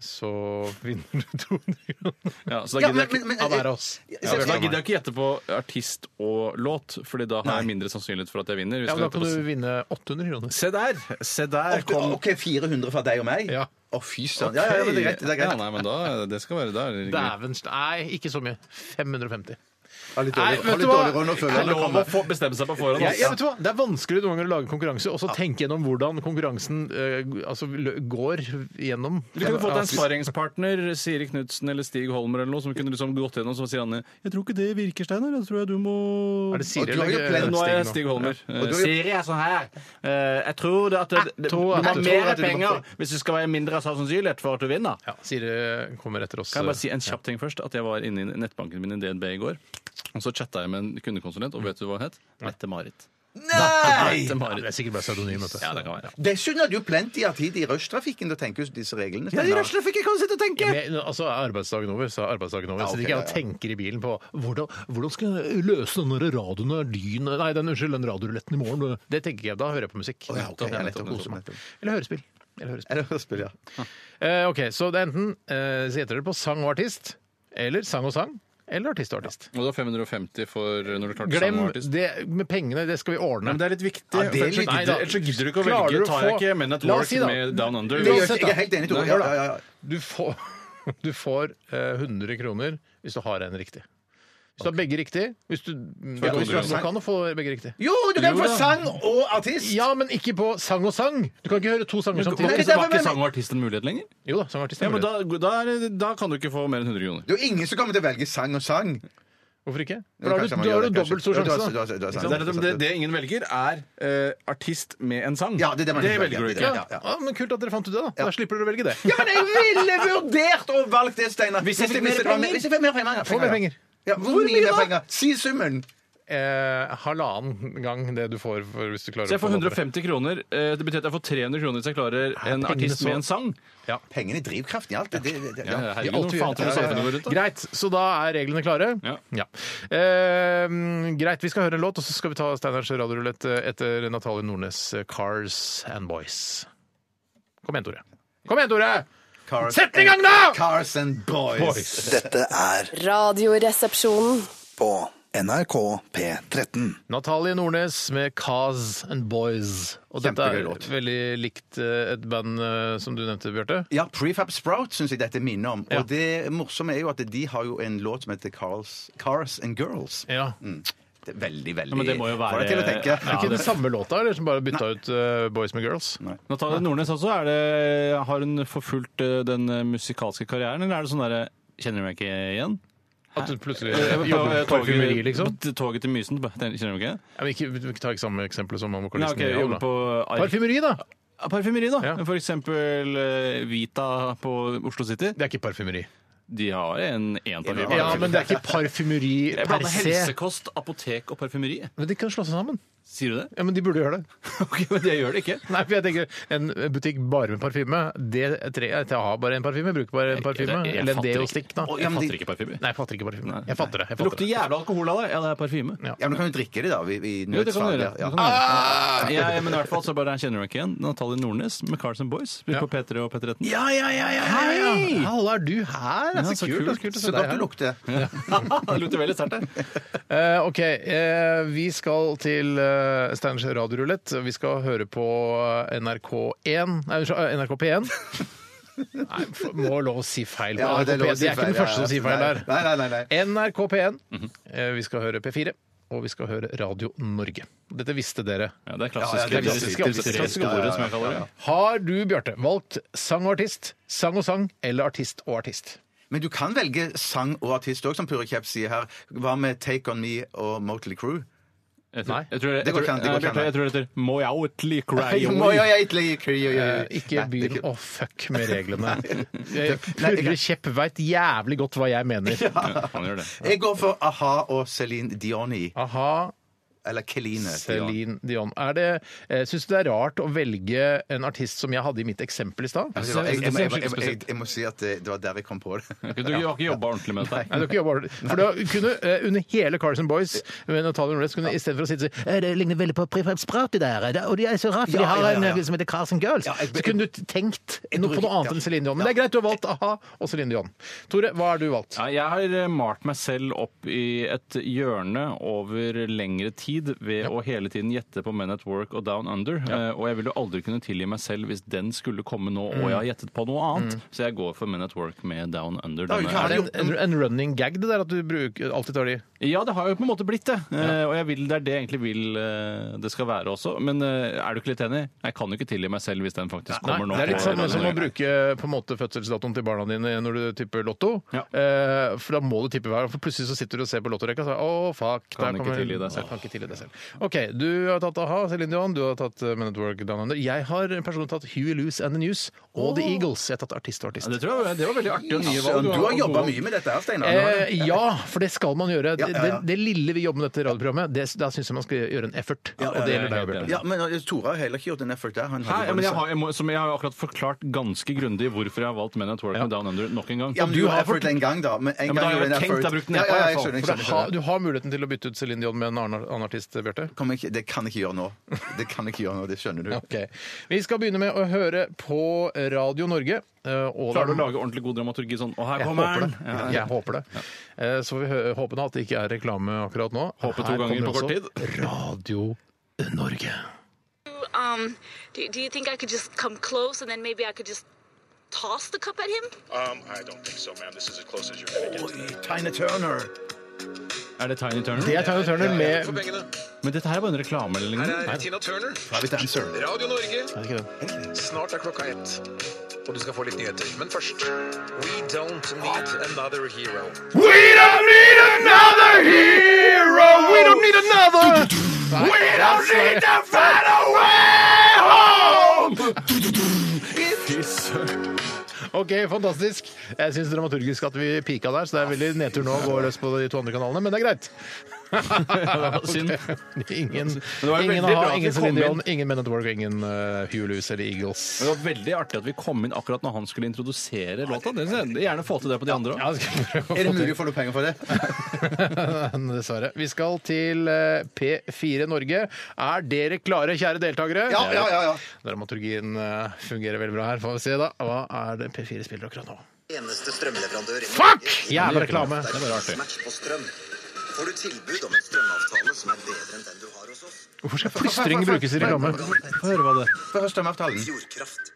Speaker 2: så vinner du 200 kroner.
Speaker 4: Ja, så
Speaker 3: Ja,
Speaker 4: da gidder jeg
Speaker 3: men-
Speaker 4: ikke
Speaker 3: men- men-
Speaker 2: Av hver av oss.
Speaker 3: Ja,
Speaker 4: ja, så da
Speaker 3: men-
Speaker 4: gidder jeg ikke gjette på artist og låt, Fordi da har jeg mindre sannsynlighet for at jeg vinner. Hvis
Speaker 2: Ja, men
Speaker 4: du
Speaker 2: da
Speaker 4: heter
Speaker 2: kan
Speaker 4: på-
Speaker 2: du vinne 800 kroner.
Speaker 4: Se der! Se der
Speaker 3: Åtte-
Speaker 4: kom
Speaker 3: OK, 400 fra deg og meg?
Speaker 2: Ja.
Speaker 3: Å, fy søren. Ja, ja, ja, men det er greit. Det er
Speaker 4: Ja,
Speaker 3: greit.
Speaker 4: nei, men da, det skal være der.
Speaker 2: Dæven st- Nei, ikke så mye. 550.
Speaker 3: Har litt
Speaker 2: Nei,
Speaker 3: dårlig,
Speaker 2: vet
Speaker 3: har
Speaker 2: du
Speaker 3: litt
Speaker 2: hva?
Speaker 3: dårlig råd å
Speaker 4: Det er
Speaker 3: føle.
Speaker 4: lov å få- bestemme seg på forhånd.
Speaker 2: Ja,
Speaker 4: ass.
Speaker 2: ja, vet du hva? Det er vanskelig noen ganger å lage konkurranse, og så tenke gjennom hvordan konkurransen eh, g- altså, lø- går gjennom.
Speaker 4: Du kunne fått en sparringspartner, Siri Knutsen eller Stig Holmer, eller noe, som kunne liksom gått gjennom, så sier Anne Jeg tror ikke det virker, Steinar. Jeg tror jeg du må
Speaker 2: Er det
Speaker 3: Og
Speaker 2: Siri
Speaker 3: du har jo
Speaker 2: eller-
Speaker 3: plent-
Speaker 4: Nå er jeg
Speaker 2: Stig
Speaker 4: Stig
Speaker 2: nå?
Speaker 4: Holmer.
Speaker 3: Og du-
Speaker 4: Siri er sånn her. Eh, Jeg tror det at det- det-
Speaker 2: Jeg tror at du- tror at du kan få-
Speaker 4: hvis det skal være mindre sannsynlighet for at du vinner.
Speaker 2: Ja, Siri kommer etter oss.
Speaker 4: Kan jeg bare si en kjapp ting først? At jeg var inne i nettbanken min i DNB i går. Og så chatta jeg med en kundekonsulent, og vet du hva hun het? Mette-Marit.
Speaker 3: Nei!
Speaker 2: Ja, men det
Speaker 4: Mette-Marit.
Speaker 2: er sikkert bare pseudonym. vet du.
Speaker 4: Ja, det kan være.
Speaker 3: Dessuten hadde du plenty av tid i rushtrafikken til å tenke ut disse reglene. Steinar.
Speaker 4: fikk jeg kan sitte og tenke!
Speaker 2: Men, altså, er arbeidsdagen over, så er arbeidsdagen over.
Speaker 3: Ja,
Speaker 2: Sitter
Speaker 3: ok,
Speaker 2: ikke jeg
Speaker 3: ja,
Speaker 2: og
Speaker 3: ja.
Speaker 2: tenker i bilen på hvordan, hvordan skal jeg løse den der radionardyen Nei, den, unnskyld, den radioruletten i morgen. Det tenker ikke jeg. Da hører jeg på musikk.
Speaker 3: Å, ja, ok,
Speaker 2: Nettopp,
Speaker 3: ja, nettopp,
Speaker 2: nettopp, koser meg.
Speaker 3: nettopp.
Speaker 2: Eller hørespill. Eller hørespill.
Speaker 3: Eller spill, ja.
Speaker 2: Eh, ok, Så det er enten eh, så gjetter dere på sang og artist, eller sang og sang, eller artist og artist.
Speaker 4: Og du har 550 for når du klarte
Speaker 2: Glem
Speaker 4: sangartist.
Speaker 2: det med pengene, det skal vi ordne.
Speaker 4: Nei, men det er litt viktig.
Speaker 3: Ja, det er
Speaker 4: for ellers så
Speaker 3: litt-
Speaker 4: gidder-
Speaker 2: Nei, da.
Speaker 4: Ellers så gidder du ikke å
Speaker 2: Klarer du
Speaker 4: velge.
Speaker 2: å
Speaker 4: Tar jeg
Speaker 2: få-
Speaker 4: ikke Men at
Speaker 2: La oss
Speaker 4: Work
Speaker 2: si da-
Speaker 4: med Down Under.
Speaker 3: Jeg
Speaker 2: gjør-
Speaker 3: er jeg er helt enig, Tore. Ja, ja, ja.
Speaker 2: Du får, du får eh, 100 kroner hvis du har en riktig. Hvis du har begge riktig hvis Du,
Speaker 4: jeg
Speaker 2: du,
Speaker 4: 100
Speaker 2: du kan jo få begge riktig.
Speaker 3: Jo, du kan
Speaker 4: Jo
Speaker 3: få
Speaker 4: da.
Speaker 3: sang og artist!
Speaker 2: Ja, men ikke på sang og sang! Du kan ikke høre to sanger
Speaker 4: Var
Speaker 2: samtidig.
Speaker 3: Nei,
Speaker 4: ikke,
Speaker 3: det er-
Speaker 4: var ikke sang og artist en mulighet lenger?
Speaker 2: Jo da, sangartist. er
Speaker 4: Ja, men
Speaker 2: mulig.
Speaker 4: da, da, er, det- da kan du ikke få mer enn 100 kroner.
Speaker 3: Det er jo ingen som kommer til å velge sang og sang.
Speaker 2: Hvorfor ikke?
Speaker 3: Jo,
Speaker 2: For da har
Speaker 3: kanskje
Speaker 2: du,
Speaker 3: man
Speaker 2: da
Speaker 3: gjør
Speaker 2: har
Speaker 3: det,
Speaker 2: du dobbelt stor
Speaker 3: kanskje. Du har- du
Speaker 2: sjanse. da.
Speaker 3: har- du har-
Speaker 4: Det, er det, det, det ingen velger, er eh, artist med en sang.
Speaker 3: Ja, det er det man ikke
Speaker 4: velger du
Speaker 3: velger.
Speaker 4: ikke.
Speaker 2: Ja,
Speaker 3: Ja, ja.
Speaker 2: ja, men Kult at dere fant ut det. Da Da slipper dere å velge det.
Speaker 3: Ja, men jeg ville vurdert å valgt det, Steinar.
Speaker 4: Hvis jeg fikk mer
Speaker 3: det var mer- hvis jeg fikk mer penger.
Speaker 2: Få mer penger.
Speaker 3: Ja, hvor mye mer penger? Si summen.
Speaker 2: Eh, halvannen gang det du får for, hvis du klarer
Speaker 4: Så jeg får
Speaker 2: få det.
Speaker 4: 150 kroner. eh, Det betyr at jeg får 300 kroner hvis jeg klarer en
Speaker 2: pengene
Speaker 4: artist med
Speaker 2: så-
Speaker 4: en sang.
Speaker 3: Pengene er drivkraften i alt. Det, det, det,
Speaker 4: Ja,
Speaker 3: ja.
Speaker 4: herregud,
Speaker 2: alt
Speaker 4: hvor
Speaker 2: vi
Speaker 4: faen tror
Speaker 2: gjør.
Speaker 4: du samfunnet går rundt, da?
Speaker 2: Greit, så da er reglene klare.
Speaker 4: Ja.
Speaker 2: Eh, greit, vi skal høre en låt, og så skal vi ta Steiners radiorulett eh, etter Natalie Nordnes' eh, Cars and Boys. Kom igjen, Tore. Kom igjen, Tore!
Speaker 3: Cars
Speaker 2: Sett i gang,
Speaker 3: and-
Speaker 2: da!
Speaker 3: Cars and boys.
Speaker 6: Dette er
Speaker 7: Radioresepsjonen.
Speaker 6: på NRK P13.
Speaker 2: Natalie Nordnes med Cars and Boys. Og dette
Speaker 3: Kjempegøy
Speaker 2: er
Speaker 3: låt.
Speaker 2: veldig likt eh, et band eh, som du nevnte, Bjarte.
Speaker 3: Ja, Prefab Sprout syns jeg dette minner om.
Speaker 2: Ja.
Speaker 3: Og det morsomme er jo at de har jo en låt som heter Cars, Cars and Girls.
Speaker 2: Ja.
Speaker 3: Det er veldig, veldig
Speaker 4: Ja, men det må jo være-
Speaker 3: Får deg til å tenke.
Speaker 2: Er det ikke den samme låta, eller som bare bytta ut eh, Boys med Girls?
Speaker 4: Natalie Nordnes også, er det, har hun forfulgt eh, den eh, musikalske karrieren, eller er det sånn derre Kjenner du meg ikke igjen?
Speaker 2: At du plutselig
Speaker 4: Eh,
Speaker 2: Jo,
Speaker 4: på-
Speaker 2: parfymeri, liksom?
Speaker 4: på Toget til Mysen. bare, den- Kjenner du meg ikke igjen?
Speaker 2: Ja, men ikke, vi tar ikke samme eksempel som han
Speaker 4: Nei,
Speaker 2: vokalisten.
Speaker 4: ok,
Speaker 2: liksom i Yao,
Speaker 4: jobber
Speaker 2: da.
Speaker 4: på Ar-
Speaker 2: Parfymeri, da!
Speaker 4: Ja, Parfymeri, da.
Speaker 2: Ja.
Speaker 4: For eksempel eh, Vita på Oslo City.
Speaker 2: Det er ikke parfymeri.
Speaker 4: De har en én parfymeri.
Speaker 2: Ja, men det er ikke parfymeri
Speaker 4: Jeg
Speaker 2: per
Speaker 4: blander
Speaker 2: se.
Speaker 4: helsekost, apotek og parfymeri.
Speaker 2: Men de kan slå seg sammen.
Speaker 4: Sier du det?
Speaker 2: Ja, Men de burde gjøre det.
Speaker 4: ok, Men det gjør det ikke.
Speaker 2: Nei, for jeg tenker En butikk bare med parfyme Det er tre, Jeg har bare en parfyme, bruker bare en parfyme.
Speaker 4: Jeg- jeg- jeg
Speaker 2: Eller en
Speaker 4: fatter ikke.
Speaker 2: deostikk, da.
Speaker 3: Å,
Speaker 4: Jeg
Speaker 3: ja, men de-
Speaker 4: fatter ikke parfyme.
Speaker 2: Nei, jeg fatter ikke parfyme.
Speaker 4: Nei.
Speaker 2: Jeg fatter det. Jeg
Speaker 4: Det lukter
Speaker 2: fatter det.
Speaker 4: jævla alkohol av deg. Ja, det er parfyme.
Speaker 3: Ja, men du kan jo drikke det, da. I, i
Speaker 4: Jo, det kan du
Speaker 3: nødsfall,
Speaker 4: gjøre.
Speaker 3: ja.
Speaker 4: Det kan du gjøre. Ja, ja, men i hvert fall så bare kjenner du meg ikke igjen. Natalie Nordnes med Cars and Boys. Spilt
Speaker 2: Ja.
Speaker 4: på P3 og P13.
Speaker 2: Ja, ja, ja! ja, ja, ja.
Speaker 4: Hei!
Speaker 2: Halla, er du her? Det er
Speaker 4: Ja,
Speaker 2: så
Speaker 4: så kult.
Speaker 2: kult. det er kult å se
Speaker 3: Så
Speaker 2: deg
Speaker 3: godt du
Speaker 2: her.
Speaker 3: lukter.
Speaker 4: det lukter veldig sterkt her.
Speaker 2: Eh, ok, eh, vi skal til eh, Steiners radiorulett. Vi skal høre på eh, NRK1 Nei, unnskyld, eh, NRK P1. Nei, f- må lov å si feil på
Speaker 3: Ja,
Speaker 2: NRK
Speaker 3: det er lov å
Speaker 2: P1.
Speaker 3: si
Speaker 2: Det er ikke
Speaker 3: feil,
Speaker 2: den
Speaker 3: ja,
Speaker 2: første som
Speaker 3: ja.
Speaker 2: sier feil
Speaker 3: Nei,
Speaker 2: der.
Speaker 3: nei, nei, nei.
Speaker 2: NRK P1. eh, vi skal høre P4, og vi skal høre Radio Norge. Dette visste dere.
Speaker 4: Ja, det er
Speaker 3: Ja, ja,
Speaker 4: klassiske,
Speaker 3: det er
Speaker 4: klassiske,
Speaker 2: klassiske-
Speaker 4: tre
Speaker 2: klassiske-
Speaker 4: store, som jeg kaller det.
Speaker 2: Har du, Bjarte, valgt sang og artist, sang og sang, eller artist og artist?
Speaker 3: Men du kan velge sang og artist òg, som Pure Kjepp sier her. Hva med Take On Me og Motley Crew?
Speaker 4: Jeg tror-
Speaker 2: Nei.
Speaker 4: jeg tror- jeg
Speaker 3: Det går
Speaker 4: tror-
Speaker 3: ikke an, det går
Speaker 4: Nei,
Speaker 3: ikke an.
Speaker 4: Bjarte, Jeg tror det heter Mojautli
Speaker 3: Må
Speaker 4: Crayoy.
Speaker 3: jeg egentlig- Crew,
Speaker 2: Eh,
Speaker 3: ja,
Speaker 2: ikke
Speaker 3: Nei, det er
Speaker 2: begynn å fuck med reglene. Eh,
Speaker 3: Nei, jeg-
Speaker 2: Purre Kjepp veit jævlig godt hva jeg mener.
Speaker 4: Ja, han gjør det.
Speaker 3: Jeg går for A-ha og Celine Dioni.
Speaker 2: Aha,
Speaker 3: Eller Keline. Dion.
Speaker 2: Celine Dion. Er det, eh, syns du det er rart å velge en artist som jeg hadde i mitt eksempel i stad?
Speaker 3: Altså, Jeg, jeg, jeg, jeg, jeg, jeg må si at det, det var der jeg kom på det.
Speaker 4: Du har ikke jobba ordentlig med dette.
Speaker 2: Nei, du har ikke jobba ordentlig. For da kunne eh, under hele Carson Boys med Natalia Nordes kunne istedenfor å sitte og si «Eh, Det ligner veldig på Prefab Sprat, de der. Det- Og de er så rart, for
Speaker 3: Ja, ja, ja, ja.
Speaker 2: som heter Carson Girls.
Speaker 3: Ja, jeg-
Speaker 2: så kunne du tenkt
Speaker 3: Jeg
Speaker 2: noe på noe
Speaker 3: bruker-
Speaker 2: annet enn Celine Dion. Men
Speaker 3: Ja.
Speaker 2: det er greit, du har valgt a-ha og Celine Dion. Tore, hva har du valgt?
Speaker 4: Nei, jeg har eh, malt meg selv opp i et hjørne over lengre tid ved å hele tiden gjette på Men at Work og Down Under. Eh, Og jeg vil jo aldri kunne tilgi meg selv hvis den skulle komme nå
Speaker 2: Mm.
Speaker 4: og jeg har gjettet på noe annet. Så jeg går for Men at Work med Down Under.
Speaker 3: Da har du
Speaker 4: denne-
Speaker 3: ikke
Speaker 2: Er
Speaker 4: er
Speaker 2: Mm. det
Speaker 4: det-
Speaker 2: en, en, en running gag det der at du bruker, alltid tar de
Speaker 4: Ja, det har jo på en måte blitt det. Eh, Og jeg vil, det er det jeg egentlig vil eh, det skal være også. Men eh, er du ikke litt enig? Jeg kan jo ikke tilgi meg selv hvis den faktisk kommer nå.
Speaker 2: Det er litt
Speaker 4: på
Speaker 2: sånn
Speaker 4: Down
Speaker 2: som å
Speaker 4: Under.
Speaker 2: bruke på en måte fødselsdatoen til barna dine når du tipper lotto.
Speaker 4: Ja.
Speaker 2: Eh, for da må du tippe hver, for plutselig så sitter du og ser på lottorekka og sier å, fuck.
Speaker 4: Kan
Speaker 2: der
Speaker 4: ikke
Speaker 2: kommer-
Speaker 4: tilgi deg selv.
Speaker 2: Kan ikke tilgi deg selv. OK, du har tatt a-ha, Celine Dion, du har tatt eh, Men at Work Down Under. Jeg har personlig tatt Huey Loose and The News og The Eagles. Jeg har tatt artist og artist.
Speaker 4: Ja, det, tror jeg, det var veldig artig og nye
Speaker 3: Søren,
Speaker 4: valg.
Speaker 3: du har jobba mye med dette her, Steinar. nå.
Speaker 2: Eh, ja, for det skal man gjøre.
Speaker 3: Ja, ja, ja.
Speaker 2: Det, det lille vi jobber med dette radioprogrammet, det, da syns jeg man skal gjøre en effort.
Speaker 3: Ja, ja,
Speaker 2: Og det
Speaker 4: ja,
Speaker 2: gjelder
Speaker 4: ja,
Speaker 2: deg, Bjørte.
Speaker 4: ja.
Speaker 3: Ja, men eh, Tore har heller ikke gjort en effort der. Han har jo
Speaker 4: Hæ?
Speaker 3: bare
Speaker 4: Ja, men jeg
Speaker 3: sagt-
Speaker 4: har, jeg må, som jeg har akkurat forklart ganske grundig hvorfor jeg har valgt Men at Work med Down Under nok en gang.
Speaker 3: Ja, men du har effort en gang, da. Men en gang
Speaker 4: men da har
Speaker 3: gjorde
Speaker 4: jeg
Speaker 3: en
Speaker 4: tenkt,
Speaker 3: effort.
Speaker 4: jeg har brukt den
Speaker 3: ja,
Speaker 4: etterpå,
Speaker 3: ja,
Speaker 4: i
Speaker 3: jeg
Speaker 4: hvert fall.
Speaker 3: skjønner, jeg skjønner,
Speaker 2: For det
Speaker 3: jeg
Speaker 2: har-
Speaker 3: skjønner.
Speaker 2: du har muligheten til å bytte ut Celine Dion med en annen, annen artist, Bjarte.
Speaker 3: Kommer ikke, det kan jeg ikke gjøre nå. Det kan jeg ikke gjøre nå, det skjønner du.
Speaker 2: Ok. Vi skal begynne med å høre på Radio Norge. eh, og
Speaker 4: Klarer du å lage ordentlig god dramaturgi sånn Å, her
Speaker 2: jeg
Speaker 4: kommer
Speaker 2: håper det.
Speaker 4: den! Ja.
Speaker 2: Jeg håper det. Eh, Så får vi hø- håpe nå at det ikke er reklame akkurat nå.
Speaker 4: Håpe to
Speaker 2: Her
Speaker 4: ganger
Speaker 2: kommer
Speaker 4: på kort
Speaker 2: altså Radio Norge.
Speaker 8: Um, do, do you think I could just come close and then maybe I could just toss the cup at him?
Speaker 9: Um, I don't think so, ma'am. This is as close as you're gonna get.
Speaker 3: Tina Turner.
Speaker 4: Er det Tiny Turner?
Speaker 2: Det er Tiny Turner med
Speaker 9: For pengene.
Speaker 4: Men dette her er bare en reklame
Speaker 9: Her
Speaker 4: eller lignende.
Speaker 9: er Tina Turner.
Speaker 3: Private Dancer.
Speaker 9: Radio Norge.
Speaker 2: Er det ikke det?
Speaker 9: Snart er klokka ett. Og du skal få litt nyheter. Men først We don't need another hero.
Speaker 2: OK, fantastisk. Jeg syns dramaturgisk at vi pika der, så det er veldig nedtur nå å gå løs på de to andre kanalene, men det er greit.
Speaker 4: var synd.
Speaker 2: Ok. Ingen,
Speaker 4: var veldig
Speaker 2: ingen
Speaker 4: bra
Speaker 2: a-ha,
Speaker 4: at vi
Speaker 2: ingen
Speaker 4: kom
Speaker 2: Celine Dion, ingen Men at Work, ingen uh, Hulus eller Eagles.
Speaker 4: Det var veldig artig at vi kom inn akkurat når han skulle introdusere låta. Det Gjerne få til det på de andre òg.
Speaker 2: Ja, det skal vi prøve å
Speaker 3: Er det
Speaker 2: få til.
Speaker 3: mulig å få noe penger for det?
Speaker 2: Dessverre. Vi skal til eh, P4 Norge. Er dere klare, kjære deltakere?
Speaker 3: Ja, ja, ja, ja.
Speaker 2: Dramaturgien eh, fungerer veldig bra her. Får vi se, da. Hva er det P4 spiller akkurat nå?
Speaker 10: Eneste strømleverandør i
Speaker 2: Fuck! Jævla reklame.
Speaker 10: Det er bare artig. Match på strøm. Får du tilbud om en strømavtale som er bedre enn den du har hos oss?
Speaker 2: Hvorfor skal plystring brukes i reklame?
Speaker 4: Hør hva det
Speaker 3: Fra Strømavtalen.
Speaker 10: Fjordkraft.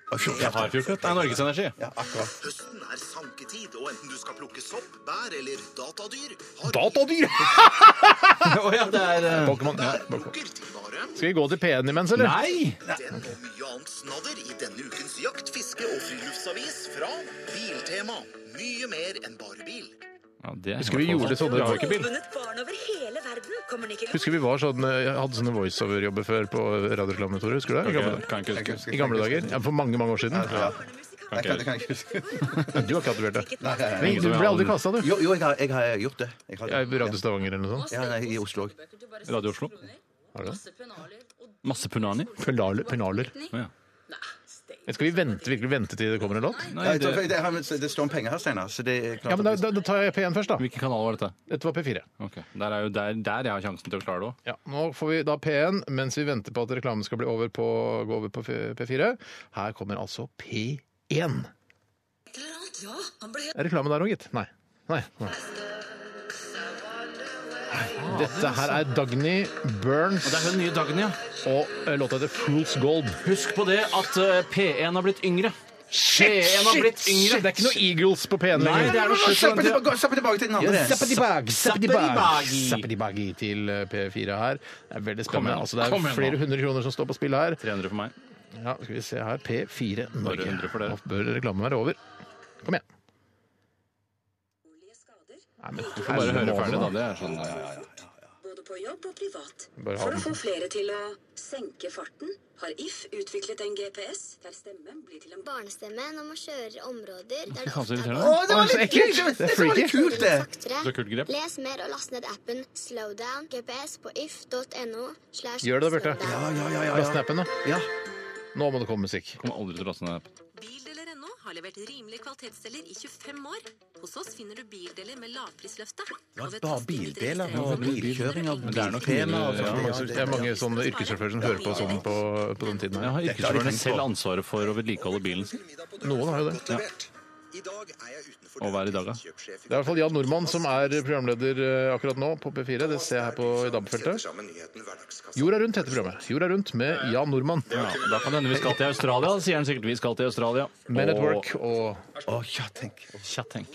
Speaker 4: Det er Norgesenergi.
Speaker 3: Ja, akkurat.
Speaker 10: Høsten er sanketid, og enten du skal plukke sopp, bær eller datadyr, har
Speaker 2: Datadyr!
Speaker 4: eh,
Speaker 2: Pokémon. Ja.
Speaker 10: bærplukker til vare.
Speaker 2: Skal vi gå til P1 imens, eller?
Speaker 4: Nei!
Speaker 10: Den og mye annet snadder i denne ukens jakt, fiske og friluftsavis fra Biltema. Mye mer enn bare bil.
Speaker 4: Ja, det er
Speaker 2: Husker vi
Speaker 4: i hvert fall
Speaker 2: gjorde
Speaker 4: sånn.
Speaker 2: sånne-
Speaker 4: Vi har ikke bil.
Speaker 8: barn over hele verden kommer ikke
Speaker 2: Husker vi var sånn, eh, hadde sånne voiceover-jobber før på radioreklamekontoret? Husker du det? I gamle dager.
Speaker 4: Kan ikke huske.
Speaker 2: I gamle dager. Ja, for mange, mange år siden. Du
Speaker 3: Nei, kan, det kan jeg ikke huske.
Speaker 2: har ikke hatt det, Bjarte.
Speaker 3: Nei, nei, nei.
Speaker 2: Men Du ble aldri kasta, du.
Speaker 3: Jo, jo jeg, har, jeg har gjort det. Jeg har det.
Speaker 2: Radio Stavanger eller noe sånt.
Speaker 3: Ja, nei, I Oslo òg.
Speaker 4: Radio Oslo. Masse punani.
Speaker 2: Penaler. penaler.
Speaker 4: Ja.
Speaker 11: Ah,
Speaker 2: Skal vi vente, virkelig vente til det kommer en låt?
Speaker 4: Nei, det,
Speaker 3: Det, har- det står om penger her, Steinar. Så det er klart
Speaker 2: Ja, men da,
Speaker 3: at
Speaker 2: da, da tar jeg P1 først, da.
Speaker 4: hvilken kanal var dette?
Speaker 2: Dette var P4.
Speaker 4: Ok, Der er jo der, der jeg har sjansen til å klare det òg.
Speaker 2: Ja, nå får vi da P1 mens vi venter på at reklamen skal bli over på, gå over på P4. Her kommer altså P1.
Speaker 8: Ja, han ble
Speaker 2: Er reklame der òg, gitt? Nei. Nei. Nei. Dette her er Dagny Burns
Speaker 4: Det er den nye dagen, ja.
Speaker 2: og eh, låta heter Fool's Gold.
Speaker 4: Husk på det at eh, P1 har blitt yngre.
Speaker 2: Shit, en har blitt yngre. Det er ikke noe Eagles på P1
Speaker 4: Nei, det er noe slutt på den tida.
Speaker 3: Zappe tilbake til den andre.
Speaker 2: Zappedibag,
Speaker 4: Zappedibagi.
Speaker 2: Zappedibagi til eh, P4 her. Det er veldig
Speaker 4: Kom
Speaker 2: spennende.
Speaker 4: igjen,
Speaker 2: Altså, det er
Speaker 4: kom igjen nå.
Speaker 2: flere hundre kroner som står på spill her.
Speaker 4: 300 for meg.
Speaker 2: Ja, skal vi se her. P4 Norge.
Speaker 4: 100 for dere.
Speaker 2: Nå bør reklamen være over. Kom igjen. Nei, men du
Speaker 4: Får bare høre ferdig, da. Det er sånn
Speaker 11: Både på jobb og privat.
Speaker 2: Bare ha
Speaker 11: For å
Speaker 2: den.
Speaker 11: få flere til å senke farten, har If utviklet en GPS der stemmen blir til en
Speaker 12: Barnestemme når man kjører områder der
Speaker 4: Fy faen, så irriterende.
Speaker 12: Å,
Speaker 2: det var litt kult! Det er freaky.
Speaker 4: Så kult grep.
Speaker 12: Les mer og last ned appen Slowdown GPS på if.no. slash
Speaker 2: Gjør det da, Bjarte.
Speaker 12: slowdown.
Speaker 2: Last ned appen, da. Nå må det komme musikk.
Speaker 4: Kommer aldri til å laste ned appen.
Speaker 13: Bildeler.no har levert rimelige kvalitetsdeler i 25 år. Hos oss finner du bildeler med lavprisløftet.
Speaker 3: Ja, Bare bildeler og bilkjøring og
Speaker 4: Men det er nok
Speaker 3: biltema. og sånn.
Speaker 2: Det er
Speaker 3: sånt.
Speaker 2: mange, det er mange sånne yrkessjåfører som hører på sånn på, på den tiden.
Speaker 4: Jeg har
Speaker 2: her.
Speaker 4: yrkessjåførene selv ansvaret for å vedlikeholde bilen sin.
Speaker 2: Noen har jo det.
Speaker 4: Ja. Og hva er i dag, da?
Speaker 2: Det er i hvert fall Jan Normann som er programleder eh, akkurat nå på P4. Det ser jeg her på i DAB-feltet. Jorda rundt heter programmet. Jorda rundt med Jan Normann.
Speaker 4: Ja, da kan det hende vi skal til Australia. Da sier han sikkert vi skal til Australia.
Speaker 2: Men at
Speaker 4: Og-
Speaker 2: work og
Speaker 3: Å, ja, tenk.
Speaker 4: Tja, tenk.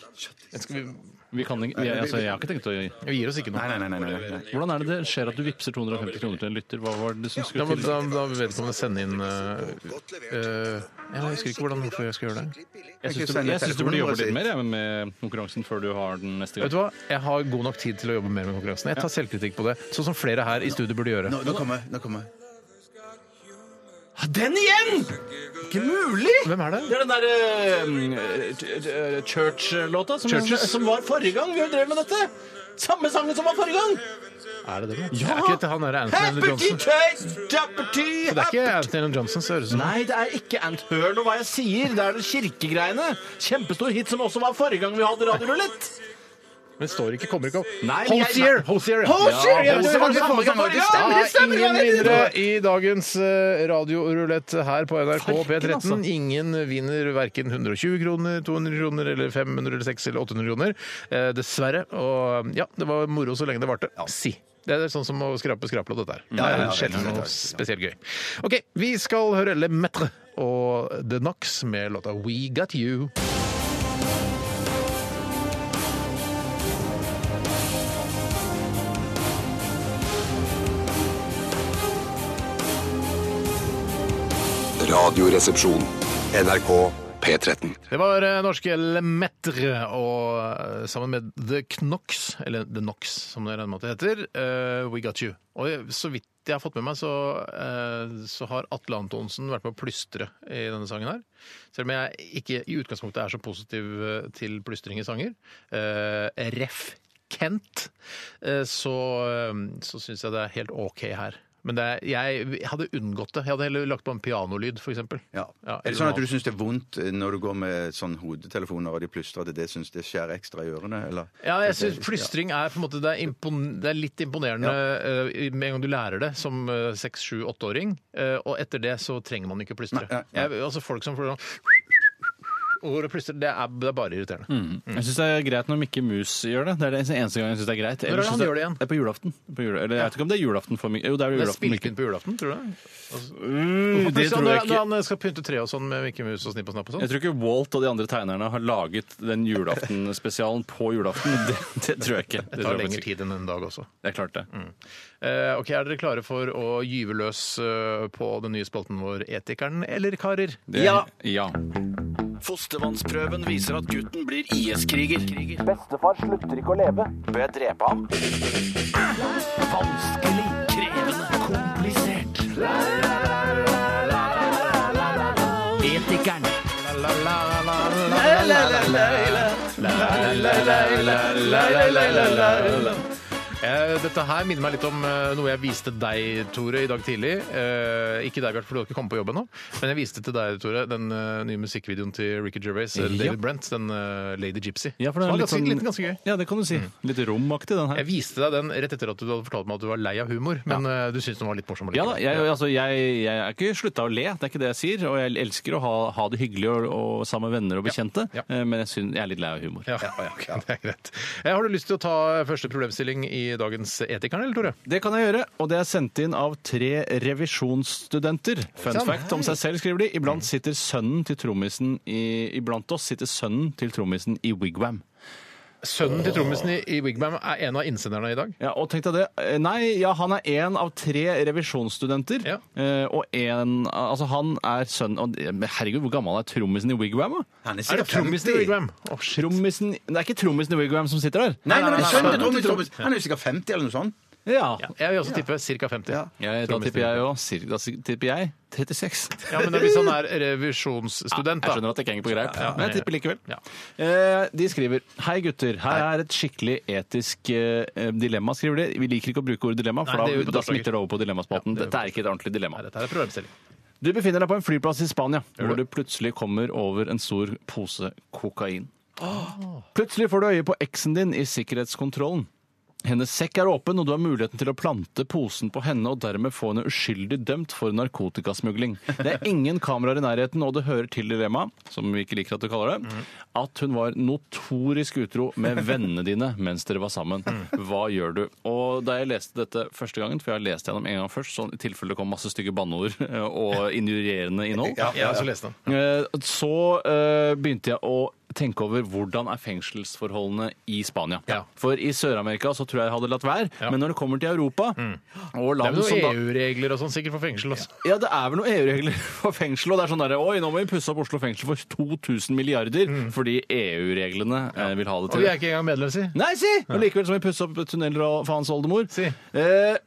Speaker 2: Skal vi
Speaker 4: Vi kan ikke, jeg, altså, jeg har ikke tenkt å
Speaker 2: Vi gir oss ikke noe.
Speaker 3: Nei, nei, nei, nei, nei.
Speaker 4: Hvordan er det det skjer at du vippser 250 kroner til en lytter? Hva var det som
Speaker 2: Da
Speaker 4: skulle
Speaker 2: må
Speaker 4: til?
Speaker 2: da, da vedkommende sende inn eh, eh, Jeg husker ikke hvordan, hvorfor jeg skal gjøre det.
Speaker 4: Jeg syns du, jeg synes du burde jobbe litt mer jeg, med konkurransen før du har den neste
Speaker 2: Vet
Speaker 4: gang.
Speaker 2: du hva? Jeg har god nok tid til å jobbe mer med konkurransen. Jeg tar selvkritikk på det, sånn som flere her i studio burde gjøre.
Speaker 3: Nå, nå kommer nå kommer
Speaker 4: Den igjen! Ikke mulig!
Speaker 2: Hvem er det?
Speaker 4: Det er den derre Church-låta som,
Speaker 2: Churches.
Speaker 4: som var forrige gang vi drev med dette. Samme sangen som var forrige gang!
Speaker 2: Er det det? da? Er ikke dette han der Anthony
Speaker 4: Happerty
Speaker 2: Johnson?
Speaker 4: Chase, Dapperty
Speaker 2: Så det er ikke Anthony Johnson som høres ut som
Speaker 4: Nei, det er ikke Ant. Hør nå hva jeg sier. Det er det kirkegreiene. Kjempestor hit som også var forrige gang vi hadde radiorulett.
Speaker 2: Men står ikke, kommer ikke opp.
Speaker 4: Nei, men jeg-
Speaker 2: Hosier! Hosier, ja.
Speaker 4: Hosier,
Speaker 2: Ja,
Speaker 4: ja, det var det forrige gang, var det?
Speaker 2: Ja,
Speaker 4: Stemmer, det stemmer, jeg
Speaker 2: Ingen
Speaker 4: vet det.
Speaker 2: vinnere i dagens eh, radiorulett her på NRK
Speaker 4: Farken,
Speaker 2: P13.
Speaker 4: altså.
Speaker 2: Ingen vinner verken 120 kroner, 200 kroner eller 500 eller 600 eller 800 kroner. Eh, Dessverre. Og eh, ja, det var moro så lenge det varte. Si. Det er sånn som å skrape skrapelodd, dette her. Det
Speaker 3: ja,
Speaker 2: er
Speaker 3: ja,
Speaker 2: sjelden
Speaker 3: ja, ja, ja.
Speaker 2: noe spesielt gøy. OK, vi skal høre Le Metre og The Knox med låta We Got You.
Speaker 5: Radioresepsjon. NRK P13.
Speaker 2: Det var eh, norske Lemaitre, og eh, sammen med The Knox, eller The Knox som det på en heter, eh, We Got You. Og jeg- så vidt jeg har fått med meg, så, eh, så har Atle Antonsen vært med å plystre i denne sangen her. Selv om jeg ikke i utgangspunktet er så positiv eh, til plystring i sanger. Eh, Ref Kent. eh, Så, eh, så syns jeg det er helt OK her. Men det er, jeg hadde unngått det. Jeg hadde heller lagt på en pianolyd, f.eks.
Speaker 3: Ja. Er det sånn at du syns det er vondt eh, når du går med sånn hodetelefoner og de plystrer, at det syns det skjærer ekstra i ørene? Eller?
Speaker 2: Ja, jeg synes Plystring er på en måte, det er, impon det er litt imponerende eh, i- med en gang du lærer det som eh, seks, sju, åtteåring. eh, og etter det så trenger man ikke plystre. Jeg, altså Folk som får sånn og går og plystrer, det er, det er bare irriterende.
Speaker 4: Jeg syns det er greit når Mikke Mus gjør det. Det er det eneste gang jeg syns det er greit.
Speaker 2: Når er det han
Speaker 4: synes jeg-
Speaker 2: gjør det igjen?
Speaker 4: Det er på julaften. På jula, eller jeg vet ikke om det er julaften for Mikke. Jo, det er
Speaker 2: Det er
Speaker 4: julaften for
Speaker 2: spilt
Speaker 4: Mikke.
Speaker 2: inn på julaften, tror du? det?
Speaker 4: Uh, det
Speaker 2: Plutselig,
Speaker 4: tror jeg
Speaker 2: når,
Speaker 4: ikke.
Speaker 2: når han skal pynte treet og sånn med Mikke Mus og Snipp og Snapp og
Speaker 4: Jeg
Speaker 2: sånn.
Speaker 4: tror ikke Walt og de andre tegnerne har laget den julaftenspesialen på julaften. Det, det tror jeg ikke. tror
Speaker 2: Det tar
Speaker 4: jeg
Speaker 2: lengre
Speaker 4: faktisk ikke.
Speaker 2: tid enn en dag også.
Speaker 4: Det er klart, det.
Speaker 2: Eh, ok, Er dere klare for å gyve løs eh, på den nye spalten vår Etikeren eller karer?
Speaker 4: det ja.
Speaker 14: Fostervannsprøven viser at gutten blir IS-kriger. Bestefar slutter ikke å leve. Bør jeg drepe ham? Vanskelig, krevende, komplisert. Etikeren.
Speaker 2: Eh, Dette her minner meg litt om eh, noe jeg viste deg, Tore, i dag tidlig. Eh, ikke deg, Bjarte, for du har ikke kommet på jobb ennå. Men jeg viste til deg, Tore, den eh, nye musikkvideoen til Ricky Gervais, eh,
Speaker 4: Ja.
Speaker 2: David Brent, den eh, Lady Gypsy.
Speaker 4: Ja, for det er
Speaker 2: Som var
Speaker 4: litt
Speaker 2: ganske,
Speaker 4: sånn-
Speaker 2: liten, ganske gøy.
Speaker 4: Ja, det kan du si. Litt romaktig, den her.
Speaker 2: Jeg viste deg den rett etter at du hadde fortalt meg at du var lei av humor, men eh, du syntes den var litt morsom.
Speaker 4: Ja da,
Speaker 2: allikevel.
Speaker 4: jeg, altså, jeg, jeg er ikke slutta å le, det er ikke det jeg sier. Og jeg elsker å ha, ha det hyggelig og, og sammen med venner og bekjente, eh, men jeg, syns- jeg er litt lei av humor.
Speaker 2: Ja, ja, ok, det er greit. Eh, Har du lyst til å ta eh, første problemstilling i i dagens Etikeren, eller, Tore?
Speaker 4: Det kan jeg gjøre, og det er sendt inn av tre revisjonsstudenter. Fun
Speaker 2: Sånn.
Speaker 4: fact om seg selv, skriver de. Iblant sitter sønnen til trommisen i, Iblant oss sitter sønnen til trommisen i wigwam.
Speaker 2: Sønnen til trommisen i, i Wigbam er en av innsenderne i dag.
Speaker 4: Ja, og tenk deg det. Eh, Nei, ja, han er én av tre revisjonsstudenter. Eh, og en, altså han er sønn og, men Herregud, hvor gammel er trommisen i Wigwam? da?
Speaker 3: Han er
Speaker 4: er
Speaker 3: sikkert
Speaker 4: det trommisen i
Speaker 3: 50.
Speaker 4: Wigwam? trommisen, det er ikke trommisen i Wigwam som sitter der?
Speaker 3: Nei, nei, nei, sønnen til Trommis,
Speaker 4: Trommis.
Speaker 3: Trommis. Han er jo sikkert 50 eller noe sånt.
Speaker 4: Ja.
Speaker 2: Jeg vil også tippe ca. 50.
Speaker 4: Ja, da tipper jeg jo cir- Da tipper jeg 36.
Speaker 2: Ja, men Hvis han er revisjonsstudent,
Speaker 4: Jeg
Speaker 2: da.
Speaker 4: skjønner at det ikke henger på greip,
Speaker 2: Ja, ja.
Speaker 4: men jeg tipper likevel.
Speaker 2: Ja.
Speaker 4: Eh, De skriver Hei gutter, her er et skikkelig etisk eh, dilemma, skriver de. Vi liker ikke å bruke ordet dilemma, for
Speaker 2: Nei, det gjør vi
Speaker 4: da,
Speaker 2: på
Speaker 4: da
Speaker 2: torsdager.
Speaker 4: smitter det over på dilemmaspalten.
Speaker 2: Ja, det gjør vi på
Speaker 4: dette er ikke et ordentlig dilemma.
Speaker 2: Dette er problemstilling.
Speaker 4: Du befinner deg på en flyplass i Spania, hvor du plutselig kommer over en stor pose kokain. Plutselig får du øye på eksen din i sikkerhetskontrollen. Hennes sekk er åpen, og du har muligheten til å plante posen på henne og dermed få henne uskyldig dømt for narkotikasmugling. Det er ingen kameraer i nærheten, og det hører til dilemmaet, som vi ikke liker at du kaller det, at hun var notorisk utro med vennene dine mens dere var sammen. Hva gjør du? Og da jeg leste dette første gangen, for jeg har lest gjennom en gang først, sånn i tilfelle det kom masse stygge banneord og injurierende innhold,
Speaker 2: Ja, ja, så leste han.
Speaker 4: Eh, Så eh, begynte jeg å tenke over hvordan er fengselsforholdene i Spania. For i Sør-Amerika så tror jeg jeg hadde latt være, men når det kommer til Europa og
Speaker 2: Mm. Det er
Speaker 4: land
Speaker 2: vel
Speaker 4: som da...
Speaker 2: noen EU-regler og sånn sikkert for fengsel også.
Speaker 4: Ja, det er vel noen EU-regler for fengsel, og det er sånn derre Oi, nå må vi pusse opp Oslo fengsel for 2000 milliarder fordi EU-reglene eh, vil ha det
Speaker 2: Mm. Og
Speaker 4: til.
Speaker 2: vi er ikke engang medlem, si.
Speaker 4: Nei, si! Og likevel så må vi pusse opp tunneler og for hans oldemor. Eh,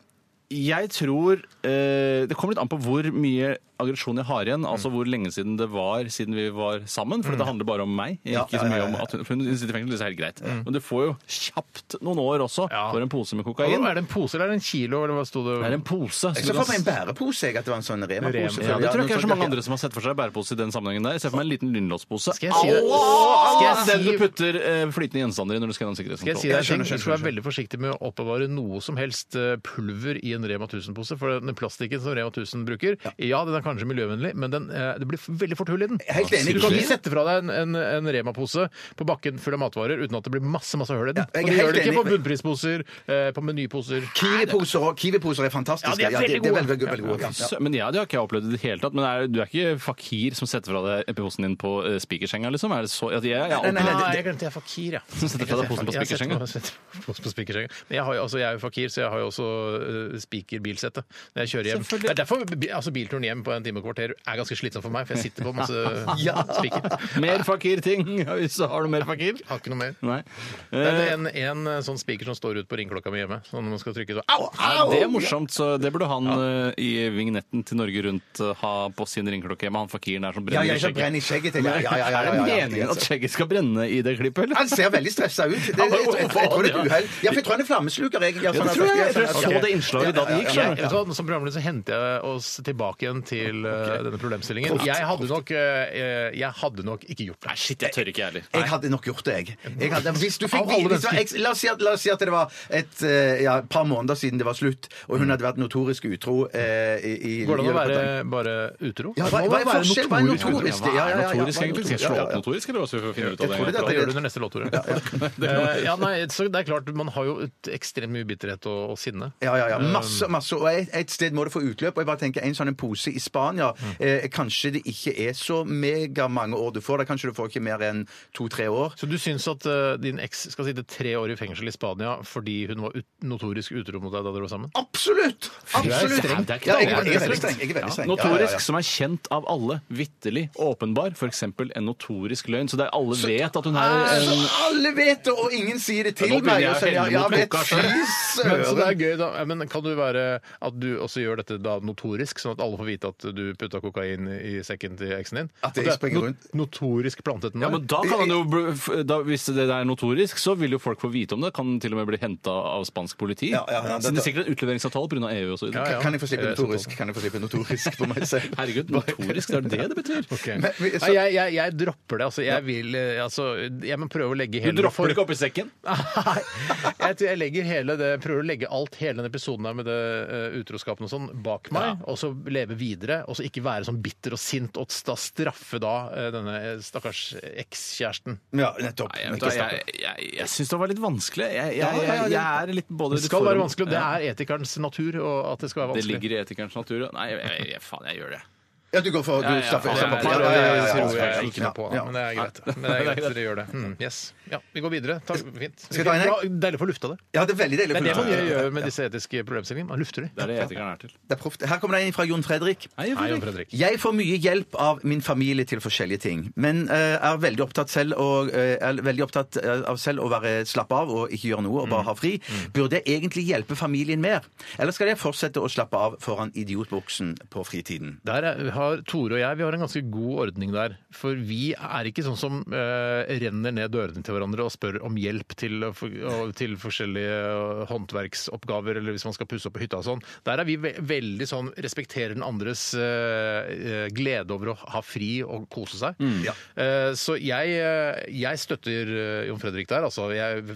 Speaker 4: jeg tror eh, Det kommer litt an på hvor mye aggresjon jeg har igjen.
Speaker 2: Mm.
Speaker 4: Altså hvor lenge siden det var siden vi var sammen. For det handler bare om meg.
Speaker 3: Ja, ja,
Speaker 4: Ikke så
Speaker 3: ja,
Speaker 4: mye
Speaker 3: ja.
Speaker 4: om at hun, for hun sitter i fengsel, det er helt greit.
Speaker 2: Mm.
Speaker 4: Men du får jo kjapt noen år også for en pose med
Speaker 2: Og
Speaker 4: kokain.
Speaker 2: Er det en pose eller er det en kilo, eller hva sto det?
Speaker 4: Det er en pose.
Speaker 3: Jeg så for meg en bærepose, jeg, at det var en sånn Rema-pose.
Speaker 4: Ja, det tror jeg ikke er så mange andre som har sett for seg bærepose i den sammenhengen der. Se for meg en liten lynlåspose.
Speaker 2: jeg si det?
Speaker 4: Au!
Speaker 2: Skal jeg
Speaker 4: Den
Speaker 2: si-
Speaker 4: du putter eh, flytende gjenstander i når du skal gjennom
Speaker 2: Skal jeg si deg en ting?
Speaker 4: sikkerhetskontroll.
Speaker 2: Du skal være veldig forsiktig med å oppbevare noe som helst eh, pulver i en Rema 1000-pose. For den plastikken som Rema 1000 bruker, ja, den er kanskje miljøvennlig, men den, eh, det blir f- veldig fort hull i den.
Speaker 3: Helt enig.
Speaker 2: Du kan ikke sette fra deg en, en, en Rema-pose på bakken full av matvarer uten at det blir masse masse hull i den.
Speaker 3: Ja, jeg er
Speaker 2: og det
Speaker 3: helt
Speaker 2: gjør det ikke
Speaker 3: enig,
Speaker 2: på bunnprisposer, eh, på menyposer.
Speaker 3: Kiwi-poser også. Kiwi-poser er fantastiske.
Speaker 2: Ja, de er veldig
Speaker 3: det
Speaker 2: gode.
Speaker 3: veldig, veldig, veldig gode. Ja.
Speaker 4: Så- Men ja, det har ikke jeg opplevd i det hele tatt. Men er, du er ikke fakir som setter fra deg posen din på eh, spikersenga, liksom? Er det så, at jeg, jeg,
Speaker 2: Nei, nei,
Speaker 4: opplevd-
Speaker 2: Ah, jeg glemte jeg er fakir, ja.
Speaker 4: Som setter fra deg posen på
Speaker 2: Jeg setter
Speaker 4: spikersenga?
Speaker 2: meg- setter posen på spikersenga. Men jeg, har, jo- altså, jeg er jo fakir, så jeg har jo også uh, spikerbilsette når jeg kjører hjem. Det er derfor bi- altså, bilturen hjem på en time og kvarter er ganske slitsom for meg, for jeg sitter på masse
Speaker 4: Ja.
Speaker 2: spiker.
Speaker 4: Mer fakir-ting! ja, Hvis du har noe mer fakir?
Speaker 2: Har ikke noe mer.
Speaker 4: Nei.
Speaker 2: Det er
Speaker 4: Eh,
Speaker 2: en, en eh, sånn spiker som står ute på ringeklokka mi hjemme. Sånn når man skal trykke så Au!
Speaker 4: Nei, Eh, det er morsomt, så det burde han eh, i vignetten til Norge Rundt eh, ha på sin ringeklokke hjemme. Han fakiren der
Speaker 3: Ja,
Speaker 4: som brenner
Speaker 3: jeg
Speaker 4: i
Speaker 3: skal brenne
Speaker 4: skjegget.
Speaker 3: i skjegget til. Ja, ja, ja, ja, ja, ja,
Speaker 4: Er det
Speaker 3: ja,
Speaker 4: meningen
Speaker 3: ja.
Speaker 4: altså. at skjegget skal brenne i det klippet, eller?
Speaker 3: Han ser veldig stressa ut. Det, jeg, jeg, jeg, jeg tror det er et uhell. Ja, for jeg tror han er flammesluker. Jeg, sånn
Speaker 4: Ja, det tror jeg. Jeg tror jeg så
Speaker 3: Ok.
Speaker 4: det innslaget da den gikk.
Speaker 2: Jeg,
Speaker 4: skjønner du.
Speaker 2: vet du hva, som programleder så henter jeg oss tilbake igjen til eh, denne problemstillingen. Jeg hadde nok, eh, jeg hadde nok ikke gjort det.
Speaker 4: Nei, shit, jeg tør ikke, jeg heller.
Speaker 3: Jeg hadde nok gjort det, jeg. jeg hadde, hvis du
Speaker 2: Av
Speaker 3: fikk
Speaker 2: alle
Speaker 3: vite- hvis det var
Speaker 2: mennesker.
Speaker 3: eks- la, oss si at, la oss si at det var et eh, ja, par måneder siden det var slutt, og hun hadde vært notorisk utro eh, i, i
Speaker 2: Går det an å
Speaker 3: i-
Speaker 2: være bare utro?
Speaker 3: Ja,
Speaker 2: Det
Speaker 3: hva,
Speaker 2: må
Speaker 3: hva er
Speaker 2: være
Speaker 3: forskjell? Hva er
Speaker 2: notorisk utro.
Speaker 3: notorisk? Ja, ja, ja, ja,
Speaker 4: Notorisk,
Speaker 3: hva er
Speaker 4: egentlig. Skal
Speaker 3: notorisk?
Speaker 4: jeg slå
Speaker 3: Ja,
Speaker 4: opp
Speaker 3: ja.
Speaker 4: notorisk, eller hva skal vi
Speaker 3: Jeg
Speaker 4: finne ut av
Speaker 3: tror
Speaker 4: det?
Speaker 3: det er
Speaker 2: Det gjør du under neste låt, Tore. Eh, ja, nei, så det er klart, man har jo et ekstremt mye bitterhet og, og sinne.
Speaker 3: Ja, ja, ja. Masse, masse. Og et, et sted må det få utløp. Og jeg bare tenker, en sånn en pose i Spania eh, Kanskje det ikke er så megamange år du får det. Kanskje du får ikke mer enn to-tre år.
Speaker 2: Så du syns at eh, din eks skal sitte tre år i fengsel i Spania fordi hun var ut notorisk utro mot deg da dere var sammen?
Speaker 3: Absolutt! Absolutt!
Speaker 4: streng. Det er ikke
Speaker 3: Ja, jeg,
Speaker 4: noe.
Speaker 3: er- jeg er veldig streng. Jeg er veldig streng.
Speaker 4: Notorisk,
Speaker 3: Ja, ja, ja.
Speaker 4: som er kjent av alle, vitterlig, åpenbar, f.eks. en notorisk løgn. Så det er, alle vet at hun er
Speaker 2: Ah,
Speaker 3: Så
Speaker 4: en
Speaker 3: alle vet det, og ingen sier det til
Speaker 4: Nå begynner
Speaker 3: meg.
Speaker 4: jeg å
Speaker 3: Og så, ja,
Speaker 4: helle
Speaker 3: ja,
Speaker 4: mot
Speaker 3: men
Speaker 4: boka
Speaker 3: fy
Speaker 4: selv.
Speaker 2: Men, så det
Speaker 3: søren!
Speaker 2: er gøy da, Ja, men Kan du være at du også gjør dette da notorisk, sånn at alle får vite at du putta kokain i sekken til eksen din?
Speaker 3: At jeg
Speaker 2: du er
Speaker 3: springer rundt.
Speaker 2: Notorisk plantet den
Speaker 4: ja,
Speaker 2: der?
Speaker 4: men da kan han
Speaker 2: Eh,
Speaker 4: jo, bli- da, Hvis det er notorisk, så vil jo folk få vite om det. Kan til og med bli henta av spansk politi.
Speaker 3: Ja, ja, ja,
Speaker 4: Siden det
Speaker 3: dette-
Speaker 4: er sikkert en utleveringsavtale pga. EU osv.
Speaker 2: Ja, ja.
Speaker 3: Kan jeg få slippe
Speaker 2: Jeg er så
Speaker 3: notorisk? Kan jeg få slippe notorisk på meg selv?
Speaker 4: Herregud, notorisk, det er det det betyr?
Speaker 2: Ok.
Speaker 3: Men- men- så-
Speaker 2: Nei, jeg, jeg, jeg dropper det. Altså, jeg vil eh, altså, Jeg må prøve å legge
Speaker 4: Du
Speaker 2: hele
Speaker 4: dropper det ikke oppi sekken?
Speaker 2: Nei. Jeg, tror jeg legger hele det, prøver å legge alt, hele den episoden her med det eh, utroskapen og sånn, bak meg, og så leve videre. fungere, og så ikke være sånn bitter og sint og da straffe da eh, denne eh, stakkars ekskjæresten.
Speaker 3: Ja, nettopp.
Speaker 4: Jeg, vet hva, jeg, jeg, jeg syns det var litt vanskelig. Jeg,
Speaker 2: Ja,
Speaker 4: jeg,
Speaker 2: ja, ja,
Speaker 4: jeg, jeg er litt både
Speaker 2: Det
Speaker 4: litt
Speaker 2: skal
Speaker 4: for-
Speaker 2: være vanskelig, og det
Speaker 4: Ja.
Speaker 2: er etikernes natur og at det skal være
Speaker 4: Det
Speaker 2: vanskelig.
Speaker 4: ligger i etikernes natur. ja. Nei, jeg, jeg, jeg, faen, jeg gjør det.
Speaker 3: Ja, du går for
Speaker 4: Ja, ja,
Speaker 3: du straffer
Speaker 4: faen,
Speaker 3: straffer- Ja,
Speaker 4: jeg-
Speaker 3: ja, ja, ja,
Speaker 2: Det
Speaker 3: ja,
Speaker 2: tror
Speaker 3: ja, ja.
Speaker 2: jeg ikke noe på, da,
Speaker 3: Ja.
Speaker 2: men det er greit. Men det er greit at dere gjør det. Mm, yes. Ja, vi går videre. Takk, fint.
Speaker 3: Skal jeg ta en, jeg?
Speaker 2: Bra, Deilig å få lufta det.
Speaker 3: Ja, det er veldig deilig. å
Speaker 2: Det er det
Speaker 3: få
Speaker 2: man
Speaker 3: lufta.
Speaker 2: gjør med disse etiske problemstillingene. Man lufter
Speaker 4: Det
Speaker 2: de.
Speaker 4: er det etikeren er til.
Speaker 3: Det er proft. Her kommer det en fra Jon Fredrik.
Speaker 2: Hei, Jon Fredrik.
Speaker 3: Jeg får mye hjelp av min familie til forskjellige ting, men eh, er veldig opptatt selv og, eh, er veldig opptatt eh, av selv å være slappe av og ikke gjøre noe og
Speaker 4: Mm.
Speaker 3: bare ha fri. Burde jeg egentlig hjelpe familien mer, eller skal jeg fortsette å slappe av foran idiotbuksen på fritiden?
Speaker 2: Der er- har Tore og jeg vi har en ganske god ordning der. For vi er ikke sånn som eh, renner ned dørene til hverandre og spør om hjelp til, å få- og, til forskjellige eh, håndverksoppgaver, eller hvis man skal pusse opp på hytta og sånn. Der er vi ve veldig sånn respekterer den andres eh, eh, glede over å ha fri og kose seg.
Speaker 3: Ja.
Speaker 2: Eh, så jeg, eh, jeg støtter eh, Jon Fredrik der, altså. Jeg,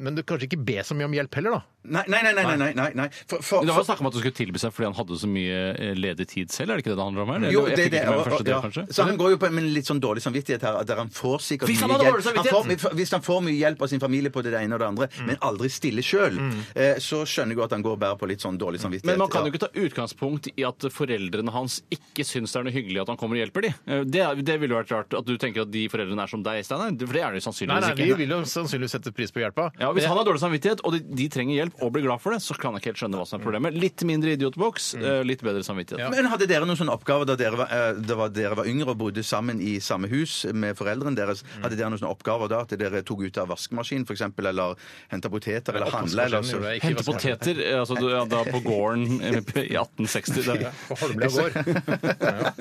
Speaker 2: men du kanskje ikke be så mye om hjelp heller, da.
Speaker 3: Nei, nei, nei. nei, nei, nei, nei. For, for,
Speaker 4: Men Det var
Speaker 3: for,
Speaker 4: snakk om at du skulle tilby seg fordi han hadde så mye eh, ledig tid selv, er det ikke det det handler om her?
Speaker 3: jo,
Speaker 4: Jeg
Speaker 3: det, er
Speaker 4: fikk
Speaker 3: det,
Speaker 4: ikke med meg
Speaker 3: og-
Speaker 4: første
Speaker 3: og-
Speaker 4: del,
Speaker 3: ja.
Speaker 4: kanskje?
Speaker 3: Så han går jo på en litt sånn dårlig samvittighet her, at der han får sikkert
Speaker 4: Fy faen,
Speaker 3: mye
Speaker 4: han har dårlig Mm.
Speaker 3: hjelp. Han får, hvis han får mye hjelp av sin familie på det ene og det andre, men aldri stille sjøl, eh, så skjønner jeg jo at han går og bærer på litt sånn dårlig samvittighet.
Speaker 4: Mm. Men man kan
Speaker 3: Ja.
Speaker 4: jo ikke ta utgangspunkt i at foreldrene hans ikke syns det er noe hyggelig at han kommer og hjelper de. Eh, Det, er- det ville vært rart at du tenker at de foreldrene er som deg, Steinar. Det- For det er de
Speaker 2: Nei,
Speaker 4: sannsynligvis
Speaker 2: nei,
Speaker 4: ikke.
Speaker 2: vi vil jo sannsynligvis sette pris på hjelpa.
Speaker 4: Ja, Hvis han har dårlig samvittighet, og de, de trenger hjelp og blir glad for det, så kan jeg ikke helt skjønne hva som er problemet. Litt mindre idiotboks, eh, litt bedre samvittighet.
Speaker 3: Men hadde dere noen sånne oppgaver da dere var, eh, da var, dere var yngre og bodde sammen i samme hus med foreldrene deres? Hadde dere noen sånne oppgaver da at dere tok ut av vaskemaskinen f.eks., eller henta poteter, eller handla? Eller så...
Speaker 2: Ikke
Speaker 4: Hente
Speaker 2: vaske-
Speaker 4: poteter eh, altså, du, ja, da på gården eh, i 1860. Det.
Speaker 2: På Holmlia gård.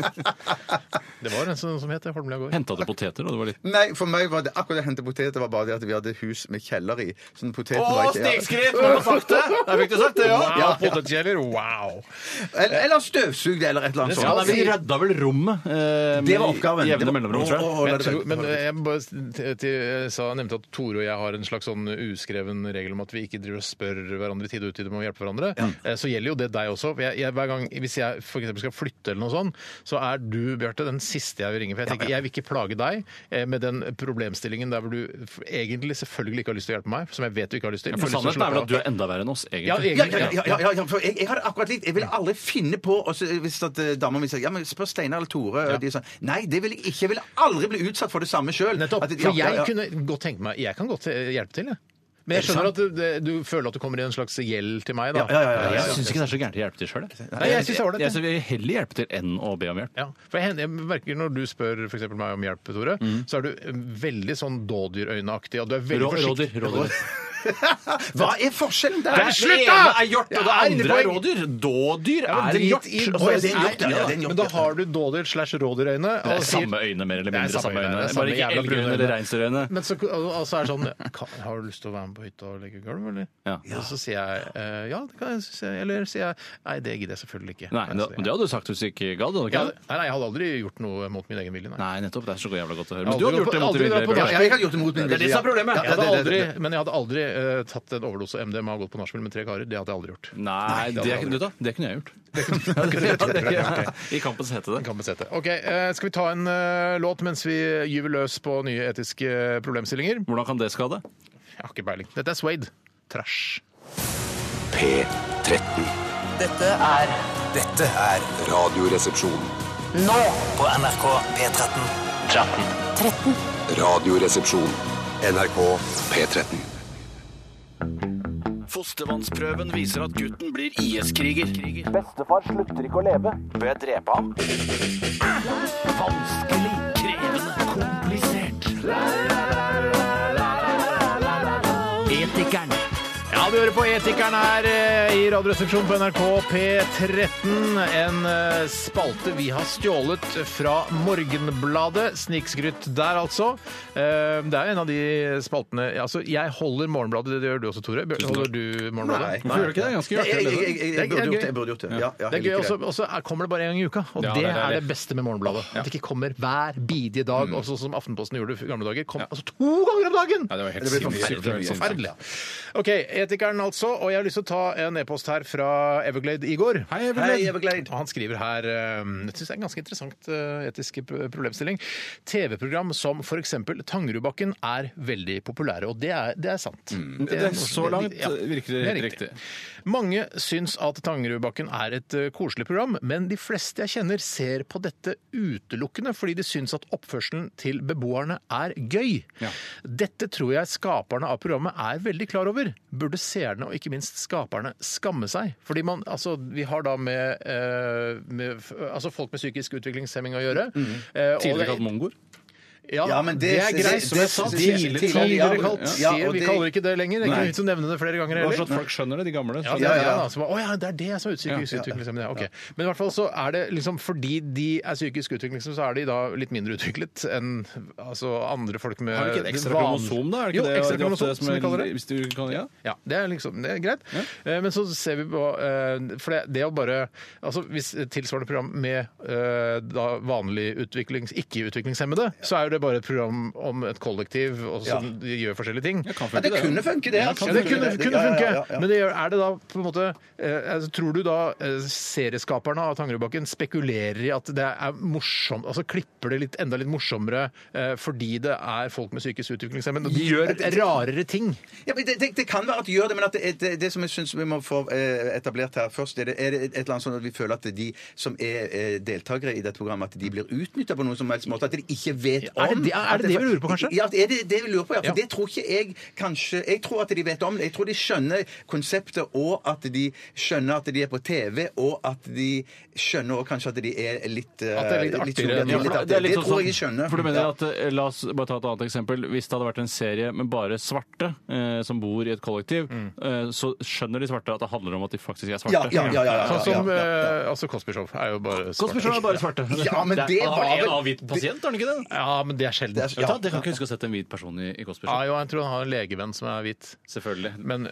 Speaker 2: Det var en som, som het det, Holmlia gård.
Speaker 4: Henta du poteter da du var liten?
Speaker 3: Nei, for meg var det akkurat det å hente poteter var bare det at vi hadde hus med kjeller i. Så den poteten
Speaker 4: Å,
Speaker 3: var ikke
Speaker 4: snikskritt! Har du sagt det? Der fikk du sagt det, ja.
Speaker 2: Wow,
Speaker 4: ja.
Speaker 2: potetkjeller, wow!
Speaker 3: Eller, eller støvsugde, eller et eller annet
Speaker 4: Ja, nei, vi
Speaker 3: sånt.
Speaker 4: redda vel rommet. eh,
Speaker 3: Det
Speaker 4: med
Speaker 3: var oppgaven. Det
Speaker 4: Jevne
Speaker 3: var-
Speaker 4: mellomrom, tror
Speaker 3: Å,
Speaker 4: jeg.
Speaker 3: å, å, la
Speaker 2: Jeg
Speaker 3: det
Speaker 2: tror,
Speaker 3: være.
Speaker 2: men jeg bare s- til, til, jeg sa, nevnte at Tore og jeg har en slags sånn uskreven regel om at vi ikke driver og spør hverandre i tide og utide om å hjelpe hverandre. Eh, Så gjelder jo det deg også. for Jeg, jeg, hver gang, hvis jeg f.eks. skal flytte eller noe sånt, så er du, Bjarte, den siste jeg vil ringe. For jeg tenker, jeg vil ikke plage deg eh, med den problemstillingen der hvor du f- egentlig selvfølgelig ikke har lyst til å hjelpe meg, som jeg vet du ikke har lyst til.
Speaker 4: For
Speaker 2: Jeg har
Speaker 4: sannheten
Speaker 2: lyst til å
Speaker 4: er
Speaker 2: slappe
Speaker 4: vel
Speaker 2: av.
Speaker 4: at du er enda verre enn oss,
Speaker 2: ja,
Speaker 4: egentlig.
Speaker 3: Ja,
Speaker 2: egentlig,
Speaker 3: ja, ja, ja, ja, for jeg, jeg har det akkurat likt. Jeg ville aldri finne på og så Hvis at eh, dama mi sier ja, men spør Steinar eller Tore og de sånn, Nei, det vil jeg ikke. Jeg ville aldri bli utsatt for det samme sjøl.
Speaker 2: Nettopp. For jeg kunne godt tenke meg Jeg kan godt eh, hjelpe til, jeg. Men jeg skjønner at du, det- du føler at du kommer i en slags gjeld til meg,
Speaker 3: Ja,
Speaker 2: da.
Speaker 3: ja, ja, ja, ja.
Speaker 4: Jeg syns ikke det er så gærent å hjelpe til sjøl.
Speaker 2: Nei, jeg synes det er ålreit,
Speaker 4: Jeg vil heller hjelpe til enn å be om hjelp.
Speaker 2: Ja, for jeg, jeg merker Når du spør for eksempel meg om hjelp, Tore, så er du eh, veldig sånn dådyrøyneaktig. Og du er veldig
Speaker 4: Mm. Rå-
Speaker 2: forsiktig.
Speaker 4: Rådyr. rådyr.
Speaker 3: Hva er forskjellen der?
Speaker 4: Nei,
Speaker 2: slutt,
Speaker 4: det
Speaker 2: da!
Speaker 4: ene er hjort, og det
Speaker 2: Ja,
Speaker 4: andre er
Speaker 2: poeng.
Speaker 4: rådyr. Dådyr
Speaker 2: Ja, men
Speaker 4: er
Speaker 2: drit
Speaker 4: hjort.
Speaker 2: i-
Speaker 4: og
Speaker 3: Å, ja,
Speaker 4: så-
Speaker 3: det er en hjort, ja, ja, det er en
Speaker 2: Men
Speaker 3: hjort,
Speaker 2: da
Speaker 3: ja.
Speaker 2: har du dådyr slash rådyrøyne.
Speaker 4: Det
Speaker 2: og
Speaker 4: er
Speaker 2: sier-
Speaker 4: samme øyne, mer eller
Speaker 2: Det er
Speaker 4: mindre. samme øyne.
Speaker 2: det er
Speaker 4: Bare ikke
Speaker 2: jævla brune
Speaker 4: elgøyne
Speaker 2: øyne.
Speaker 4: eller reinsdyrøyne.
Speaker 2: Men så altså, er det sånn "Kan- Har du lyst til å være med på hytta og legge gulv, eller?
Speaker 4: Ja.
Speaker 2: Og så sier jeg eh, ja, det kan jeg, synes jeg. Eller sier jeg nei, det gidder jeg selvfølgelig ikke.
Speaker 4: Nei,
Speaker 2: Så
Speaker 4: men
Speaker 2: sier jeg,
Speaker 4: det hadde du sagt hvis du ikke gadd. hadde du ikke
Speaker 2: Ja,
Speaker 4: det?
Speaker 2: nei, nei, jeg hadde aldri gjort noe mot min egen vilje. Nei.
Speaker 4: Nei, nettopp. Det er så jævla godt å høre.
Speaker 2: Jeg
Speaker 4: Men du
Speaker 2: har
Speaker 4: hadde
Speaker 2: aldri
Speaker 4: gjort det
Speaker 2: gått
Speaker 4: mot din
Speaker 2: på- aldri
Speaker 4: vilje.
Speaker 2: gått
Speaker 3: Ja,
Speaker 2: på
Speaker 4: Bjørn.
Speaker 2: nachspiel.
Speaker 3: jeg har gjort det mot min
Speaker 4: Det er det
Speaker 3: vilje.
Speaker 4: som er problemet.
Speaker 2: Jeg
Speaker 3: Ja,
Speaker 2: hadde
Speaker 3: det- det-
Speaker 2: aldri,
Speaker 3: det-
Speaker 2: men jeg hadde aldri eh, tatt en overdose MDMA og gått på nachspiel med tre karer. Det hadde jeg aldri gjort.
Speaker 4: Nei, det,
Speaker 2: hadde jeg
Speaker 4: vet du hva, det kunne jeg gjort. I kampens hete, det.
Speaker 2: Kan besette. Ok, eh, Skal vi ta en eh, låt mens vi gyver løs på nye etiske problemstillinger?
Speaker 4: Hvordan kan det skade?
Speaker 2: Jeg har ikke peiling. Dette er Swade. Trash.
Speaker 5: P13.
Speaker 15: Dette er
Speaker 6: Dette er
Speaker 5: Radioresepsjon.
Speaker 15: nå på NRK P13. 13.
Speaker 5: Radioresepsjon. NRK P13.
Speaker 14: Fostervannsprøven viser at gutten blir IS-kriger. Bestefar slutter ikke å leve. Bør jeg drepe ham? Vanskelig, krevende, komplisert.
Speaker 15: Etikeren.
Speaker 2: Ja, du hører på Etikeren her eh, i Radioresepsjonen på NRK P13. En eh, spalte vi har stjålet fra Morgenbladet. Snikskrytt der, altså. Eh, Det er en av de spaltene Altså, jeg holder Morgenbladet, det gjør du også, Tore. Holder du Morgenbladet?
Speaker 3: Nei.
Speaker 4: Hvorfor gjør du ikke det? Ganske
Speaker 3: Jeg, jeg, jeg,
Speaker 4: hjerte, det.
Speaker 3: jeg,
Speaker 2: Det er
Speaker 3: jeg burde
Speaker 2: gøy.
Speaker 3: gjort det. Jeg burde gjort det. Ja, ja,
Speaker 2: Det
Speaker 3: jeg
Speaker 2: er gøy,
Speaker 3: liker
Speaker 2: også, også er- kommer det bare en gang i uka, og
Speaker 4: Ja, det
Speaker 2: det,
Speaker 4: er
Speaker 2: er
Speaker 4: det. Mm.
Speaker 2: det beste med Morgenbladet. At det ikke kommer hver bidige dag, og sånn som Aftenposten gjorde i gamle dager. Kom altså to ganger om dagen!
Speaker 4: Ja, det var helt
Speaker 3: Det blir
Speaker 4: sinnssykt.
Speaker 3: forferdelig.
Speaker 4: Det var helt sinnssykt.
Speaker 2: Forferdelig. ja. OK, Teknikeren, altså. Og jeg har lyst til å ta en e-post her fra Everglade i går.
Speaker 3: Hei, Everglade. Hei, Everglade.
Speaker 2: Og han skriver her eh, Jeg syns det er en ganske interessant eh, etisk pro- problemstilling. TV-program som f.eks. Tangerudbakken er veldig populære, og det er, det er sant.
Speaker 3: Mm.
Speaker 4: Det er så langt
Speaker 2: ja.
Speaker 4: virker det
Speaker 2: Det er
Speaker 4: helt
Speaker 2: riktig.
Speaker 4: riktig.
Speaker 2: Mange syns at Tangerudbakken er et eh, koselig program, men de fleste jeg kjenner ser på dette utelukkende fordi de syns at oppførselen til beboerne er gøy. Dette tror jeg skaperne av programmet er veldig klar over. Burde seerne og ikke minst skaperne skamme seg? Fordi man, altså, vi har da med, eh, med f- altså folk med psykisk utviklingshemming å gjøre. Eh, og det-
Speaker 4: Mm. Tidligere kalt mongoer.
Speaker 2: ja,
Speaker 3: Ja, men
Speaker 2: men
Speaker 3: det-
Speaker 2: det, er
Speaker 3: det-
Speaker 2: greit. som
Speaker 3: det-
Speaker 2: jeg sa.
Speaker 3: det- det-
Speaker 2: Tidligere
Speaker 3: det- ja,
Speaker 2: tidligere kalt.
Speaker 3: ja,
Speaker 2: sier-
Speaker 3: og
Speaker 2: vi
Speaker 3: det-
Speaker 2: kaller ikke det lenger. Det er
Speaker 4: Nei.
Speaker 2: ikke vits å nevne det flere ganger
Speaker 4: Bare
Speaker 2: heller.
Speaker 4: så at folk skjønner det, de gamle.
Speaker 2: Ja,
Speaker 4: Så
Speaker 2: ja,
Speaker 4: det er-
Speaker 2: ja, da. Så bare, Å ja, det er det som er psykisk
Speaker 4: Ja, ja.
Speaker 2: utviklingshemmede. Ja, ok. Men i hvert fall så er det liksom fordi de er psykisk utviklingshemmede, så er de da litt mindre utviklet enn altså, andre folk med
Speaker 4: Har de ikke et ekstra
Speaker 2: van-
Speaker 4: kromosom, da? Er det
Speaker 2: jo,
Speaker 4: ikke det
Speaker 2: ekstra
Speaker 4: de ofte
Speaker 2: kromosom, som vi kaller det.
Speaker 4: Hvis du kan, ja.
Speaker 2: Ja, det er liksom, det er greit. Eh, Men så ser vi på eh, For det, det å bare altså Hvis et tilsvarende program med eh, da vanlig utviklings, ikke-utviklingshemmede, så er jo det bare et program om et kollektiv og som de gjør forskjellige ting.
Speaker 3: Ja, det kunne funke, det. altså.
Speaker 2: Ja, det kunne, kunne
Speaker 3: Ja, ja,
Speaker 2: funke.
Speaker 3: ja, ja.
Speaker 2: Men det gjør, er det da på en måte eh, altså, Tror du da eh, serieskaperne av Tangerudbakken spekulerer i at det er morsomt Altså klipper det litt, enda litt morsommere eh, fordi det er folk med psykisk utviklingshemming? og De gjør rarere ting.
Speaker 3: Ja, men det, det, det kan være at de gjør det, men at det, det, det som jeg syns vi må få eh, etablert her først, er det, er det et eller annet sånn at vi føler at de som er eh, deltakere i dette programmet, at de blir utnytta på noen som helst måte? At de ikke vet om
Speaker 2: Er det det- er det
Speaker 3: at
Speaker 2: det vi lurer på, kanskje?
Speaker 3: Ja, det er det, det vi lurer på, ja. For
Speaker 2: Ja.
Speaker 3: det tror ikke jeg kanskje Jeg tror at de vet om det. Jeg tror de skjønner konseptet, og at de skjønner at de er på TV, og at de skjønner også kanskje at de er litt eh,
Speaker 2: At det er litt artigere.
Speaker 3: solige, litt
Speaker 4: for
Speaker 3: artigere. Det, tror jeg de skjønner.
Speaker 4: sånn For du mener
Speaker 3: Ja.
Speaker 4: at, eh, La oss bare ta et annet eksempel. Hvis det hadde vært en serie med bare svarte eh, som bor i et kollektiv, eh, så skjønner de svarte at det handler om at de faktisk er svarte.
Speaker 3: Ja, ja, ja, ja, ja, ja.
Speaker 2: Sånn som eh, altså Cosby Show er jo bare
Speaker 4: Cosby Show er bare svarte.
Speaker 3: Ja, men det
Speaker 4: er
Speaker 3: var
Speaker 4: bare
Speaker 3: vel-
Speaker 4: en annen hvit pasient, er det ikke det?
Speaker 2: Ja, men det er sjelden.
Speaker 3: Det er-
Speaker 4: Vet du
Speaker 3: ja.
Speaker 4: hva, Dere kan ikke huske å ha sett en hvit person i, i Cosby
Speaker 2: Ja,
Speaker 4: Show?
Speaker 2: jo, jeg tror han har en legevenn som er hvit.
Speaker 4: Selvfølgelig.
Speaker 2: Men,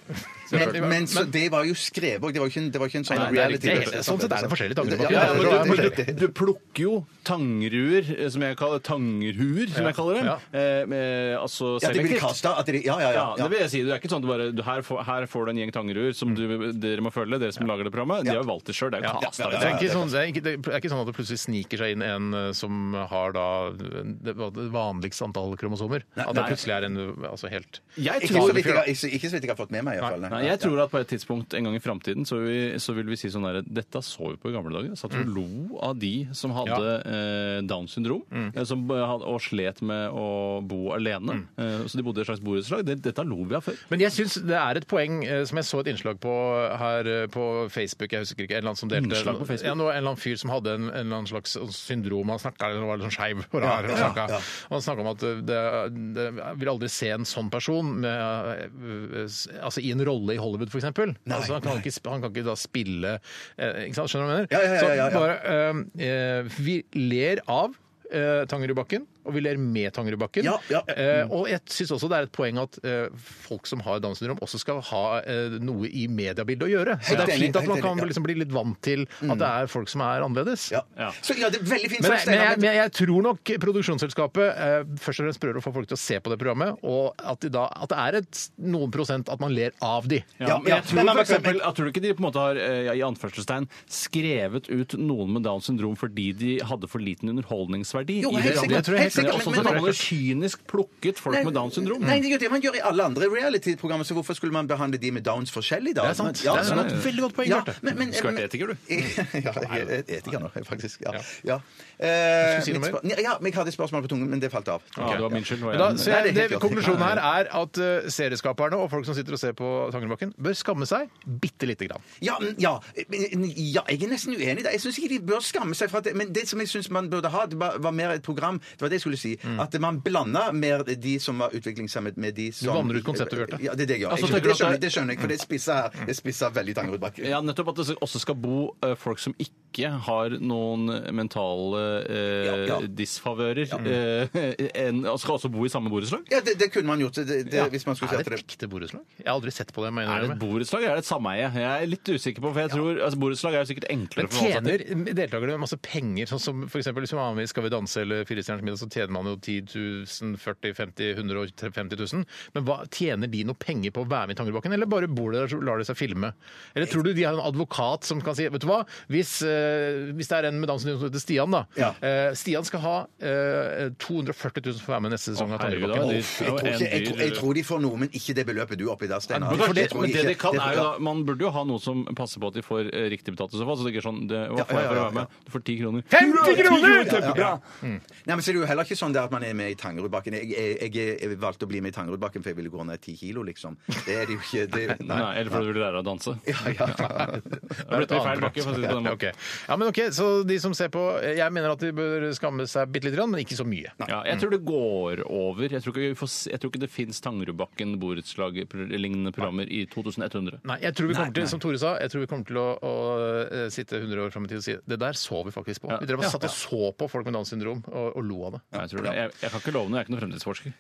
Speaker 3: Men, men så det var jo skrevet òg. Det, var ikke en- det var ikke en sånn
Speaker 2: Nei, nei, det er
Speaker 3: reality.
Speaker 2: riktig. Det er- sånn sett er det forskjellige tanker
Speaker 3: Ja,
Speaker 2: bak.
Speaker 3: ja,
Speaker 2: Det er-
Speaker 3: ja,
Speaker 4: men
Speaker 3: ja,
Speaker 4: du,
Speaker 3: ja.
Speaker 4: du, du plukker jo tangruer, eh, som jeg kaller tangerhuer, som
Speaker 2: Ja,
Speaker 4: jeg kaller dem.
Speaker 2: ja.
Speaker 4: Eh, med, altså
Speaker 3: Ja, de blir
Speaker 4: selektivt.
Speaker 3: kastet, at de- ja, ja, ja,
Speaker 4: ja,
Speaker 3: ja.
Speaker 4: det vil jeg si. Det er ikke sånn at du bare, du, her, får, her får du en gjeng tangerhuer som du, dere må følge, dere som lager det programmet. De har jo valgt det sjøl. Det er
Speaker 2: Ja,
Speaker 4: jo liksom.
Speaker 2: det,
Speaker 4: kasta.
Speaker 2: er ikke sånn, det, er ikke, det er ikke sånn at det plutselig sniker seg inn en eh, som har da det det vanligste antall kromosomer. At det
Speaker 4: nei.
Speaker 2: plutselig er en altså helt
Speaker 4: Jeg
Speaker 3: Ikke så
Speaker 4: tror,
Speaker 3: vidt jeg, har- ikke så- ikke så vidt jeg har fått med meg, iallfall.
Speaker 4: nei, jeg tror at på et tidspunkt en gang i framtiden så, vil vi- så vil vi si sånn derre Dette så vi på i gamle dager. Satt
Speaker 2: Mm.
Speaker 4: og lo av de som hadde eh, Downs syndrom,
Speaker 2: Mm.
Speaker 4: eh, som, eh, hadde- og slet med å bo alene. Eh, så de bodde i et slags borettslag. Det- Dette lo vi av før.
Speaker 2: Men jeg syns det er et poeng eh, som jeg så et innslag på her eh, på Facebook. jeg husker ikke, En eller annen som delte
Speaker 4: Innslag på Facebook?
Speaker 2: Ja, nå, en eller annen fyr som hadde en, en eller annen slags syndrom. Han snakka eller var litt sånn skeiv og rar. og snakket. Og han snakka om at eh, det, det jeg vil aldri se en sånn person med, eh, s- altså, i en rolle i Hollywood, f.eks. Altså, han, kan ikke sp- han kan ikke da spille eh, ikke sant, Skjønner du hva jeg mener?
Speaker 3: Ja, ja, ja, ja, ja.
Speaker 2: Så bare, eh, eh, vi ler av eh, Tangerudbakken, og vi ler med Tangerudbakken.
Speaker 3: Ja, ja. Mm.
Speaker 2: Eh, og jeg syns også det er et poeng at eh, folk som har Downs syndrom, også skal ha eh, noe i mediebildet å gjøre. Så
Speaker 3: Helt
Speaker 2: det er
Speaker 3: enig,
Speaker 2: fint at
Speaker 3: helt
Speaker 2: man
Speaker 3: enig, ja.
Speaker 2: kan
Speaker 3: Mm.
Speaker 2: liksom bli litt vant til at det er folk som er annerledes.
Speaker 3: Ja. Så ja, det er veldig fint
Speaker 2: Men,
Speaker 3: sagt,
Speaker 2: men, jeg,
Speaker 3: Steinar,
Speaker 2: men jeg tror nok produksjonsselskapet eh, først og fremst prøver å få folk til å se på det programmet, og at, de da, at det er et, noen prosent at man ler av de.
Speaker 4: Ja, men
Speaker 3: ja.
Speaker 4: jeg tror,
Speaker 3: Men- men-
Speaker 4: for eksempel, jeg tror ikke de på en måte har eh, i anførselstegn skrevet ut noen med Downs syndrom fordi de hadde for liten underholdningsverdi.
Speaker 3: Jo,
Speaker 4: i
Speaker 3: helt
Speaker 4: programmet.
Speaker 3: sikkert,
Speaker 4: Det tror
Speaker 3: helt sikkert, men-
Speaker 4: jeg helt enig i. Sånn sett
Speaker 3: men-
Speaker 4: har man jo kynisk plukket folk med Downs syndrom.
Speaker 3: Nei, det er jo det man gjør i alle andre reality-programmer, så hvorfor skulle man behandle de med Downs forskjellig da?
Speaker 2: Det er sant.
Speaker 3: Ja,
Speaker 2: Det er
Speaker 3: sånn
Speaker 2: et
Speaker 3: at-
Speaker 2: veldig godt poeng,
Speaker 3: Ja,
Speaker 2: Bjarte.
Speaker 3: men- men-
Speaker 2: Du skulle vært etiker, du.
Speaker 3: ja, jeg er etiker nå, faktisk. Ja. ja. Eh,
Speaker 2: Skulle si noe
Speaker 3: mitt
Speaker 2: mer?
Speaker 3: spør- ja, men jeg hadde et spørsmål på tungen, men det falt av.
Speaker 4: Ja, det var min skyld. det var
Speaker 2: Men
Speaker 4: jeg-
Speaker 2: da, så
Speaker 3: Nei,
Speaker 2: jeg,
Speaker 3: det er
Speaker 2: det,
Speaker 3: helt klart.
Speaker 2: konklusjonen her er at eh, serieskaperne og folk som sitter og ser på Tangerudbakken, bør skamme seg bitte lite grann.
Speaker 3: Ja, men- ja, men- ja, jeg er nesten uenig i det. Jeg syns ikke de bør skamme seg. For at, men det som jeg syns man burde ha, det var, var mer et program Det var det jeg skulle si.
Speaker 4: Mm.
Speaker 3: At man blanda mer de som var utviklingshemmet, med de som
Speaker 2: vanner ut konseptet, Bjarte.
Speaker 3: Ja, det er det jeg gjør.
Speaker 4: Altså,
Speaker 3: Jeg skjønner-
Speaker 4: tenker du
Speaker 3: det,
Speaker 4: at
Speaker 3: skjønner,
Speaker 4: det er-
Speaker 3: det skjønner jeg, for det spisser her. Det spisser veldig Tangerudbakken.
Speaker 4: Ja, nettopp at det også skal bo eh, folk som ikke har noen mentale eh,
Speaker 3: Ja, ja.
Speaker 4: disfavører. eh, en- og skal også bo i samme borettslag.
Speaker 3: Ja, det, det kunne man gjort det, det, hvis man skulle si
Speaker 2: Er
Speaker 3: at
Speaker 2: det
Speaker 3: det
Speaker 2: et ekte borettslag? Jeg har aldri sett på det. må jeg
Speaker 4: Er det
Speaker 2: innrømme.
Speaker 4: et borettslag eller er det et sameie? Jeg er litt usikker på, for jeg tror altså, borettslag er jo sikkert enklere for
Speaker 2: Men
Speaker 4: å forholde seg til.
Speaker 2: tjener deltakerne masse penger, sånn som for eksempel hvis man er med i Skal vi danse eller Firestjerners middag, så tjener man jo 10 000, 40 50 150 000. Men hva, tjener de noe penger på å være med i Tangerudbakken, eller bare bor de der og lar de seg filme? Eller tror du de har en advokat som kan si Vet du hva, hvis, eh, hvis det er en med dansen som heter Stian, da.
Speaker 3: Ja.
Speaker 2: Eh, Stian skal ha eh, 240 000 for å være med neste sesong av Tangerudbakken.
Speaker 3: Jeg tror, ikke, jeg, tror- jeg tror de får noe, men ikke det beløpet du er oppi der, Steinar.
Speaker 4: Men,
Speaker 3: For
Speaker 4: det,
Speaker 3: tror
Speaker 4: men
Speaker 3: jeg
Speaker 4: det de
Speaker 3: ikke.
Speaker 4: kan
Speaker 3: Det
Speaker 4: er
Speaker 3: får-
Speaker 4: jo da, Man burde jo ha noe som passer på at de får eh, riktig betalt. i så fall, så det ikke er sånn, det,
Speaker 3: Ja,
Speaker 4: Hva får jeg
Speaker 3: ja,
Speaker 4: for å
Speaker 3: ja,
Speaker 4: være med? Du får ti kroner.
Speaker 3: 50 kroner!
Speaker 4: Kjempebra!
Speaker 3: Nei, men så er det jo heller ikke sånn der at man er med i Tangerudbakken. Jeg, jeg, jeg, jeg valgte å bli med i Tangerudbakken for jeg ville gå ned ti kilo, liksom. Det er det jo ikke. Det,
Speaker 4: Nei, eller fordi du vil lære å danse.
Speaker 2: Det
Speaker 4: ble til feil bakke, for å si det på den måten.
Speaker 2: Ok. Ja, men ok, så de som ser på, eh, jeg mener at de bør skamme seg bitte litt, men ikke så mye.
Speaker 4: Ja, jeg tror det går over. Jeg tror ikke, vi får, se- jeg tror ikke det fins Tangerudbakken borettslag-lignende programmer i 2100.
Speaker 2: Nei, jeg tror vi kommer
Speaker 4: Nei,
Speaker 2: til,
Speaker 4: nei.
Speaker 2: som Tore sa, jeg tror vi kommer til å, å eh, sitte 100 år fram i tid og si det der så vi faktisk på. Vi drev og
Speaker 4: Ja.
Speaker 2: satt og så på folk med Downs syndrom og, og lo av det.
Speaker 4: Nei, jeg, tror det. Jeg, jeg kan ikke love noe, jeg er ikke noen fremtidsforsker.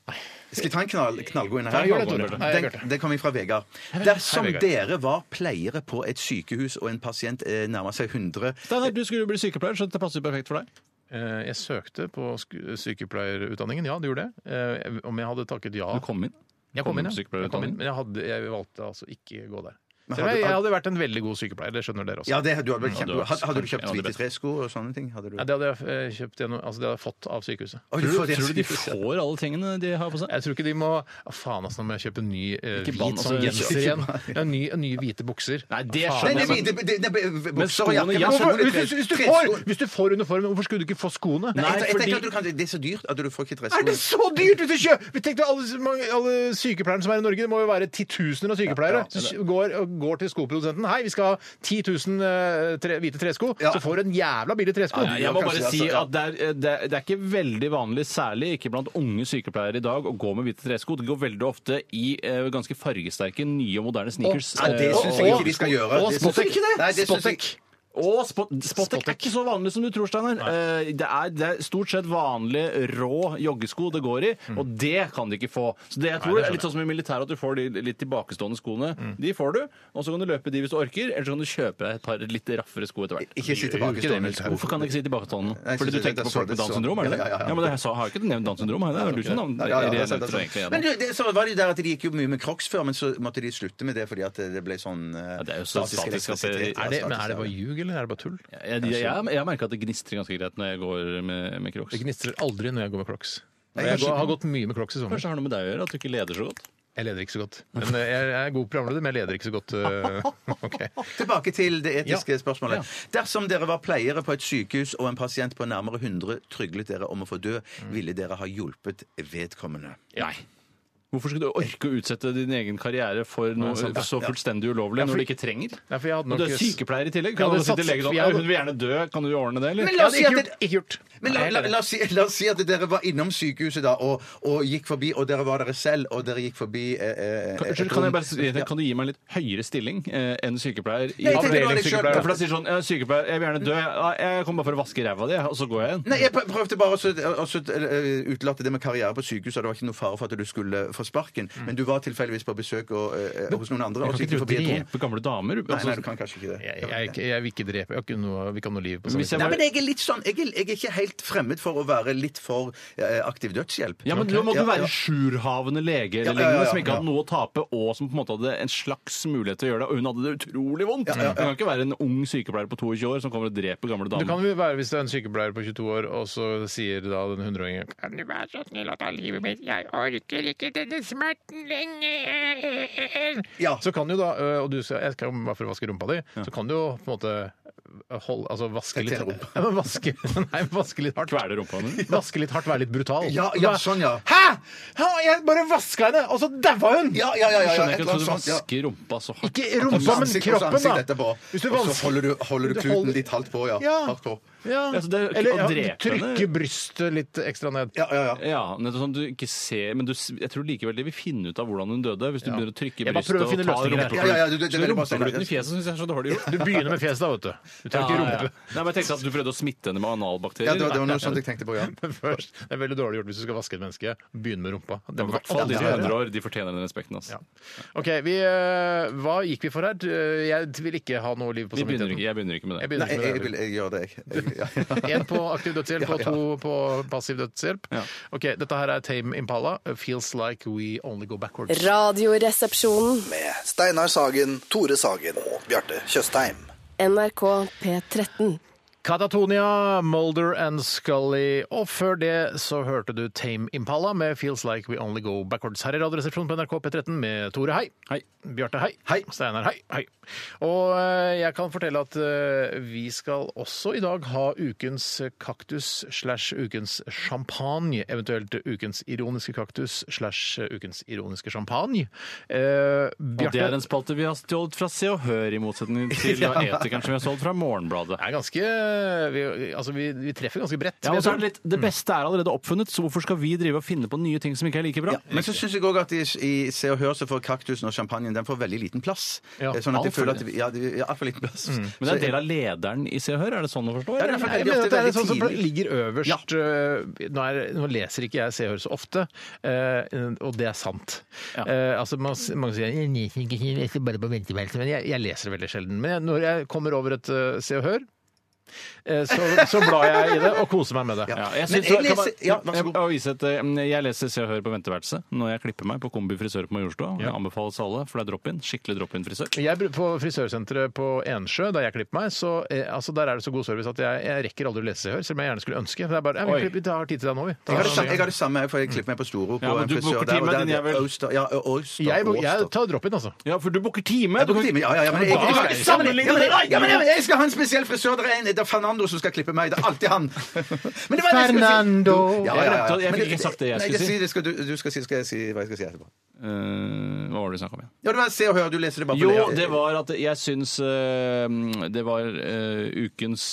Speaker 3: Skal jeg ta en knall, knallgod en
Speaker 4: Ja,
Speaker 3: her?
Speaker 4: gjør det, Tore. Nei, jeg gjør
Speaker 3: Den, den kommer fra Vegard.
Speaker 4: Hei,
Speaker 3: Dersom
Speaker 4: Vegard.
Speaker 3: dere var pleiere på et sykehus, og en pasient eh, nærmer seg 100
Speaker 4: Steinar, du skulle jo bli sykepleier, så det passer jo perfekt for deg.
Speaker 2: Eh, Jeg søkte på sku- sykepleierutdanningen, ja, det gjorde det. Eh, Om jeg hadde takket ja
Speaker 4: Du kom inn.
Speaker 2: Jeg kom inn, ja.
Speaker 4: på
Speaker 2: Jeg kom inn
Speaker 4: sykepleierutdanning.
Speaker 2: men jeg, hadde, jeg valgte altså ikke gå der.
Speaker 3: Men
Speaker 2: Selv om
Speaker 3: hadde-
Speaker 2: jeg, jeg hadde vært en veldig god sykepleier, det skjønner dere også.
Speaker 3: Ja, det, du hadde, vært
Speaker 2: Mm.
Speaker 3: kjempe,
Speaker 4: Ja, du
Speaker 3: hadde,
Speaker 4: hadde-
Speaker 3: hadde du kjøpt
Speaker 4: ja, det
Speaker 3: hvite
Speaker 4: beste.
Speaker 3: tresko og sånne ting? Hadde du...
Speaker 2: Nei, det hadde jeg eh, kjøpt gjennom, altså det hadde jeg fått av sykehuset.
Speaker 3: Oi,
Speaker 4: Tror
Speaker 3: for
Speaker 4: du,
Speaker 3: det-
Speaker 4: tror du de får alle tingene de har på seg?
Speaker 2: Jeg tror ikke de må Å, Faen, altså, nå må jeg kjøpe en ny eh,
Speaker 4: Ikke
Speaker 2: hvit
Speaker 4: bann, altså,
Speaker 2: sånn genser
Speaker 4: ikke-
Speaker 2: igjen. Ja, ny, nye hvite bukser.
Speaker 4: Nei, det
Speaker 3: Nei,
Speaker 2: Faen, altså.
Speaker 4: skjønner
Speaker 3: det,
Speaker 4: jeg.
Speaker 3: det, det, det, bukser og
Speaker 4: skoene-
Speaker 3: jakke men
Speaker 4: jeg
Speaker 3: så må
Speaker 4: skjønner-
Speaker 3: du
Speaker 2: Hvis,
Speaker 3: tre-
Speaker 2: du- hvis, du
Speaker 3: tresko-
Speaker 2: får, hvis du får uniformen, hvorfor skulle du ikke få skoene?
Speaker 3: Nei, jeg, jeg
Speaker 4: fordi-
Speaker 3: tenker at du kan, Det er så dyrt at du får ikke tresko.
Speaker 2: Er det så dyrt hvis du kjøper Vi tenkte alle, mange, alle sykepleierne som er i Norge, det må jo være titusener av sykepleiere, som går, og går til skoprodusenten. Hei, vi skal ha 10 000 eh, tre, hvite tresko,
Speaker 3: Ja.
Speaker 2: så får du en jævla billig tresko.
Speaker 4: Ja, jeg må bare
Speaker 3: kanskje,
Speaker 4: si
Speaker 3: altså, ja.
Speaker 4: at det er, eh, det, er, det er ikke veldig vanlig, særlig ikke blant unge sykepleiere i dag, å gå med hvite tresko. Det går veldig ofte i eh, ganske fargesterke, nye og moderne sneakers.
Speaker 3: Nei, det
Speaker 4: Eh,
Speaker 3: syns jeg ikke de skal gjøre.
Speaker 2: og
Speaker 3: Det syns jeg
Speaker 2: Spottek.
Speaker 3: ikke det. Nei, det syns jeg-
Speaker 2: Spottek.
Speaker 4: Og spot, spottek er ikke så vanlig som du tror, Steinar. Eh, Det er, det er stort sett vanlige rå joggesko det går i,
Speaker 3: Mm.
Speaker 4: og det kan de ikke få. Så det jeg tror er litt sånn som i militæret, at du får de litt tilbakestående skoene.
Speaker 3: Mm.
Speaker 4: De får du, og så kan du løpe de hvis du orker, eller så kan du kjøpe deg et par litt raffere sko etter hvert.
Speaker 3: Ikke si tilbake til Donald Sko.
Speaker 4: Hvorfor kan jeg ikke si tilbakestående?
Speaker 3: Nei,
Speaker 4: Fordi du
Speaker 3: jeg synes
Speaker 4: tenker
Speaker 3: det
Speaker 4: på
Speaker 3: er
Speaker 4: folk
Speaker 3: så- sånn.
Speaker 4: med Downs syndrom? er det det?
Speaker 3: Ja, ja, ja.
Speaker 4: Ja, men jeg sa, har jeg ikke nevnt Downs syndrom? Har jeg det? Det er du som navn-
Speaker 3: Ja, ja, ja,
Speaker 4: det
Speaker 3: det
Speaker 4: er
Speaker 3: er sant,
Speaker 4: jeg
Speaker 3: det er
Speaker 4: tror egentlig
Speaker 3: sant.
Speaker 4: jeg
Speaker 3: Men
Speaker 4: nevnte.
Speaker 3: du, det, så var det der at de gikk jo mye med crocs før, men så måtte de slutte med det fordi at det ble sånn eh,
Speaker 4: Ja, det er jo så statisk at
Speaker 3: elektrisitet.
Speaker 4: det- Er
Speaker 2: Er det, men er det
Speaker 3: statisk,
Speaker 2: bare
Speaker 3: ja.
Speaker 2: ljug, eller er det bare tull?
Speaker 4: Jeg, jeg, jeg, jeg merker at det gnistrer ganske greit når jeg går med, med crocs.
Speaker 2: Det gnistrer aldri når jeg går med crocs.
Speaker 4: Nei,
Speaker 2: Og Jeg
Speaker 4: kanskje-
Speaker 2: går, har gått mye med crocs i sommer.
Speaker 4: Kanskje det har noe med deg å gjøre, at du ikke leder så godt?
Speaker 2: Jeg leder ikke så godt. Men eh, jeg jeg er god programleder, men jeg leder ikke så godt. eh, ok.
Speaker 3: Tilbake til det etiske
Speaker 2: Ja.
Speaker 3: spørsmålet. Dersom dere var pleiere på et sykehus og en pasient på nærmere 100 tryglet dere om å få dø,
Speaker 4: Mm.
Speaker 3: ville dere ha hjulpet vedkommende?
Speaker 4: Nei. Hvorfor skulle du orke å utsette din egen karriere for noe
Speaker 2: sant, ja.
Speaker 4: så fullstendig ulovlig når du ikke trenger?
Speaker 2: Nei, for jeg hadde
Speaker 4: Og du
Speaker 2: nok-
Speaker 4: er sykepleier i tillegg.
Speaker 2: Jeg
Speaker 4: Kan
Speaker 2: hadde
Speaker 4: du si til
Speaker 2: satset-
Speaker 4: legen sånn
Speaker 2: jeg
Speaker 4: «Ja,
Speaker 2: hadde-
Speaker 4: Hun vil gjerne dø, kan du ordne det, eller?
Speaker 3: Men la oss
Speaker 2: Jeg
Speaker 3: si
Speaker 2: hadde
Speaker 3: at
Speaker 2: ikke gjort- ikke gjort.
Speaker 3: Men la,
Speaker 2: Nei,
Speaker 3: la,
Speaker 2: jeg
Speaker 3: la, oss si, la oss si at dere var innom sykehuset da og, og gikk forbi, og dere var dere selv, og dere gikk forbi eh, eh,
Speaker 4: Kan,
Speaker 3: et
Speaker 4: unnskyld, kan, jeg
Speaker 3: rom.
Speaker 4: bare, si det? kan du gi meg en litt høyere stilling eh, enn sykepleier? i-
Speaker 3: Nei, jeg tenkte det var litt
Speaker 4: Avdelingssykepleier.
Speaker 3: skjønt.
Speaker 4: Ja, For da sier sånn, «Jeg er sykepleier, jeg vil gjerne dø, Ja, jeg kommer bare for å vaske ræva di, og så går jeg igjen.
Speaker 3: Nei, jeg prø- prøvde bare å så- å så- eh, utelate det med karriere på sykehus, og det var ikke noe fare for at du skulle få sparken. Men du var tilfeldigvis på besøk og, eh, hos noen andre. Og
Speaker 4: Jeg
Speaker 3: så
Speaker 4: kan
Speaker 3: gikk du
Speaker 4: ikke
Speaker 3: forbi et rom.
Speaker 4: drepe gamle damer.
Speaker 3: Nei, nei,
Speaker 4: Altså,
Speaker 3: du kan kanskje ikke det.
Speaker 2: Jeg, jeg, er ikke- jeg vil ikke drepe. Jeg har ikke noe, vi kan noe liv på
Speaker 4: Men hvis
Speaker 2: samvittigheten.
Speaker 4: jeg
Speaker 3: Nei,
Speaker 4: var-
Speaker 3: men jeg er litt sånn, jeg er, jeg er ikke helt fremmed for å være litt for eh, aktiv dødshjelp.
Speaker 4: Ja, men Da må
Speaker 3: Ja,
Speaker 4: du
Speaker 3: ja.
Speaker 4: være sjurhavende lege
Speaker 3: Ja,
Speaker 4: eller
Speaker 3: ja, ja,
Speaker 4: lignende som
Speaker 3: ja.
Speaker 4: ikke hadde noe å tape, og som på en måte hadde en slags mulighet til å gjøre det. Og hun hadde det utrolig vondt!
Speaker 3: ja, ja.
Speaker 4: Du kan ikke være en ung sykepleier på 22 år som kommer og dreper gamle
Speaker 2: Det
Speaker 4: damer.
Speaker 2: kan jo være hvis det er en sykepleier på 22 år, og så sier da den 100-åringen Kan du være så snill å ta livet mitt? Jeg orker ikke denne smerten lenger.
Speaker 3: Ja.
Speaker 2: Så kan jo da, ø, og du skal, jeg skal bare for å vaske rumpa di, så kan du jo på en måte holde, altså vaske litt
Speaker 3: Tette rumpa.
Speaker 2: Ja, men vaske, nei, vaske litt hardt.
Speaker 4: Kvele rumpa mi.
Speaker 2: Vaske litt hardt, være litt brutal.
Speaker 3: Ja, ja, sånn, ja.
Speaker 2: Hæ?! Hæ? Jeg bare vaska henne, og så daua hun!
Speaker 3: Ja, ja, ja, ja, ja,
Speaker 4: Skjønner
Speaker 3: et
Speaker 4: ikke
Speaker 3: eller
Speaker 4: at
Speaker 3: annet
Speaker 4: du
Speaker 3: sånt, ja.
Speaker 4: vasker rumpa så hardt.
Speaker 2: Ikke rumpa, men
Speaker 3: Ansikt- også
Speaker 2: kroppen,
Speaker 3: ansikt
Speaker 2: da.
Speaker 3: etterpå.
Speaker 2: Hvis du
Speaker 3: Og så
Speaker 2: vansker-
Speaker 3: holder du, holder du
Speaker 2: Du
Speaker 3: kluten
Speaker 2: holder-
Speaker 3: litt halvt på, ja.
Speaker 2: Ja.
Speaker 3: Hardt på.
Speaker 2: Ja.
Speaker 4: Ja, så det er ikke å
Speaker 2: Eller ja,
Speaker 4: drepe
Speaker 2: trykke
Speaker 4: henne.
Speaker 2: brystet litt ekstra ned.
Speaker 3: Ja, ja, ja.
Speaker 4: Ja, nettopp sånn du ikke ser Men du, s- jeg tror likevel de vil finne ut av hvordan hun døde, hvis du
Speaker 2: Ja.
Speaker 4: begynner å trykke i
Speaker 2: Jeg bare
Speaker 4: brystet
Speaker 2: prøver å
Speaker 4: og
Speaker 2: finne
Speaker 4: ta
Speaker 2: løsninger her.
Speaker 4: rumpekluten.
Speaker 3: Ja, ja, ja, du- du- det
Speaker 4: Så
Speaker 3: er bare å si-
Speaker 4: Rumpekluten i fjeset syns jeg er så dårlig gjort.
Speaker 2: Du begynner med fjeset, da, vet du. Du tar ikke
Speaker 4: Ja, ja, ja.
Speaker 2: rumpe.
Speaker 4: Nei, men jeg tenkte at du prøvde å smitte henne med
Speaker 3: ja det, var,
Speaker 4: analbakterier.
Speaker 3: det var noe sånt jeg tenkte på, ja.
Speaker 2: Men først, Det er veldig dårlig gjort hvis du skal vaske et menneske. Begynn med rumpa.
Speaker 4: I
Speaker 2: Det må
Speaker 4: hvert fall de
Speaker 2: alltid
Speaker 4: som er 100
Speaker 2: være det.
Speaker 4: år, de fortjener den respekten. Altså.
Speaker 2: Ja. OK, vi, eh, hva gikk vi for her? Eh, Jeg vil ikke ha noe liv
Speaker 4: Vi
Speaker 2: på
Speaker 4: begynner
Speaker 2: samvittigheten.
Speaker 4: ikke, jeg begynner ikke med det.
Speaker 2: Jeg begynner
Speaker 3: Nei, altså,
Speaker 2: ikke
Speaker 3: jeg, jeg,
Speaker 2: med det.
Speaker 3: vil- jeg gjør det, jeg.
Speaker 2: Én på aktiv dødshjelp og to på passiv dødshjelp. Ok, Dette her er Tame Impala, 'Feels Like We Only Go Backwards'.
Speaker 7: Radioresepsjonen.
Speaker 6: Med Steinar Sagen, Tore Sagen og Bjarte Tjøstheim.
Speaker 7: NRK P13.
Speaker 2: Katatonia, Molder and Scully. Og før det så hørte du Tame Impala med 'Feels Like We Only Go Backwards' her i Radioresepsjonen på NRK P13 med Tore, hei. Hei. Bjarte, hei. Hei. Steinar, hei. Hei. Og eh, jeg kan fortelle at eh, vi skal også i dag ha ukens kaktus slash ukens champagne, eventuelt ukens ironiske kaktus slash ukens ironiske champagne. Eh,
Speaker 4: Og det er en spalte vi har stjålet fra Se og Hør, i motsetning til
Speaker 2: Ja.
Speaker 4: Etikeren som vi har stjålet fra Morgenbladet.
Speaker 2: Det er ganske Vi, altså vi, vi treffer ganske bredt.
Speaker 4: Ja,
Speaker 2: vil
Speaker 4: og
Speaker 2: jeg
Speaker 4: så
Speaker 2: tro.
Speaker 4: er det, litt,
Speaker 3: mm.
Speaker 4: det beste er allerede oppfunnet, så hvorfor skal vi drive og finne på nye ting som ikke er like bra?
Speaker 3: Men så syns jeg òg at i, i Se og Hør så får kaktusen og champagnen den får veldig liten plass.
Speaker 4: Ja,
Speaker 3: Eh, sånn at jeg
Speaker 4: alt for Mm.
Speaker 3: føler at vi, ja, det- ja, altfor liten plass.
Speaker 4: Men det er en del av lederen i Se og Hør, er det sånn å forstå?
Speaker 3: Ja, det er
Speaker 4: eller?
Speaker 3: for-
Speaker 2: Nei,
Speaker 3: veldig
Speaker 2: men
Speaker 3: ofte
Speaker 2: dette er
Speaker 3: veldig
Speaker 2: sånn som
Speaker 3: tidlig.
Speaker 2: ligger øverst øh, nå, er, nå leser ikke jeg Se og Hør så ofte, øh, og det er sant. Eh, altså, man, s- mange sier jeg leser ikke, jeg leser bare på ventemeldelse, men jeg, jeg leser det veldig sjelden. Men jeg, når jeg kommer over et øh, Se og Hør, eh, så, så blar jeg i det og koser meg med det.
Speaker 4: Ja,
Speaker 3: Men
Speaker 4: jeg, synes,
Speaker 3: jeg
Speaker 4: kan man-
Speaker 3: leser- ja, vær så
Speaker 4: jeg,
Speaker 3: god.
Speaker 4: må vise et, eh, jeg leser Se og Hør på venteværelset når jeg klipper meg på Kombi frisør på Majorstua. Jeg anbefales alle, for det er drop-in. Skikkelig drop-in-frisør.
Speaker 2: Jeg, bru- på frisørsenteret på Ensjø, der jeg klipper meg, så eh, altså, der er det så god service at jeg, jeg rekker aldri å lese Se og Hør, selv om jeg gjerne skulle ønske. Det er bare, ja,
Speaker 4: Oi.
Speaker 2: vi, klipper, vi tar tid til deg nå, vi.
Speaker 3: Jeg har, det samme, jeg har det samme, for jeg klipper meg på Storo. På
Speaker 4: Ja, men
Speaker 3: en
Speaker 4: du
Speaker 3: frisør
Speaker 4: booker
Speaker 3: der,
Speaker 4: time,
Speaker 3: og der er
Speaker 4: din
Speaker 3: det
Speaker 4: jævel.
Speaker 3: Øster, ja, Øster,
Speaker 2: Jeg, bo-
Speaker 3: Åster.
Speaker 2: jeg tar drop-in, altså.
Speaker 4: Ja, for du booker time!
Speaker 3: Jeg
Speaker 4: du
Speaker 3: bruker
Speaker 4: kan-
Speaker 3: time, ja, ja, ja, men jeg,
Speaker 4: Da
Speaker 3: jeg,
Speaker 4: kan
Speaker 3: jeg,
Speaker 4: du ikke
Speaker 3: ja, men-
Speaker 4: sammenligne det!
Speaker 3: ja, men jeg, jeg skal ha en spesiell frisør. Det er, en, det er Fernando som skal klippe meg. Det er alltid han. Men det var det jeg skulle si.
Speaker 2: Fernando.
Speaker 3: Ja, ja, ja,
Speaker 4: Jeg glemte at
Speaker 3: ja.
Speaker 4: jeg
Speaker 3: Men
Speaker 4: fikk ikke sagt det jeg
Speaker 3: nei,
Speaker 4: skulle si.
Speaker 3: det skal, du, du skal si, skal jeg si hva jeg skal si etterpå.
Speaker 4: Eh, hva var det vi snakka om igjen?
Speaker 3: Ja, det var Se og Hør. Du leser det bare på
Speaker 4: Jo,
Speaker 3: det.
Speaker 4: det var at jeg syns eh, det var eh, ukens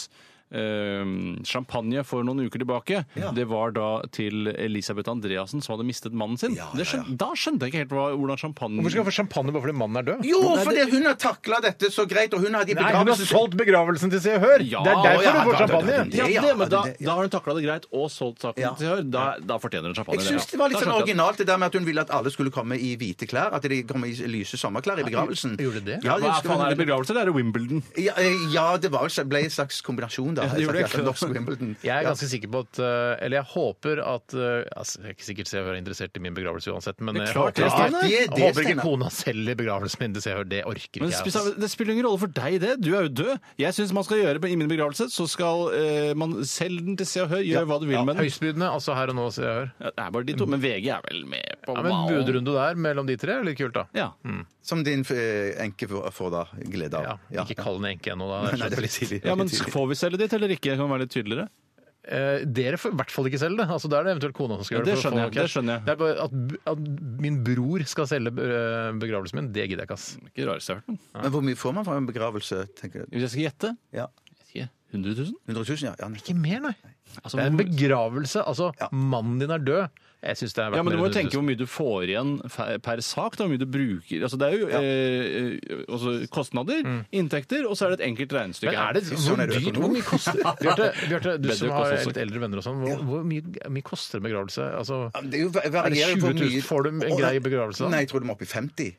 Speaker 4: eh, champagne for noen uker tilbake.
Speaker 3: Ja.
Speaker 4: Det var da til Elisabeth Andreassen som hadde mistet mannen sin.
Speaker 3: Ja,
Speaker 4: Det skjøn- Da skjønte jeg ikke helt hva, hvordan champagne
Speaker 2: Hvorfor skal jeg få champagne bare fordi mannen er død?
Speaker 3: Jo, fordi hun har takla dette så greit, og hun hadde i
Speaker 2: Nei, hun har
Speaker 3: begravelsen
Speaker 2: solgt begravelsen til Se og Hør!
Speaker 4: Ja,
Speaker 2: det er derfor
Speaker 3: ja,
Speaker 2: du får
Speaker 3: ja,
Speaker 2: champagne!
Speaker 3: ja, ja, ja,
Speaker 4: ja,
Speaker 3: Det,
Speaker 4: det, men da,
Speaker 3: det, ja.
Speaker 4: da har hun takla det greit og solgt saken
Speaker 3: Ja.
Speaker 4: til hør. Da, da fortjener hun champagne.
Speaker 3: Jeg syns
Speaker 4: ja.
Speaker 3: det var litt
Speaker 4: Da
Speaker 3: sånn
Speaker 4: skjønte jeg det.
Speaker 3: originalt det der med at hun ville at alle skulle komme i hvite klær. At de kom i lyse sommerklær i begravelsen.
Speaker 2: gjorde det?
Speaker 3: Ja,
Speaker 4: Hva
Speaker 3: skulle
Speaker 4: faen
Speaker 3: hun-
Speaker 4: er det begravelse? Det er Wimbledon.
Speaker 3: Ja, eh, ja, det var, vel- ble en slags kombinasjon, da.
Speaker 4: Ja, det gjorde
Speaker 3: Jeg snakker altså
Speaker 4: det.
Speaker 3: norsk Wimbledon.
Speaker 2: Jeg er
Speaker 3: Ja.
Speaker 2: ganske sikker på at eh, Eller jeg håper at eh, altså, Jeg er ikke sikkert Se og Hør er interessert i min begravelse uansett, men eh,
Speaker 4: Det er
Speaker 2: jeg
Speaker 4: klart
Speaker 2: håper,
Speaker 4: det,
Speaker 2: jeg
Speaker 4: Steinar.
Speaker 3: Det er det,
Speaker 2: håper ikke
Speaker 3: Steinar.
Speaker 2: kona selger begravelsen min til Se og Hør. Det orker
Speaker 4: Men
Speaker 2: ikke jeg. altså.
Speaker 4: spis- det spiller ingen rolle for deg, det. Du er jo død. Jeg syns man skal gjøre på- i min begravelse, så skal eh, man selge den til Se og Hør. Gjør hva du vil med den.
Speaker 2: Høystbydende, altså her og nå, Se og Hør.
Speaker 4: Ja, Det er bare de to. Men VG er vel med på
Speaker 2: Mm. Ja, men
Speaker 4: ballen.
Speaker 2: Budrunde der mellom de tre er litt kult, da.
Speaker 4: Ja.
Speaker 2: Mm,
Speaker 3: Som din eh, enke får får da glede av.
Speaker 2: Ja, ikke kall den enke ennå, da.
Speaker 3: Nei, nei, det er litt tidlig.
Speaker 4: ja, men Får vi selge ditt eller ikke? Kan være litt tydeligere.
Speaker 2: Eh, dere får i hvert fall ikke selge det. Altså, da er det eventuelt kona som skal
Speaker 4: Ja,
Speaker 2: gjøre
Speaker 4: det
Speaker 2: for å
Speaker 4: skjønner
Speaker 2: få
Speaker 4: jeg, det
Speaker 2: cash.
Speaker 4: skjønner jeg.
Speaker 2: Det er bare at, b- at min bror skal selge eh, begravelsen min, det gidder jeg ikke, ass.
Speaker 4: Ikke det rareste jeg har hørt. men.
Speaker 3: Men hvor mye får man fra en begravelse, tenker du?
Speaker 4: Hvis jeg skal gjette
Speaker 3: Ja.
Speaker 4: jeg vet ikke, 100 000?
Speaker 3: 100 000, ja. ja. nei.
Speaker 2: Ikke mer, nei.
Speaker 4: Altså,
Speaker 2: Det er en
Speaker 4: hvor-
Speaker 2: begravelse. Altså, mannen din er død. Jeg syns det er verdt
Speaker 4: Ja, men du må
Speaker 2: mer
Speaker 4: jo
Speaker 2: enn 100 000.
Speaker 4: tenke hvor mye du får igjen fe- per sak, da, hvor mye du bruker. Altså, det er jo eh, eh, altså, kostnader, inntekter, og så er det et enkelt regnestykke.
Speaker 2: Mm.
Speaker 4: Sånn
Speaker 3: er
Speaker 4: her.
Speaker 2: Men er det hvor
Speaker 3: du
Speaker 2: dyrt?
Speaker 3: økonom.
Speaker 2: Hvor mye koster Bjarte, Bjarte, du
Speaker 4: Bedre
Speaker 2: som har
Speaker 4: kosthold også.
Speaker 2: litt eldre venner og sånn, hvor, hvor mye, mye koster en begravelse? Altså,
Speaker 3: Ja, men Det er jo varierer
Speaker 2: Er
Speaker 3: jo
Speaker 2: det
Speaker 3: hvor
Speaker 2: 20 000?
Speaker 3: mye-
Speaker 2: Får du en
Speaker 3: Å,
Speaker 2: grei begravelse, da?
Speaker 3: Nei, jeg tror du må opp i 50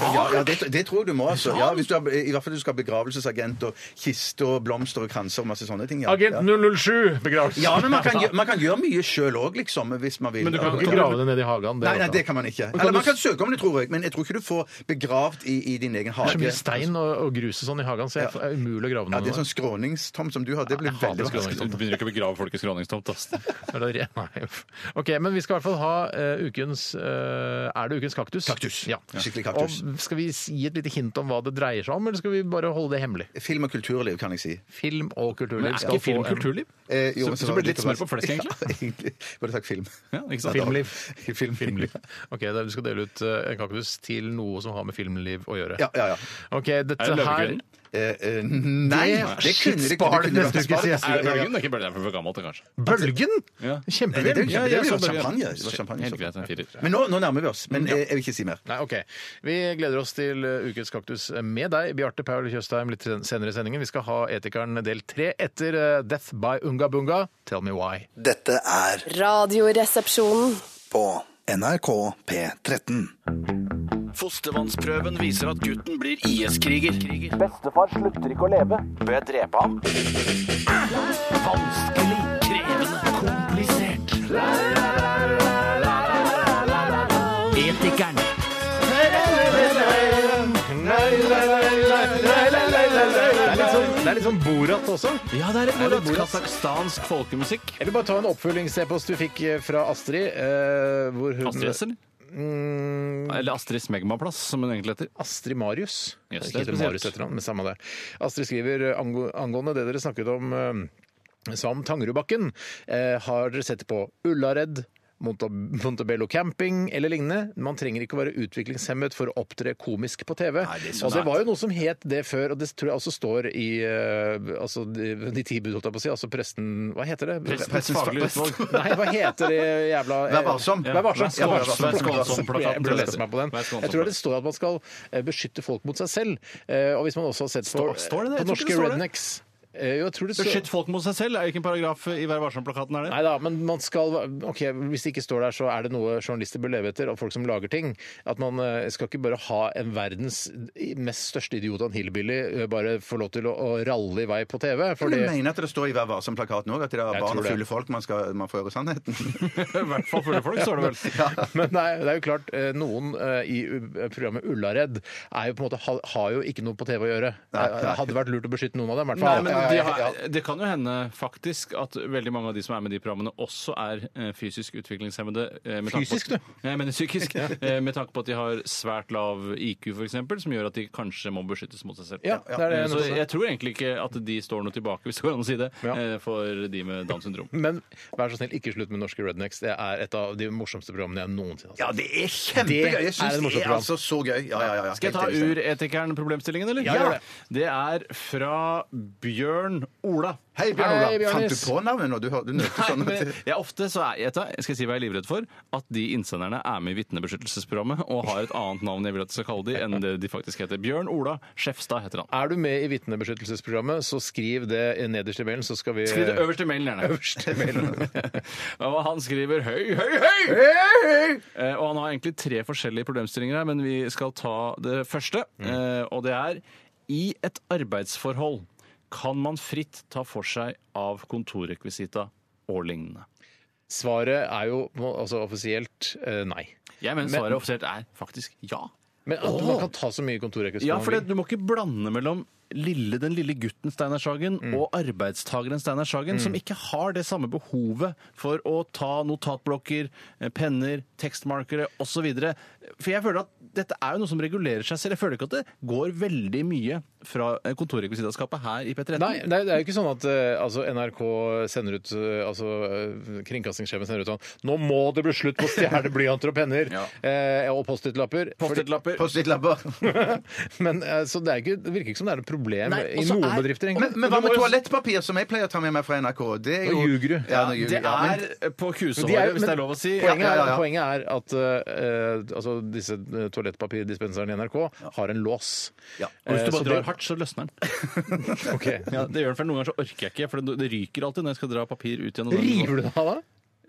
Speaker 3: ja, ja, det, det tror jeg du må, altså. Ja, hvis du har, I hvert fall du skal ha begravelsesagent og kiste og blomster og kranser og masse sånne ting. Ja, ja.
Speaker 2: Agent 007! Begravelse.
Speaker 3: ja men man kan, gjø- man kan gjøre mye sjøl òg, liksom, hvis man vil.
Speaker 2: Men du kan
Speaker 3: Ja.
Speaker 2: ikke grave det altså. ned i hagen.
Speaker 3: Nei, nei, det kan man ikke. Eller man kan søke om det, tror jeg, men jeg tror ikke du får begravd i, i din egen
Speaker 2: Det er så
Speaker 3: hage.
Speaker 2: mye stein og, og grus og sånn i hagen, så jeg- det er umulig å grave
Speaker 3: Ja, det
Speaker 2: ned
Speaker 3: er sånn skråningstomt som du har. Det blir
Speaker 2: Jeg hater
Speaker 3: veldig vanskelig.
Speaker 2: skråningstomt.
Speaker 4: Du begynner ikke å begrave folk i skråningstomt. ass.
Speaker 2: Er det re- Nei. uff. OK, men vi skal i hvert fall ha eh, ukens eh, Er det ukens kaktus?
Speaker 3: Kaktus.
Speaker 2: Ja.
Speaker 3: Skikkelig kaktus.
Speaker 2: Og skal vi si- gi et lite hint om hva det dreier seg om, eller skal vi bare holde det hemmelig?
Speaker 3: Film og kulturliv, kan jeg si.
Speaker 2: Film og kulturliv.
Speaker 4: Men er
Speaker 2: skal
Speaker 4: ikke film
Speaker 2: få en-
Speaker 4: kulturliv?
Speaker 3: Eh, jo,
Speaker 4: Så-
Speaker 3: men
Speaker 4: så
Speaker 3: var
Speaker 4: ble det litt
Speaker 3: likevel-
Speaker 4: smør på flesk, egentlig?
Speaker 3: Ja, egentlig. Bare takk film.
Speaker 4: Ja, ikke sant?
Speaker 2: Filmliv.
Speaker 3: Film.
Speaker 2: Filmliv. Ok, da Du skal dele ut eh, en kaktus til noe som har med filmliv å gjøre.
Speaker 3: Ja, ja, ja.
Speaker 2: Ok, dette
Speaker 4: Er det
Speaker 2: her
Speaker 4: Løvekvinnen?
Speaker 3: Eh, eh, nei,
Speaker 2: Det-
Speaker 3: det
Speaker 2: shit,
Speaker 3: kunne det
Speaker 2: spar det
Speaker 3: kunne
Speaker 2: neste
Speaker 3: vært-
Speaker 2: uke,
Speaker 3: spar det.
Speaker 2: sier jeg.
Speaker 4: Er det Bølgen? Det er ikke Bølgen, det er for gammelt, det, kanskje.
Speaker 2: Bølgen!
Speaker 3: Nei,
Speaker 4: Ja.
Speaker 3: det er jo
Speaker 2: Kjempefilm!
Speaker 3: kjempe- det
Speaker 4: ja,
Speaker 3: blir jo sånn
Speaker 4: så bra.
Speaker 3: champagne. Det var champagne,
Speaker 4: Helt
Speaker 3: så.
Speaker 4: greit, en firer.
Speaker 3: Men nå, nå nærmer vi oss. Men eh, jeg vil ikke si mer.
Speaker 2: Nei, ok. Vi gleder oss til eh, ukens kaktus med deg, Bjarte Paul Tjøstheim, litt senere i sendingen. Vi skal ha Etikeren del tre etter eh, Death by Unga Bunga. Tell me why.
Speaker 6: Dette er
Speaker 7: Radioresepsjonen.
Speaker 6: på NRK P13.
Speaker 14: Fostervannsprøven viser at gutten blir IS-kriger. Bestefar slutter ikke å leve. Bør jeg drepe ham? Vanskelig, krevende, komplisert. Etikeren.
Speaker 2: Det er litt sånn, det er litt sånn Borat også.
Speaker 4: Ja, det er litt Borat.
Speaker 2: Kasakhstansk folkemusikk. Jeg vil bare ta en oppfølgings-e-post du fikk eh, fra Astrid. eh, hvor hun,
Speaker 4: Astrid S, eller?
Speaker 2: Mm,
Speaker 4: Eller Astrid Smegmaplass, som hun egentlig heter.
Speaker 2: Astrid Marius.
Speaker 4: Jøss,
Speaker 2: Ikke
Speaker 4: det er
Speaker 2: heter Marius
Speaker 4: spesielt.
Speaker 2: etter men samme det. Astrid skriver eh, angå- angående det dere snakket om eh, Sam Tangerudbakken. eh, Har dere sett på Ullared? Monta- Montebello camping eller lignende. Man trenger ikke å være utviklingshemmet for å opptre komisk på TV.
Speaker 4: det er så
Speaker 2: og det
Speaker 4: nært.
Speaker 2: var jo noe som het det før, og det tror jeg også står i eh, altså, de, de ti bud, holdt jeg på å si. Altså presten Hva heter det?
Speaker 4: Prestens faglige utvalg.
Speaker 2: Nei, hva heter det jævla eh,
Speaker 3: Vær varsom.
Speaker 2: Vær varsom.
Speaker 4: Ja, vær varsom. Vær skånsom, plakaten.
Speaker 2: Jeg burde lese meg på den.
Speaker 4: Vær skånsom,
Speaker 2: Jeg tror det står at man skal eh, beskytte folk mot seg selv. Eh, Og hvis man også har sett på,
Speaker 4: Står- står det det? Jeg tror ikke
Speaker 2: på
Speaker 4: det
Speaker 2: norske
Speaker 4: står det.
Speaker 2: rednecks Eh, Jo, jeg tror det står
Speaker 4: Beskytt folk mot seg selv, er hvilken paragraf i Vær varsom-plakaten er det?
Speaker 2: Nei da, men man skal Ok, hvis det ikke står der, så er det noe journalister bør leve etter, og folk som lager ting. At man eh, skal ikke bare ha en verdens mest største idiot av en hillbilly eh, bare få lov til å, å ralle i vei på TV. Fordi
Speaker 3: Jeg mener at det står i Vær varsom-plakaten òg at det er
Speaker 2: Jeg
Speaker 3: barn
Speaker 2: tror
Speaker 3: og
Speaker 2: det.
Speaker 3: fulle folk man, skal, man får høre sannheten.
Speaker 4: I hvert fall fulle folk, står det vel.
Speaker 2: Men nei, det er jo klart, eh, noen eh, i u- programmet Ullared er jo på en måte, ha- har jo ikke noe på TV å gjøre. Eh, Det hadde vært lurt å beskytte noen av dem, i hvert
Speaker 4: Nei,
Speaker 2: fall.
Speaker 4: men
Speaker 2: Ja,
Speaker 4: det,
Speaker 2: ja, ja.
Speaker 4: har, det kan jo hende faktisk at veldig mange av de som er med i de programmene, også er eh, fysisk utviklingshemmede. eh, med tanke på-
Speaker 2: Fysisk, du?
Speaker 4: Nei, Jeg mener psykisk. eh, Med tanke på at de har svært lav IQ, f.eks., som gjør at de kanskje må beskyttes mot seg selv.
Speaker 2: Ja, Mm. det er det jeg
Speaker 4: Eh, Så
Speaker 2: nettopp sa.
Speaker 4: jeg tror egentlig ikke at de står noe tilbake, hvis det går an å si det,
Speaker 2: Ja.
Speaker 4: eh, for de med Downs syndrom.
Speaker 2: Men vær så snill, ikke slutt med norske rednecks. Det er et av de morsomste programmene jeg noensinne har sett.
Speaker 3: Ja, det er kjempegøy!
Speaker 2: Det
Speaker 3: Jeg
Speaker 2: er
Speaker 3: syns
Speaker 2: et
Speaker 3: det,
Speaker 2: morsomt
Speaker 3: er
Speaker 2: program.
Speaker 3: altså så gøy. Ja, ja, ja, ja.
Speaker 4: Skal jeg ta
Speaker 3: Helt enig.
Speaker 4: uretikeren-problemstillingen, eller?
Speaker 2: Ja, gjør det.
Speaker 4: Det er fra Bjørn Ola.
Speaker 3: Hei, Bjørn Olav.
Speaker 2: Hei, Bjørnis.
Speaker 3: Fant du på navnet når du hørte du nølte
Speaker 4: Nei,
Speaker 3: sånn?
Speaker 4: men jeg ofte så er jeg, tar- skal jeg si hva jeg er livredd for? At de innsenderne er med i vitnebeskyttelsesprogrammet og har et annet navn jeg vil at jeg skal kalle de enn det de faktisk heter. Bjørn Ola Skjefstad heter han.
Speaker 2: Er du med i vitnebeskyttelsesprogrammet, så skriv det nederst i mailen, så skal vi
Speaker 4: Skriv det øverst i mailen, gjerne.
Speaker 2: Øverst i mailen.
Speaker 4: og han skriver høy, høy, høy! Eh, Og han har egentlig tre forskjellige problemstillinger her, men vi skal ta det første. Eh, Og det er i et arbeidsforhold kan man fritt ta for seg av kontorrekvisita og lignende.
Speaker 2: Svaret er jo altså, offisielt eh, nei.
Speaker 4: Jeg mener
Speaker 2: Men-
Speaker 4: svaret offisielt er faktisk ja.
Speaker 2: Men at man kan ta så mye kontorrekvisitt
Speaker 4: Ja,
Speaker 2: man
Speaker 4: for det,
Speaker 2: vil.
Speaker 4: du må ikke blande mellom lille, den lille gutten Steinar Sagen
Speaker 2: Mm.
Speaker 4: og arbeidstageren Steinar Sagen, som ikke har det samme behovet for å ta notatblokker, eh, penner, tekstmarkere osv. For jeg føler at dette er jo noe som regulerer seg selv. Jeg føler ikke at det går veldig mye fra eh, kontorrekvisitaskapet her i P13.
Speaker 2: Nei, nei, det er jo ikke sånn at eh, altså, NRK sender ut eh, altså, eh, Kringkastingssjefen sender ut sånn Nå må det bli slutt på å stjele blyanter og penner!
Speaker 4: Ja.
Speaker 2: eh, og Post-It-lapper.
Speaker 4: Post-it-lapper.
Speaker 3: Post-it-labber.
Speaker 2: Fordi- Men eh, så det, er ikke, det virker ikke som det er noe problem
Speaker 4: Nei,
Speaker 2: i
Speaker 4: og så
Speaker 2: noen
Speaker 4: er-
Speaker 2: bedrifter,
Speaker 3: Men,
Speaker 2: egentlig.
Speaker 3: men hva med toalettpapir, som jeg pleier å ta med meg fra NRK? Det er jo...
Speaker 2: Nå ljuger du.
Speaker 3: Ja, nå ljuger
Speaker 4: Det
Speaker 3: jeg. Ja, men-
Speaker 4: er på
Speaker 2: Men de er
Speaker 4: kusehåret,
Speaker 2: jo-
Speaker 4: hvis det
Speaker 2: men
Speaker 4: er lov å si.
Speaker 2: Poenget
Speaker 3: Ja,
Speaker 2: er,
Speaker 3: ja, ja.
Speaker 2: poenget er at eh, eh, altså, disse eh, toalettpapirdispenserene i NRK har en lås.
Speaker 3: Ja.
Speaker 4: Og hvis
Speaker 2: Eh,
Speaker 4: du
Speaker 2: så
Speaker 4: bare drar
Speaker 2: da-
Speaker 4: hardt, så løsner den.
Speaker 2: Ok.
Speaker 4: ja, det gjør den, for Noen ganger så orker jeg ikke, for det, det ryker alltid når jeg skal dra papir ut igjen. og da-
Speaker 2: River du den av da?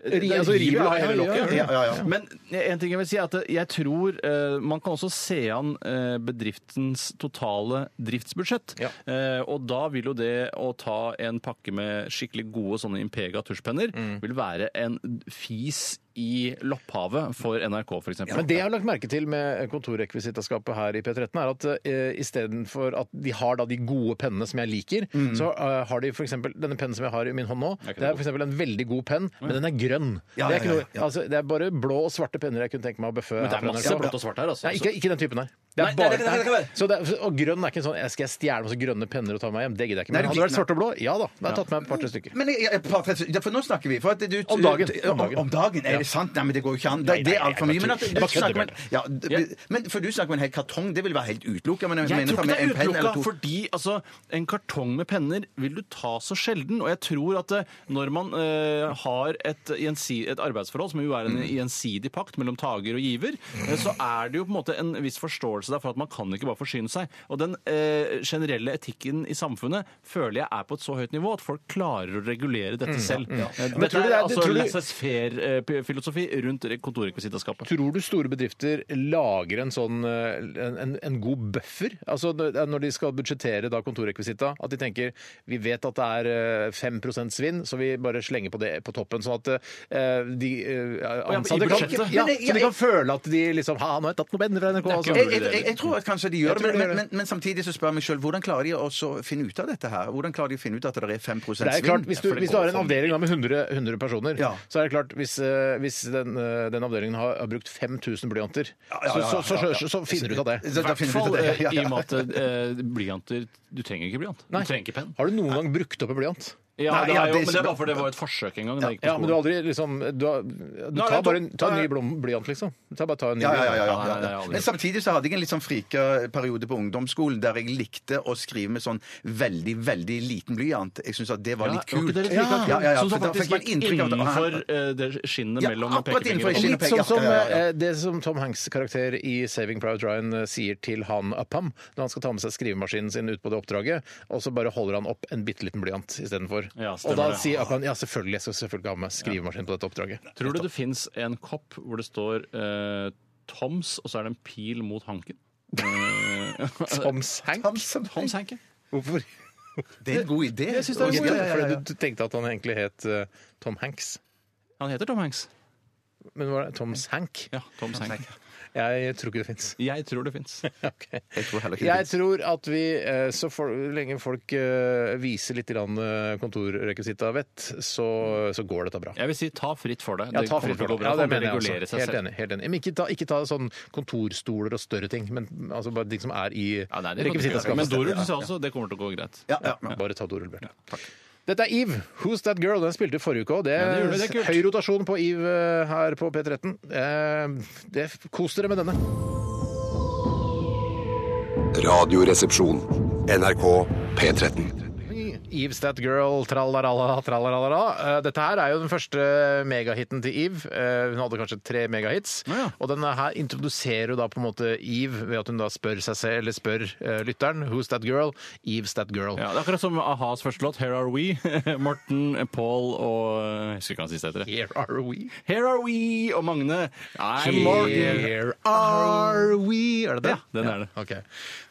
Speaker 2: Ri,
Speaker 4: Det-
Speaker 2: altså,
Speaker 4: det
Speaker 2: river du av
Speaker 4: river av
Speaker 2: hele
Speaker 4: hele
Speaker 2: lokket?
Speaker 3: Ja, ja, ja.
Speaker 4: Men en ting jeg vil si er at jeg tror eh, man kan også se an eh, bedriftens totale driftsbudsjett.
Speaker 2: Ja.
Speaker 4: Eh, og da vil jo det å ta en pakke med skikkelig gode sånne Impega tusjpenner vil være en fis i lopphavet for NRK, f.eks.
Speaker 2: Men det jeg har lagt merke til med kontorrekvisitaskapet her i P13, er at eh, istedenfor at de har da de gode pennene som jeg liker, så eh, har de f.eks. denne pennen som jeg har i min hånd nå.
Speaker 4: Er ikke
Speaker 2: Det er
Speaker 4: Mm. det
Speaker 2: f.eks. en veldig god penn, men den er grønn.
Speaker 3: Ja,
Speaker 2: det, er ikke
Speaker 3: ja, ja,
Speaker 2: noe, altså, det er bare blå og svarte penner jeg kunne tenke meg å bøffe.
Speaker 4: Men det
Speaker 2: her
Speaker 4: er
Speaker 2: fra
Speaker 4: masse
Speaker 2: NRK.
Speaker 4: blått og svart her, altså.
Speaker 2: Nei, ikke, ikke den typen her. Det
Speaker 4: Nei, nei,
Speaker 2: er bare,
Speaker 4: det kan- det kan være.
Speaker 2: Så det er, og grønn er ikke en sånn Jeg skal stjele masse grønne penner og ta meg hjem. Det gidder jeg ikke.
Speaker 3: Nei,
Speaker 2: Men hadde det vært
Speaker 3: nei.
Speaker 2: svart og blå? Ja da. Da har jeg tatt meg et par-tre stykker.
Speaker 3: Men jeg, jeg, et par, tre- ja, for nå snakker vi. For at du,
Speaker 2: Om dagen.
Speaker 3: Om, om dagen, Er det sant? Nei, men det går jo ikke an. Det, det er altfor mye. Men, at,
Speaker 2: jeg
Speaker 3: du
Speaker 2: bare
Speaker 3: snakker med,
Speaker 2: kødder,
Speaker 3: ja, d- men For du snakker om en hel kartong. Det vil være helt utelukka. Men
Speaker 4: Jeg
Speaker 3: mener
Speaker 4: tror
Speaker 3: for meg
Speaker 4: ikke det
Speaker 3: en
Speaker 4: er
Speaker 3: penn eller
Speaker 4: utelukka,
Speaker 3: to
Speaker 4: fordi altså, en kartong med penner vil du ta så sjelden. Og jeg tror at eh, når man eh, har et, gjensi- et
Speaker 2: Mm.
Speaker 4: arbeidsforhold, som jo er en gjensidig pakt mellom tager og giver, eh, så er det jo på en måte en viss forståelse der for at man kan ikke bare forsyne seg. Og den eh, generelle etikken i samfunnet føler jeg er på et så høyt nivå at folk klarer å regulere dette
Speaker 2: Mm,
Speaker 4: selv.
Speaker 2: ja.
Speaker 4: Eh,
Speaker 2: Men
Speaker 4: Dette
Speaker 2: tror du
Speaker 4: er
Speaker 2: det er-
Speaker 4: altså
Speaker 2: tror du-
Speaker 4: laissez-faire-filosofi eh, rundt kontorrekvisitaskapet.
Speaker 2: Tror du store bedrifter lager en sånn eh, en, en, en god buffer? Altså det er når de skal budsjettere da kontorrekvisita, at de tenker vi vet at det er eh, 5 svinn, så vi bare slenger på det på toppen. Sånn at eh, de eh,
Speaker 4: i
Speaker 2: ansatte kan,
Speaker 4: budsjettet?
Speaker 2: ja,
Speaker 3: Men jeg-
Speaker 2: så de kan føle at de liksom Ha, nå har jeg tatt noe bedre fra NRK. altså.
Speaker 3: Jeg, jeg, jeg, jeg tror at kanskje de
Speaker 2: Jeg
Speaker 3: gjør det,
Speaker 2: tror
Speaker 3: men,
Speaker 2: de gjør
Speaker 3: men, men, men samtidig så spør jeg meg sjøl hvordan klarer de også å finne ut av dette her? Hvordan klarer de å finne ut at det er 5
Speaker 2: Det
Speaker 3: svinn?
Speaker 2: er klart, Hvis du,
Speaker 3: Ja, for det
Speaker 2: hvis du
Speaker 3: går
Speaker 2: har en
Speaker 3: for-
Speaker 2: avdeling da med 100, 100 personer, så er det klart hvis, eh, hvis den, eh, den avdelingen har, har brukt 5000 blyanter,
Speaker 4: ja, ja,
Speaker 2: så, så,
Speaker 4: ja, ja.
Speaker 2: så, så, så finner du ut av det.
Speaker 4: I hvert fall eh, i og med at eh, blyanter Du trenger ikke blyant. Du
Speaker 2: Nei.
Speaker 4: trenger ikke penn.
Speaker 2: Har du noen gang brukt opp en blyant?
Speaker 4: Ja, det
Speaker 2: ja,
Speaker 4: har jeg jo,
Speaker 2: det-
Speaker 4: men det var fordi det var et forsøk en gang. da jeg gikk på
Speaker 2: Ja, men
Speaker 4: skolen.
Speaker 2: du har aldri liksom Du, har, du
Speaker 4: Nei,
Speaker 2: tar
Speaker 4: jeg
Speaker 2: bare
Speaker 4: tok-
Speaker 2: en, ta en ny blom, blyant, liksom. Ta bare ta en ny
Speaker 3: Ja, ja, ja, ja,
Speaker 2: blyant.
Speaker 3: ja, ja. Men samtidig så hadde jeg en litt sånn frika periode på ungdomsskolen der jeg likte å skrive med sånn veldig, veldig liten blyant. Jeg syns at det var
Speaker 4: Ja,
Speaker 3: litt kult.
Speaker 4: var ikke det litt
Speaker 3: ja,
Speaker 4: kult?
Speaker 3: ja, ja,
Speaker 4: Sånn
Speaker 3: for
Speaker 4: som
Speaker 3: da
Speaker 4: faktisk
Speaker 3: fikk man
Speaker 4: gikk
Speaker 3: inntrykk av at Ah,
Speaker 4: innenfor eh, det skinnet
Speaker 3: Ja,
Speaker 4: mellom
Speaker 3: akkurat innenfor
Speaker 4: pekefingeren.
Speaker 3: skinnet
Speaker 2: Litt
Speaker 3: og
Speaker 2: sånn som
Speaker 3: Ja, ja, ja.
Speaker 2: eh, det som Tom Hanks' karakter i 'Saving Private Ryan' eh, sier til han Upham når han skal ta med seg skrivemaskinen sin ut på det oppdraget, og så bare holder han opp en bitte liten blyant istedenfor.
Speaker 4: Ja,
Speaker 2: og
Speaker 4: stemmer
Speaker 2: da
Speaker 4: det.
Speaker 2: sier Upham ja, selvfølgelig, jeg skal selvfølgelig ha med skrivemaskin på dette oppdraget.
Speaker 4: Tror du det fins en kopp hvor det står eh, Toms, og så er det en pil mot hanken? Eh,
Speaker 2: Toms Hank?
Speaker 4: Toms Hank, ja.
Speaker 2: Hvorfor?
Speaker 3: Det er en god idé.
Speaker 4: Jeg synes det er en god idé.
Speaker 2: Fordi du tenkte at han egentlig het eh, Tom Hanks.
Speaker 4: Han heter Tom Hanks.
Speaker 2: Men var det Toms Hank?
Speaker 4: Ja, Toms Hank.
Speaker 2: Jeg tror ikke det fins.
Speaker 4: Jeg tror det fins.
Speaker 3: Jeg tror heller
Speaker 2: Jeg tror at vi, eh, så for, lenge folk eh, viser litt grann, eh, kontorrekvisitavett, så, så går dette bra.
Speaker 4: Jeg vil si ta fritt for deg.
Speaker 2: Ja, ta fritt for det. Ja, det mener jeg
Speaker 4: regulere
Speaker 2: også.
Speaker 4: seg
Speaker 2: Helt
Speaker 4: selv.
Speaker 2: enig. Helt enig. Men ikke ta, ikke ta sånn kontorstoler og større ting, men altså bare ting som er i ja,
Speaker 4: Nei, det kan du ikke gjøre. Men Dorull sa også det kommer til å gå greit.
Speaker 2: Bare ta dorull, Bjarte. Dette er Eve, Who's That Girl? Den spilte forrige uke òg. Det,
Speaker 4: Ja, det gjorde det. Det er
Speaker 2: er
Speaker 4: kult.
Speaker 2: høy rotasjon på Eve eh, her på P13. Eh, det, kos dere med denne.
Speaker 5: Radioresepsjon. NRK P13.
Speaker 2: Eve's That Girl, tralalala, tralalala. Eh, Dette her er jo den første megahiten til Eve. Eh, Hun hadde kanskje tre megahits. Og denne her introduserer jo da på en måte Eve ved at hun da spør seg selv, eller spør eh, lytteren, Who's That Girl? Eve's That Girl.
Speaker 4: Ja, det er akkurat som a-has første låt, Here Are We. Morten, Paul og Jeg husker ikke hva den siste heter.
Speaker 2: Here Are We.
Speaker 4: Here Are We og Magne. I'm Morten.
Speaker 2: Here are we Er det det?
Speaker 4: Ja, den er det.
Speaker 2: Ok.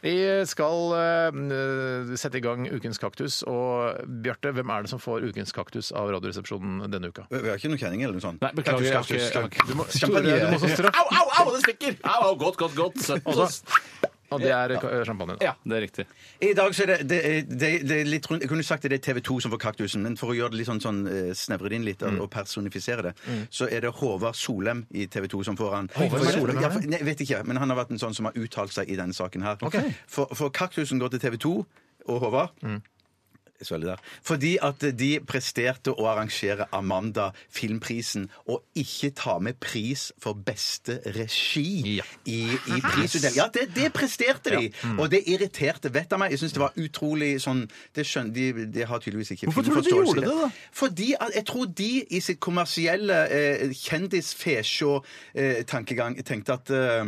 Speaker 2: Vi skal eh, sette i gang Ukens kaktus. Og Bjarte, hvem er det som får Ukens kaktus av Radioresepsjonen denne uka?
Speaker 3: Vi har ikke noe kjenning eller noe sånt.
Speaker 4: Nei, beklager. Jeg har ikke- jeg har ikke-
Speaker 2: Du må, Tore,
Speaker 4: Champagne.
Speaker 2: du må også straffe.
Speaker 4: Au, au, au, det stikker! Au, au, godt, godt, godt. Søtt.
Speaker 2: Og så- Og det er eh, champagne.
Speaker 4: Ja, det er riktig.
Speaker 3: I dag så er det, det, er- det, er- det er litt rundt, Jeg kunne sagt at det er TV 2 som får kaktusen, men for å gjøre det litt sånn, sånn eh, snevre det inn litt
Speaker 2: Mm.
Speaker 3: og personifisere det, så er det Håvard Solem i TV 2 som får han.
Speaker 2: Håvard
Speaker 3: For-
Speaker 2: Solem er
Speaker 3: ja,
Speaker 2: det?
Speaker 3: for- nei, jeg vet ikke, men han har vært en sånn som har uttalt seg i denne saken her.
Speaker 2: Ok.
Speaker 3: For, for kaktusen går til TV 2 og Håvard. Jeg svelger der. Fordi at de presterte å arrangere Amanda filmprisen og ikke ta med pris for beste regi i, i prisutdelingen. Ja, det, det presterte de!
Speaker 4: Mm.
Speaker 3: Og det irriterte vettet av meg. Jeg syns det var utrolig sånn det skjøn, de, de har tydeligvis ikke
Speaker 4: Hvorfor tror du de
Speaker 3: filmforståelse i
Speaker 4: gjorde det, da?
Speaker 3: Fordi at jeg tror de i sitt kommersielle eh, kjendis-fesjå-tankegang tenkte at eh,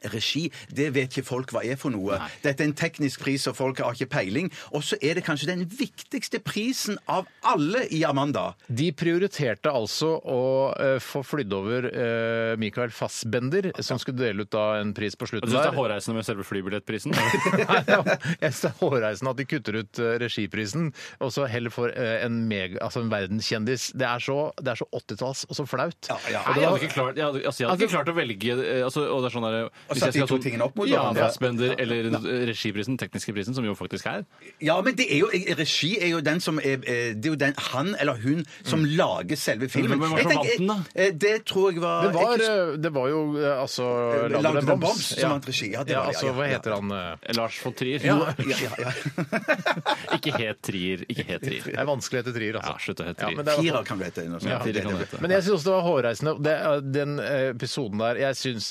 Speaker 3: Regi, det vet ikke folk hva er for noe. Dette er en teknisk pris, og folk har ikke peiling. Og så er det kanskje den viktigste prisen av alle i Amanda.
Speaker 2: De prioriterte altså å eh, få flydd over eh, Michael Fassbender, som skulle dele ut da en pris på
Speaker 4: Og Du
Speaker 2: slutten
Speaker 4: syns det er
Speaker 2: der.
Speaker 4: hårreisende med selve flybillettprisen?
Speaker 2: Nei, ja. Jeg synes det er hårreisende at de kutter ut eh, regiprisen, og så heller for eh, en, mega, altså en verdenskjendis. Det er så, det er så 80-talls og så flaut.
Speaker 4: Nei,
Speaker 2: Og det
Speaker 4: jeg
Speaker 2: var-
Speaker 4: hadde ikke klart, jeg hadde, altså, jeg hadde ikke klart å velge eh, altså, og det er sånn der,
Speaker 3: Og
Speaker 4: hvis
Speaker 3: satt de to
Speaker 4: jeg skal ha sånn-
Speaker 3: tingene opp mot
Speaker 4: ja,
Speaker 3: hverandre.
Speaker 4: Fassbender eller eh, regiprisen, tekniske prisen, som jo faktisk er.
Speaker 3: Ja, men det er jo, regi er jo den som er, eh, Det er jo den han eller hun som lager selve filmen.
Speaker 4: Mm. Men hvem var
Speaker 3: Jeg
Speaker 4: det som
Speaker 3: tenker-
Speaker 4: vant
Speaker 3: eh, Det tror jeg var
Speaker 2: Det var,
Speaker 3: jeg,
Speaker 2: eh, det var jo eh, altså
Speaker 3: Laudrup
Speaker 2: Laudrup
Speaker 3: and Bombs, som vant regi. Ja, det var det,
Speaker 2: altså,
Speaker 3: ja,
Speaker 2: hva
Speaker 3: ja.
Speaker 2: heter han? eh?
Speaker 4: Lars von Trier.
Speaker 2: Ja.
Speaker 3: ja, ja, ja.
Speaker 4: Ikke het Trier. Ikke het Trier.
Speaker 2: Det er vanskelig å hete Trier, altså.
Speaker 4: Ja, slutt å hete
Speaker 2: Ja,
Speaker 4: Trier.
Speaker 2: men det er-
Speaker 3: Firer kan hete noe sånt.
Speaker 4: Ja,
Speaker 3: Det
Speaker 4: Trier
Speaker 3: er
Speaker 4: kan
Speaker 3: det.
Speaker 4: hete.
Speaker 2: Men jeg syns det var hårreisende. Det, den eh, episoden der Jeg syns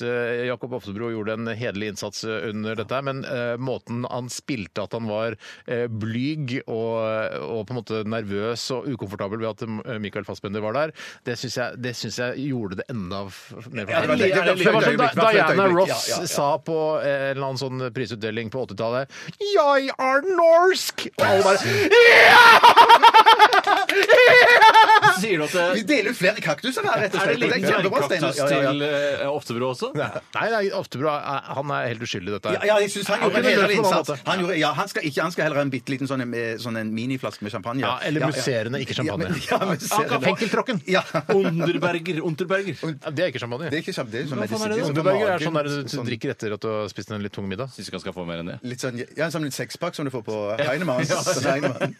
Speaker 2: Jakob Oftebro jo gjorde en hederlig innsats eh, under dette, her, men eh, måten han spilte at han var eh, blyg og, og på en måte nervøs og ukomfortabel ved at eh, Michael Fassbender var der, det syns jeg, det syns jeg gjorde det enda f- mer
Speaker 3: Ja, det var- det- det- det-
Speaker 2: Det var som da,
Speaker 3: det var et
Speaker 2: Diana
Speaker 3: øyeblikk.
Speaker 2: Ross
Speaker 3: Ja, ja, ja.
Speaker 2: sa på eh, en eller annen sånn prisutdeling på 80-tallet Jeg er norsk! Og alle bare
Speaker 4: Sier du at det-
Speaker 3: Vi deler ut flere kaktuser her, rett og
Speaker 4: Er det
Speaker 3: slett.
Speaker 4: liten
Speaker 3: er kjempebra, Steinar.
Speaker 4: dvergkaktus
Speaker 3: Ja, ja, ja.
Speaker 4: til eh, Oftebro også?
Speaker 2: Nei, nei, Oftebro er- han er helt uskyldig i dette. her.
Speaker 3: Ja, ja, jeg syns han
Speaker 2: Han
Speaker 3: gjorde en
Speaker 2: kunne
Speaker 3: hederlig
Speaker 2: løst det på en annen
Speaker 3: innsats.
Speaker 2: måte.
Speaker 3: Han, gjorde, ja, han, skal ikke, han skal heller ha en bitte liten sånn, eh, sånn en miniflaske med champagne.
Speaker 2: Ja, eller musserende, ikke champagne.
Speaker 3: Ja, men, ja,
Speaker 2: Han kan få-
Speaker 3: musserende.
Speaker 2: Henkeltråkken.
Speaker 3: Ja.
Speaker 4: Underberger. Unterberger.
Speaker 2: Ja, det er ikke champagne.
Speaker 3: Det er ikke champagne, det er sånn
Speaker 2: Hva faen
Speaker 3: medisin.
Speaker 2: er det?
Speaker 3: Sånn på
Speaker 2: Underberger er
Speaker 3: magen,
Speaker 2: sånn der du
Speaker 3: sånn-
Speaker 2: drikker etter at du har spist en litt tung middag.
Speaker 4: Syns ikke han skal få mer enn det.
Speaker 3: Litt sånn, ja, som en sekspakk som du får på Heinemann. Sånn Heinemann.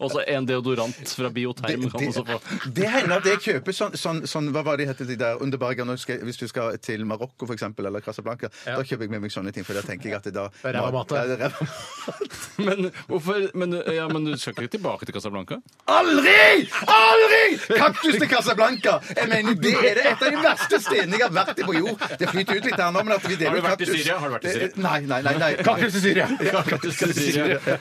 Speaker 4: Også en deodorant fra Bioterm kan også få.
Speaker 3: Det hender at jeg kjøper sånn, sånn, sånn Hva var det hette de der Underberger nå skal, Hvis du skal til Marokko for eksempel, eller Casablanca, da kjøper jeg med meg sånne ting, for da tenker jeg at det da
Speaker 2: Ræva mat,
Speaker 3: Ja,
Speaker 2: det.
Speaker 3: det er ræva mat.
Speaker 4: Men, hvorfor, men, ja, men du skal ikke tilbake til Casablanca?
Speaker 3: Aldri! Aldri! Kaktus til Casablanca! Jeg mener, Det er det et av de verste stedene jeg har vært i på jord. Det flyter ut litt der nå, men at vi deler
Speaker 4: Har du vært i
Speaker 3: kaktus-
Speaker 4: Syria? Har du vært i Syria?
Speaker 3: Eh, Nei, nei, nei. nei.
Speaker 2: Kaktus i Syria!
Speaker 3: Ja,
Speaker 4: Kaktus til Syria.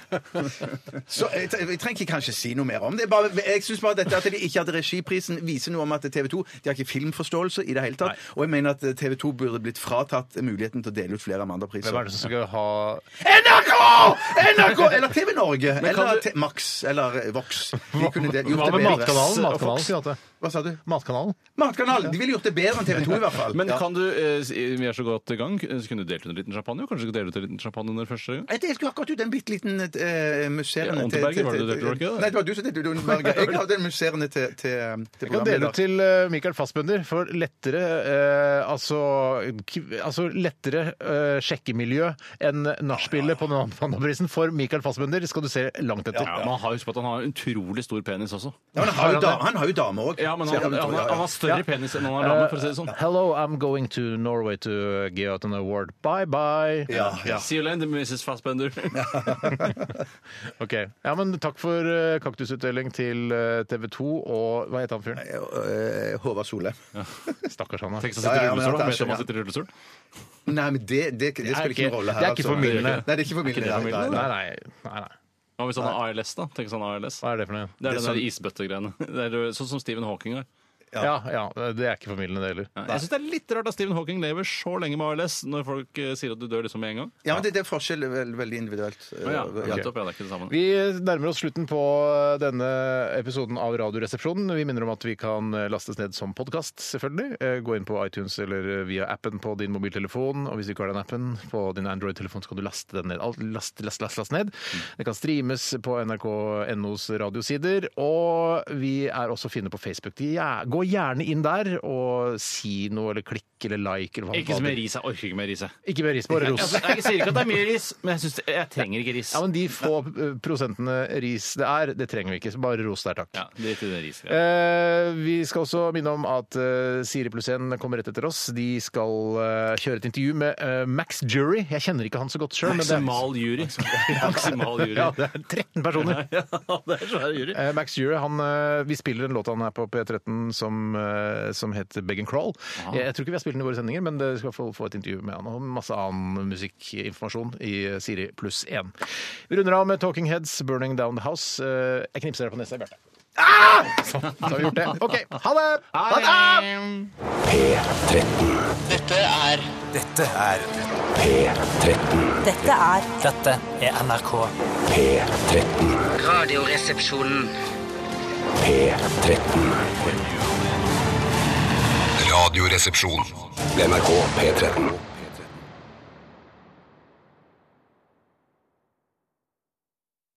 Speaker 3: Så jeg, tre- jeg trenger ikke kanskje si noe mer om det. Bare, jeg synes bare dette at de ikke hadde regiprisen, viser noe om at TV 2 de har ikke filmforståelse i det hele tatt. Og jeg mener at eh, TV 2 burde blitt fratatt muligheten til å dele ut flere Amanda-priser.
Speaker 2: Hvem er det som skal ha
Speaker 3: NRK! NRK! Eller TV Norge. Eller
Speaker 4: kan du-
Speaker 3: T- Max. Eller eh, Vox. De kunne det,
Speaker 2: Hva
Speaker 3: gjort det
Speaker 2: med
Speaker 3: bedre.
Speaker 2: Matkanalen? Matkanalen
Speaker 3: Vox.
Speaker 2: skulle hatt det.
Speaker 3: Hva sa du?
Speaker 2: Matkanalen?
Speaker 3: Matkanalen! De ville gjort det bedre enn TV 2 i hvert fall.
Speaker 4: Men
Speaker 3: Ja.
Speaker 4: kan du, eh, s- vi er så godt i gang, så kunne du delt ut en liten champagne? og Kanskje du deler ut en liten champagne under første gang?
Speaker 3: Jeg jeg skulle akkurat ut en bitte liten eh, musserende
Speaker 4: Ja,
Speaker 3: til-
Speaker 4: Unterberger
Speaker 3: til-
Speaker 4: var det du delte, var det ikke det?
Speaker 3: Nei, det var du som delte ut Unterberger. Jeg hadde en musserende til, til, til
Speaker 2: Vi kan dele
Speaker 3: programleder.
Speaker 2: ut til eh, Michael Fassbender for lettere eh, altså, k- altså lettere eh, sjekkemiljø enn nachspielet på Nandaprisen. For Michael Fassbender skal du se langt etter.
Speaker 4: Ja, men han har, husk på at han har en utrolig stor penis også.
Speaker 3: Ja, men han har jo da- han har jo dame òg.
Speaker 4: Ja, men han, han, han, han har større penis enn han har dame, for å si det sånn.
Speaker 2: Hello, I'm going to Norway to give out an award. Bye bye.
Speaker 3: ja.
Speaker 4: See you later, Mrs. Fassbender.
Speaker 2: Ok. Ja, men takk for eh, kaktusutdeling til eh, TV 2 og Hva heter han fyren?
Speaker 3: Eh, Håvard Solheim.
Speaker 2: Stakkars han. da.
Speaker 4: Tenk seg
Speaker 3: Ja,
Speaker 4: å sitte i
Speaker 3: ja, men
Speaker 4: rullestol, da.
Speaker 3: kanskje,
Speaker 4: Vet du om han
Speaker 3: ja.
Speaker 4: sitter i rullestol?
Speaker 3: Nei, men det, det, det spiller ikke
Speaker 2: ikke-
Speaker 3: noen rolle her. altså.
Speaker 2: det er ikke formildende.
Speaker 3: Nei, det er ikke formildende.
Speaker 4: Er ikke
Speaker 3: nei,
Speaker 4: det
Speaker 3: nei, nei.
Speaker 2: Nei, nei. nei, nei.
Speaker 4: Hva hvis han har ALS, da? Tenk hvis han har ALS.
Speaker 2: Hva er det for noe?
Speaker 4: Det er
Speaker 3: Det
Speaker 4: den
Speaker 3: er
Speaker 4: der isbøttegreiene. Det er jo Sånn som Stephen Hawking har.
Speaker 2: Ja, ja, det er ikke formildende, det heller.
Speaker 4: Jeg syns det er litt rart at Stephen Hawking lever så lenge med ALS, når folk eh, sier at du dør liksom med en gang.
Speaker 3: Ja, men det, det er forskjell vel- veldig individuelt.
Speaker 4: Ja,
Speaker 3: Eh, ja.
Speaker 4: nettopp, ja, det er ikke det samme.
Speaker 2: Vi nærmer oss slutten på denne episoden av Radioresepsjonen. Vi minner om at vi kan lastes ned som podkast, selvfølgelig. Eh, Gå inn på iTunes eller via appen på din mobiltelefon. Og hvis du ikke har den appen på din Android-telefon, så kan du laste den ned. Alt, last, last, last, last ned.
Speaker 4: Mm.
Speaker 2: Det kan streames på nrk.nos radiosider. Og vi er også å finne på Facebook. De gjer- Gå gjerne inn der og si noe, eller klikk eller like. Eller hva,
Speaker 4: Ikke så
Speaker 2: hva
Speaker 4: mye
Speaker 2: det-
Speaker 4: ris. Jeg orker ikke mer ris. jeg.
Speaker 2: Ikke med ris, bare ros.
Speaker 4: Altså, Jeg sier ikke at det er mye ris, men jeg, synes det, jeg trenger ikke ris.
Speaker 2: Ja, men De få eh, prosentene ris det er, det trenger vi ikke. Så bare ros der, takk.
Speaker 4: Ja, Drit i det riset.
Speaker 2: Eh, vi skal også minne om at eh, Siri pluss 1 kommer rett etter oss. De skal eh, kjøre et intervju med eh, Max Jury. Jeg kjenner ikke han så godt sjøl, men det er,
Speaker 4: Maksimal jury. Maksimal jury.
Speaker 2: ja, det er 13 personer.
Speaker 4: Ja, det er svær jury.
Speaker 2: Eh, Max Jury, han, eh, vi spiller den låta han er på P13 som, eh, som heter Beg and Crawl. Jeg, jeg tror ikke vi har spilt den i våre sendinger, men det skal få, få et intervju med han og masse annen musikkinformasjon i eh, Siri pluss 1. Vi runder av med Talking Heads, Burning Down the House. Eh, Jeg knipser deg på nesa, Bjarte. Sånn, da har vi gjort det. OK, ha det! Ha det!
Speaker 1: P13.
Speaker 15: Dette er Dette er
Speaker 1: P13.
Speaker 16: Dette er
Speaker 15: Dette er NRK.
Speaker 1: P13.
Speaker 16: Radioresepsjonen.
Speaker 1: P13.
Speaker 5: Radioresepsjon.
Speaker 1: NRK P13.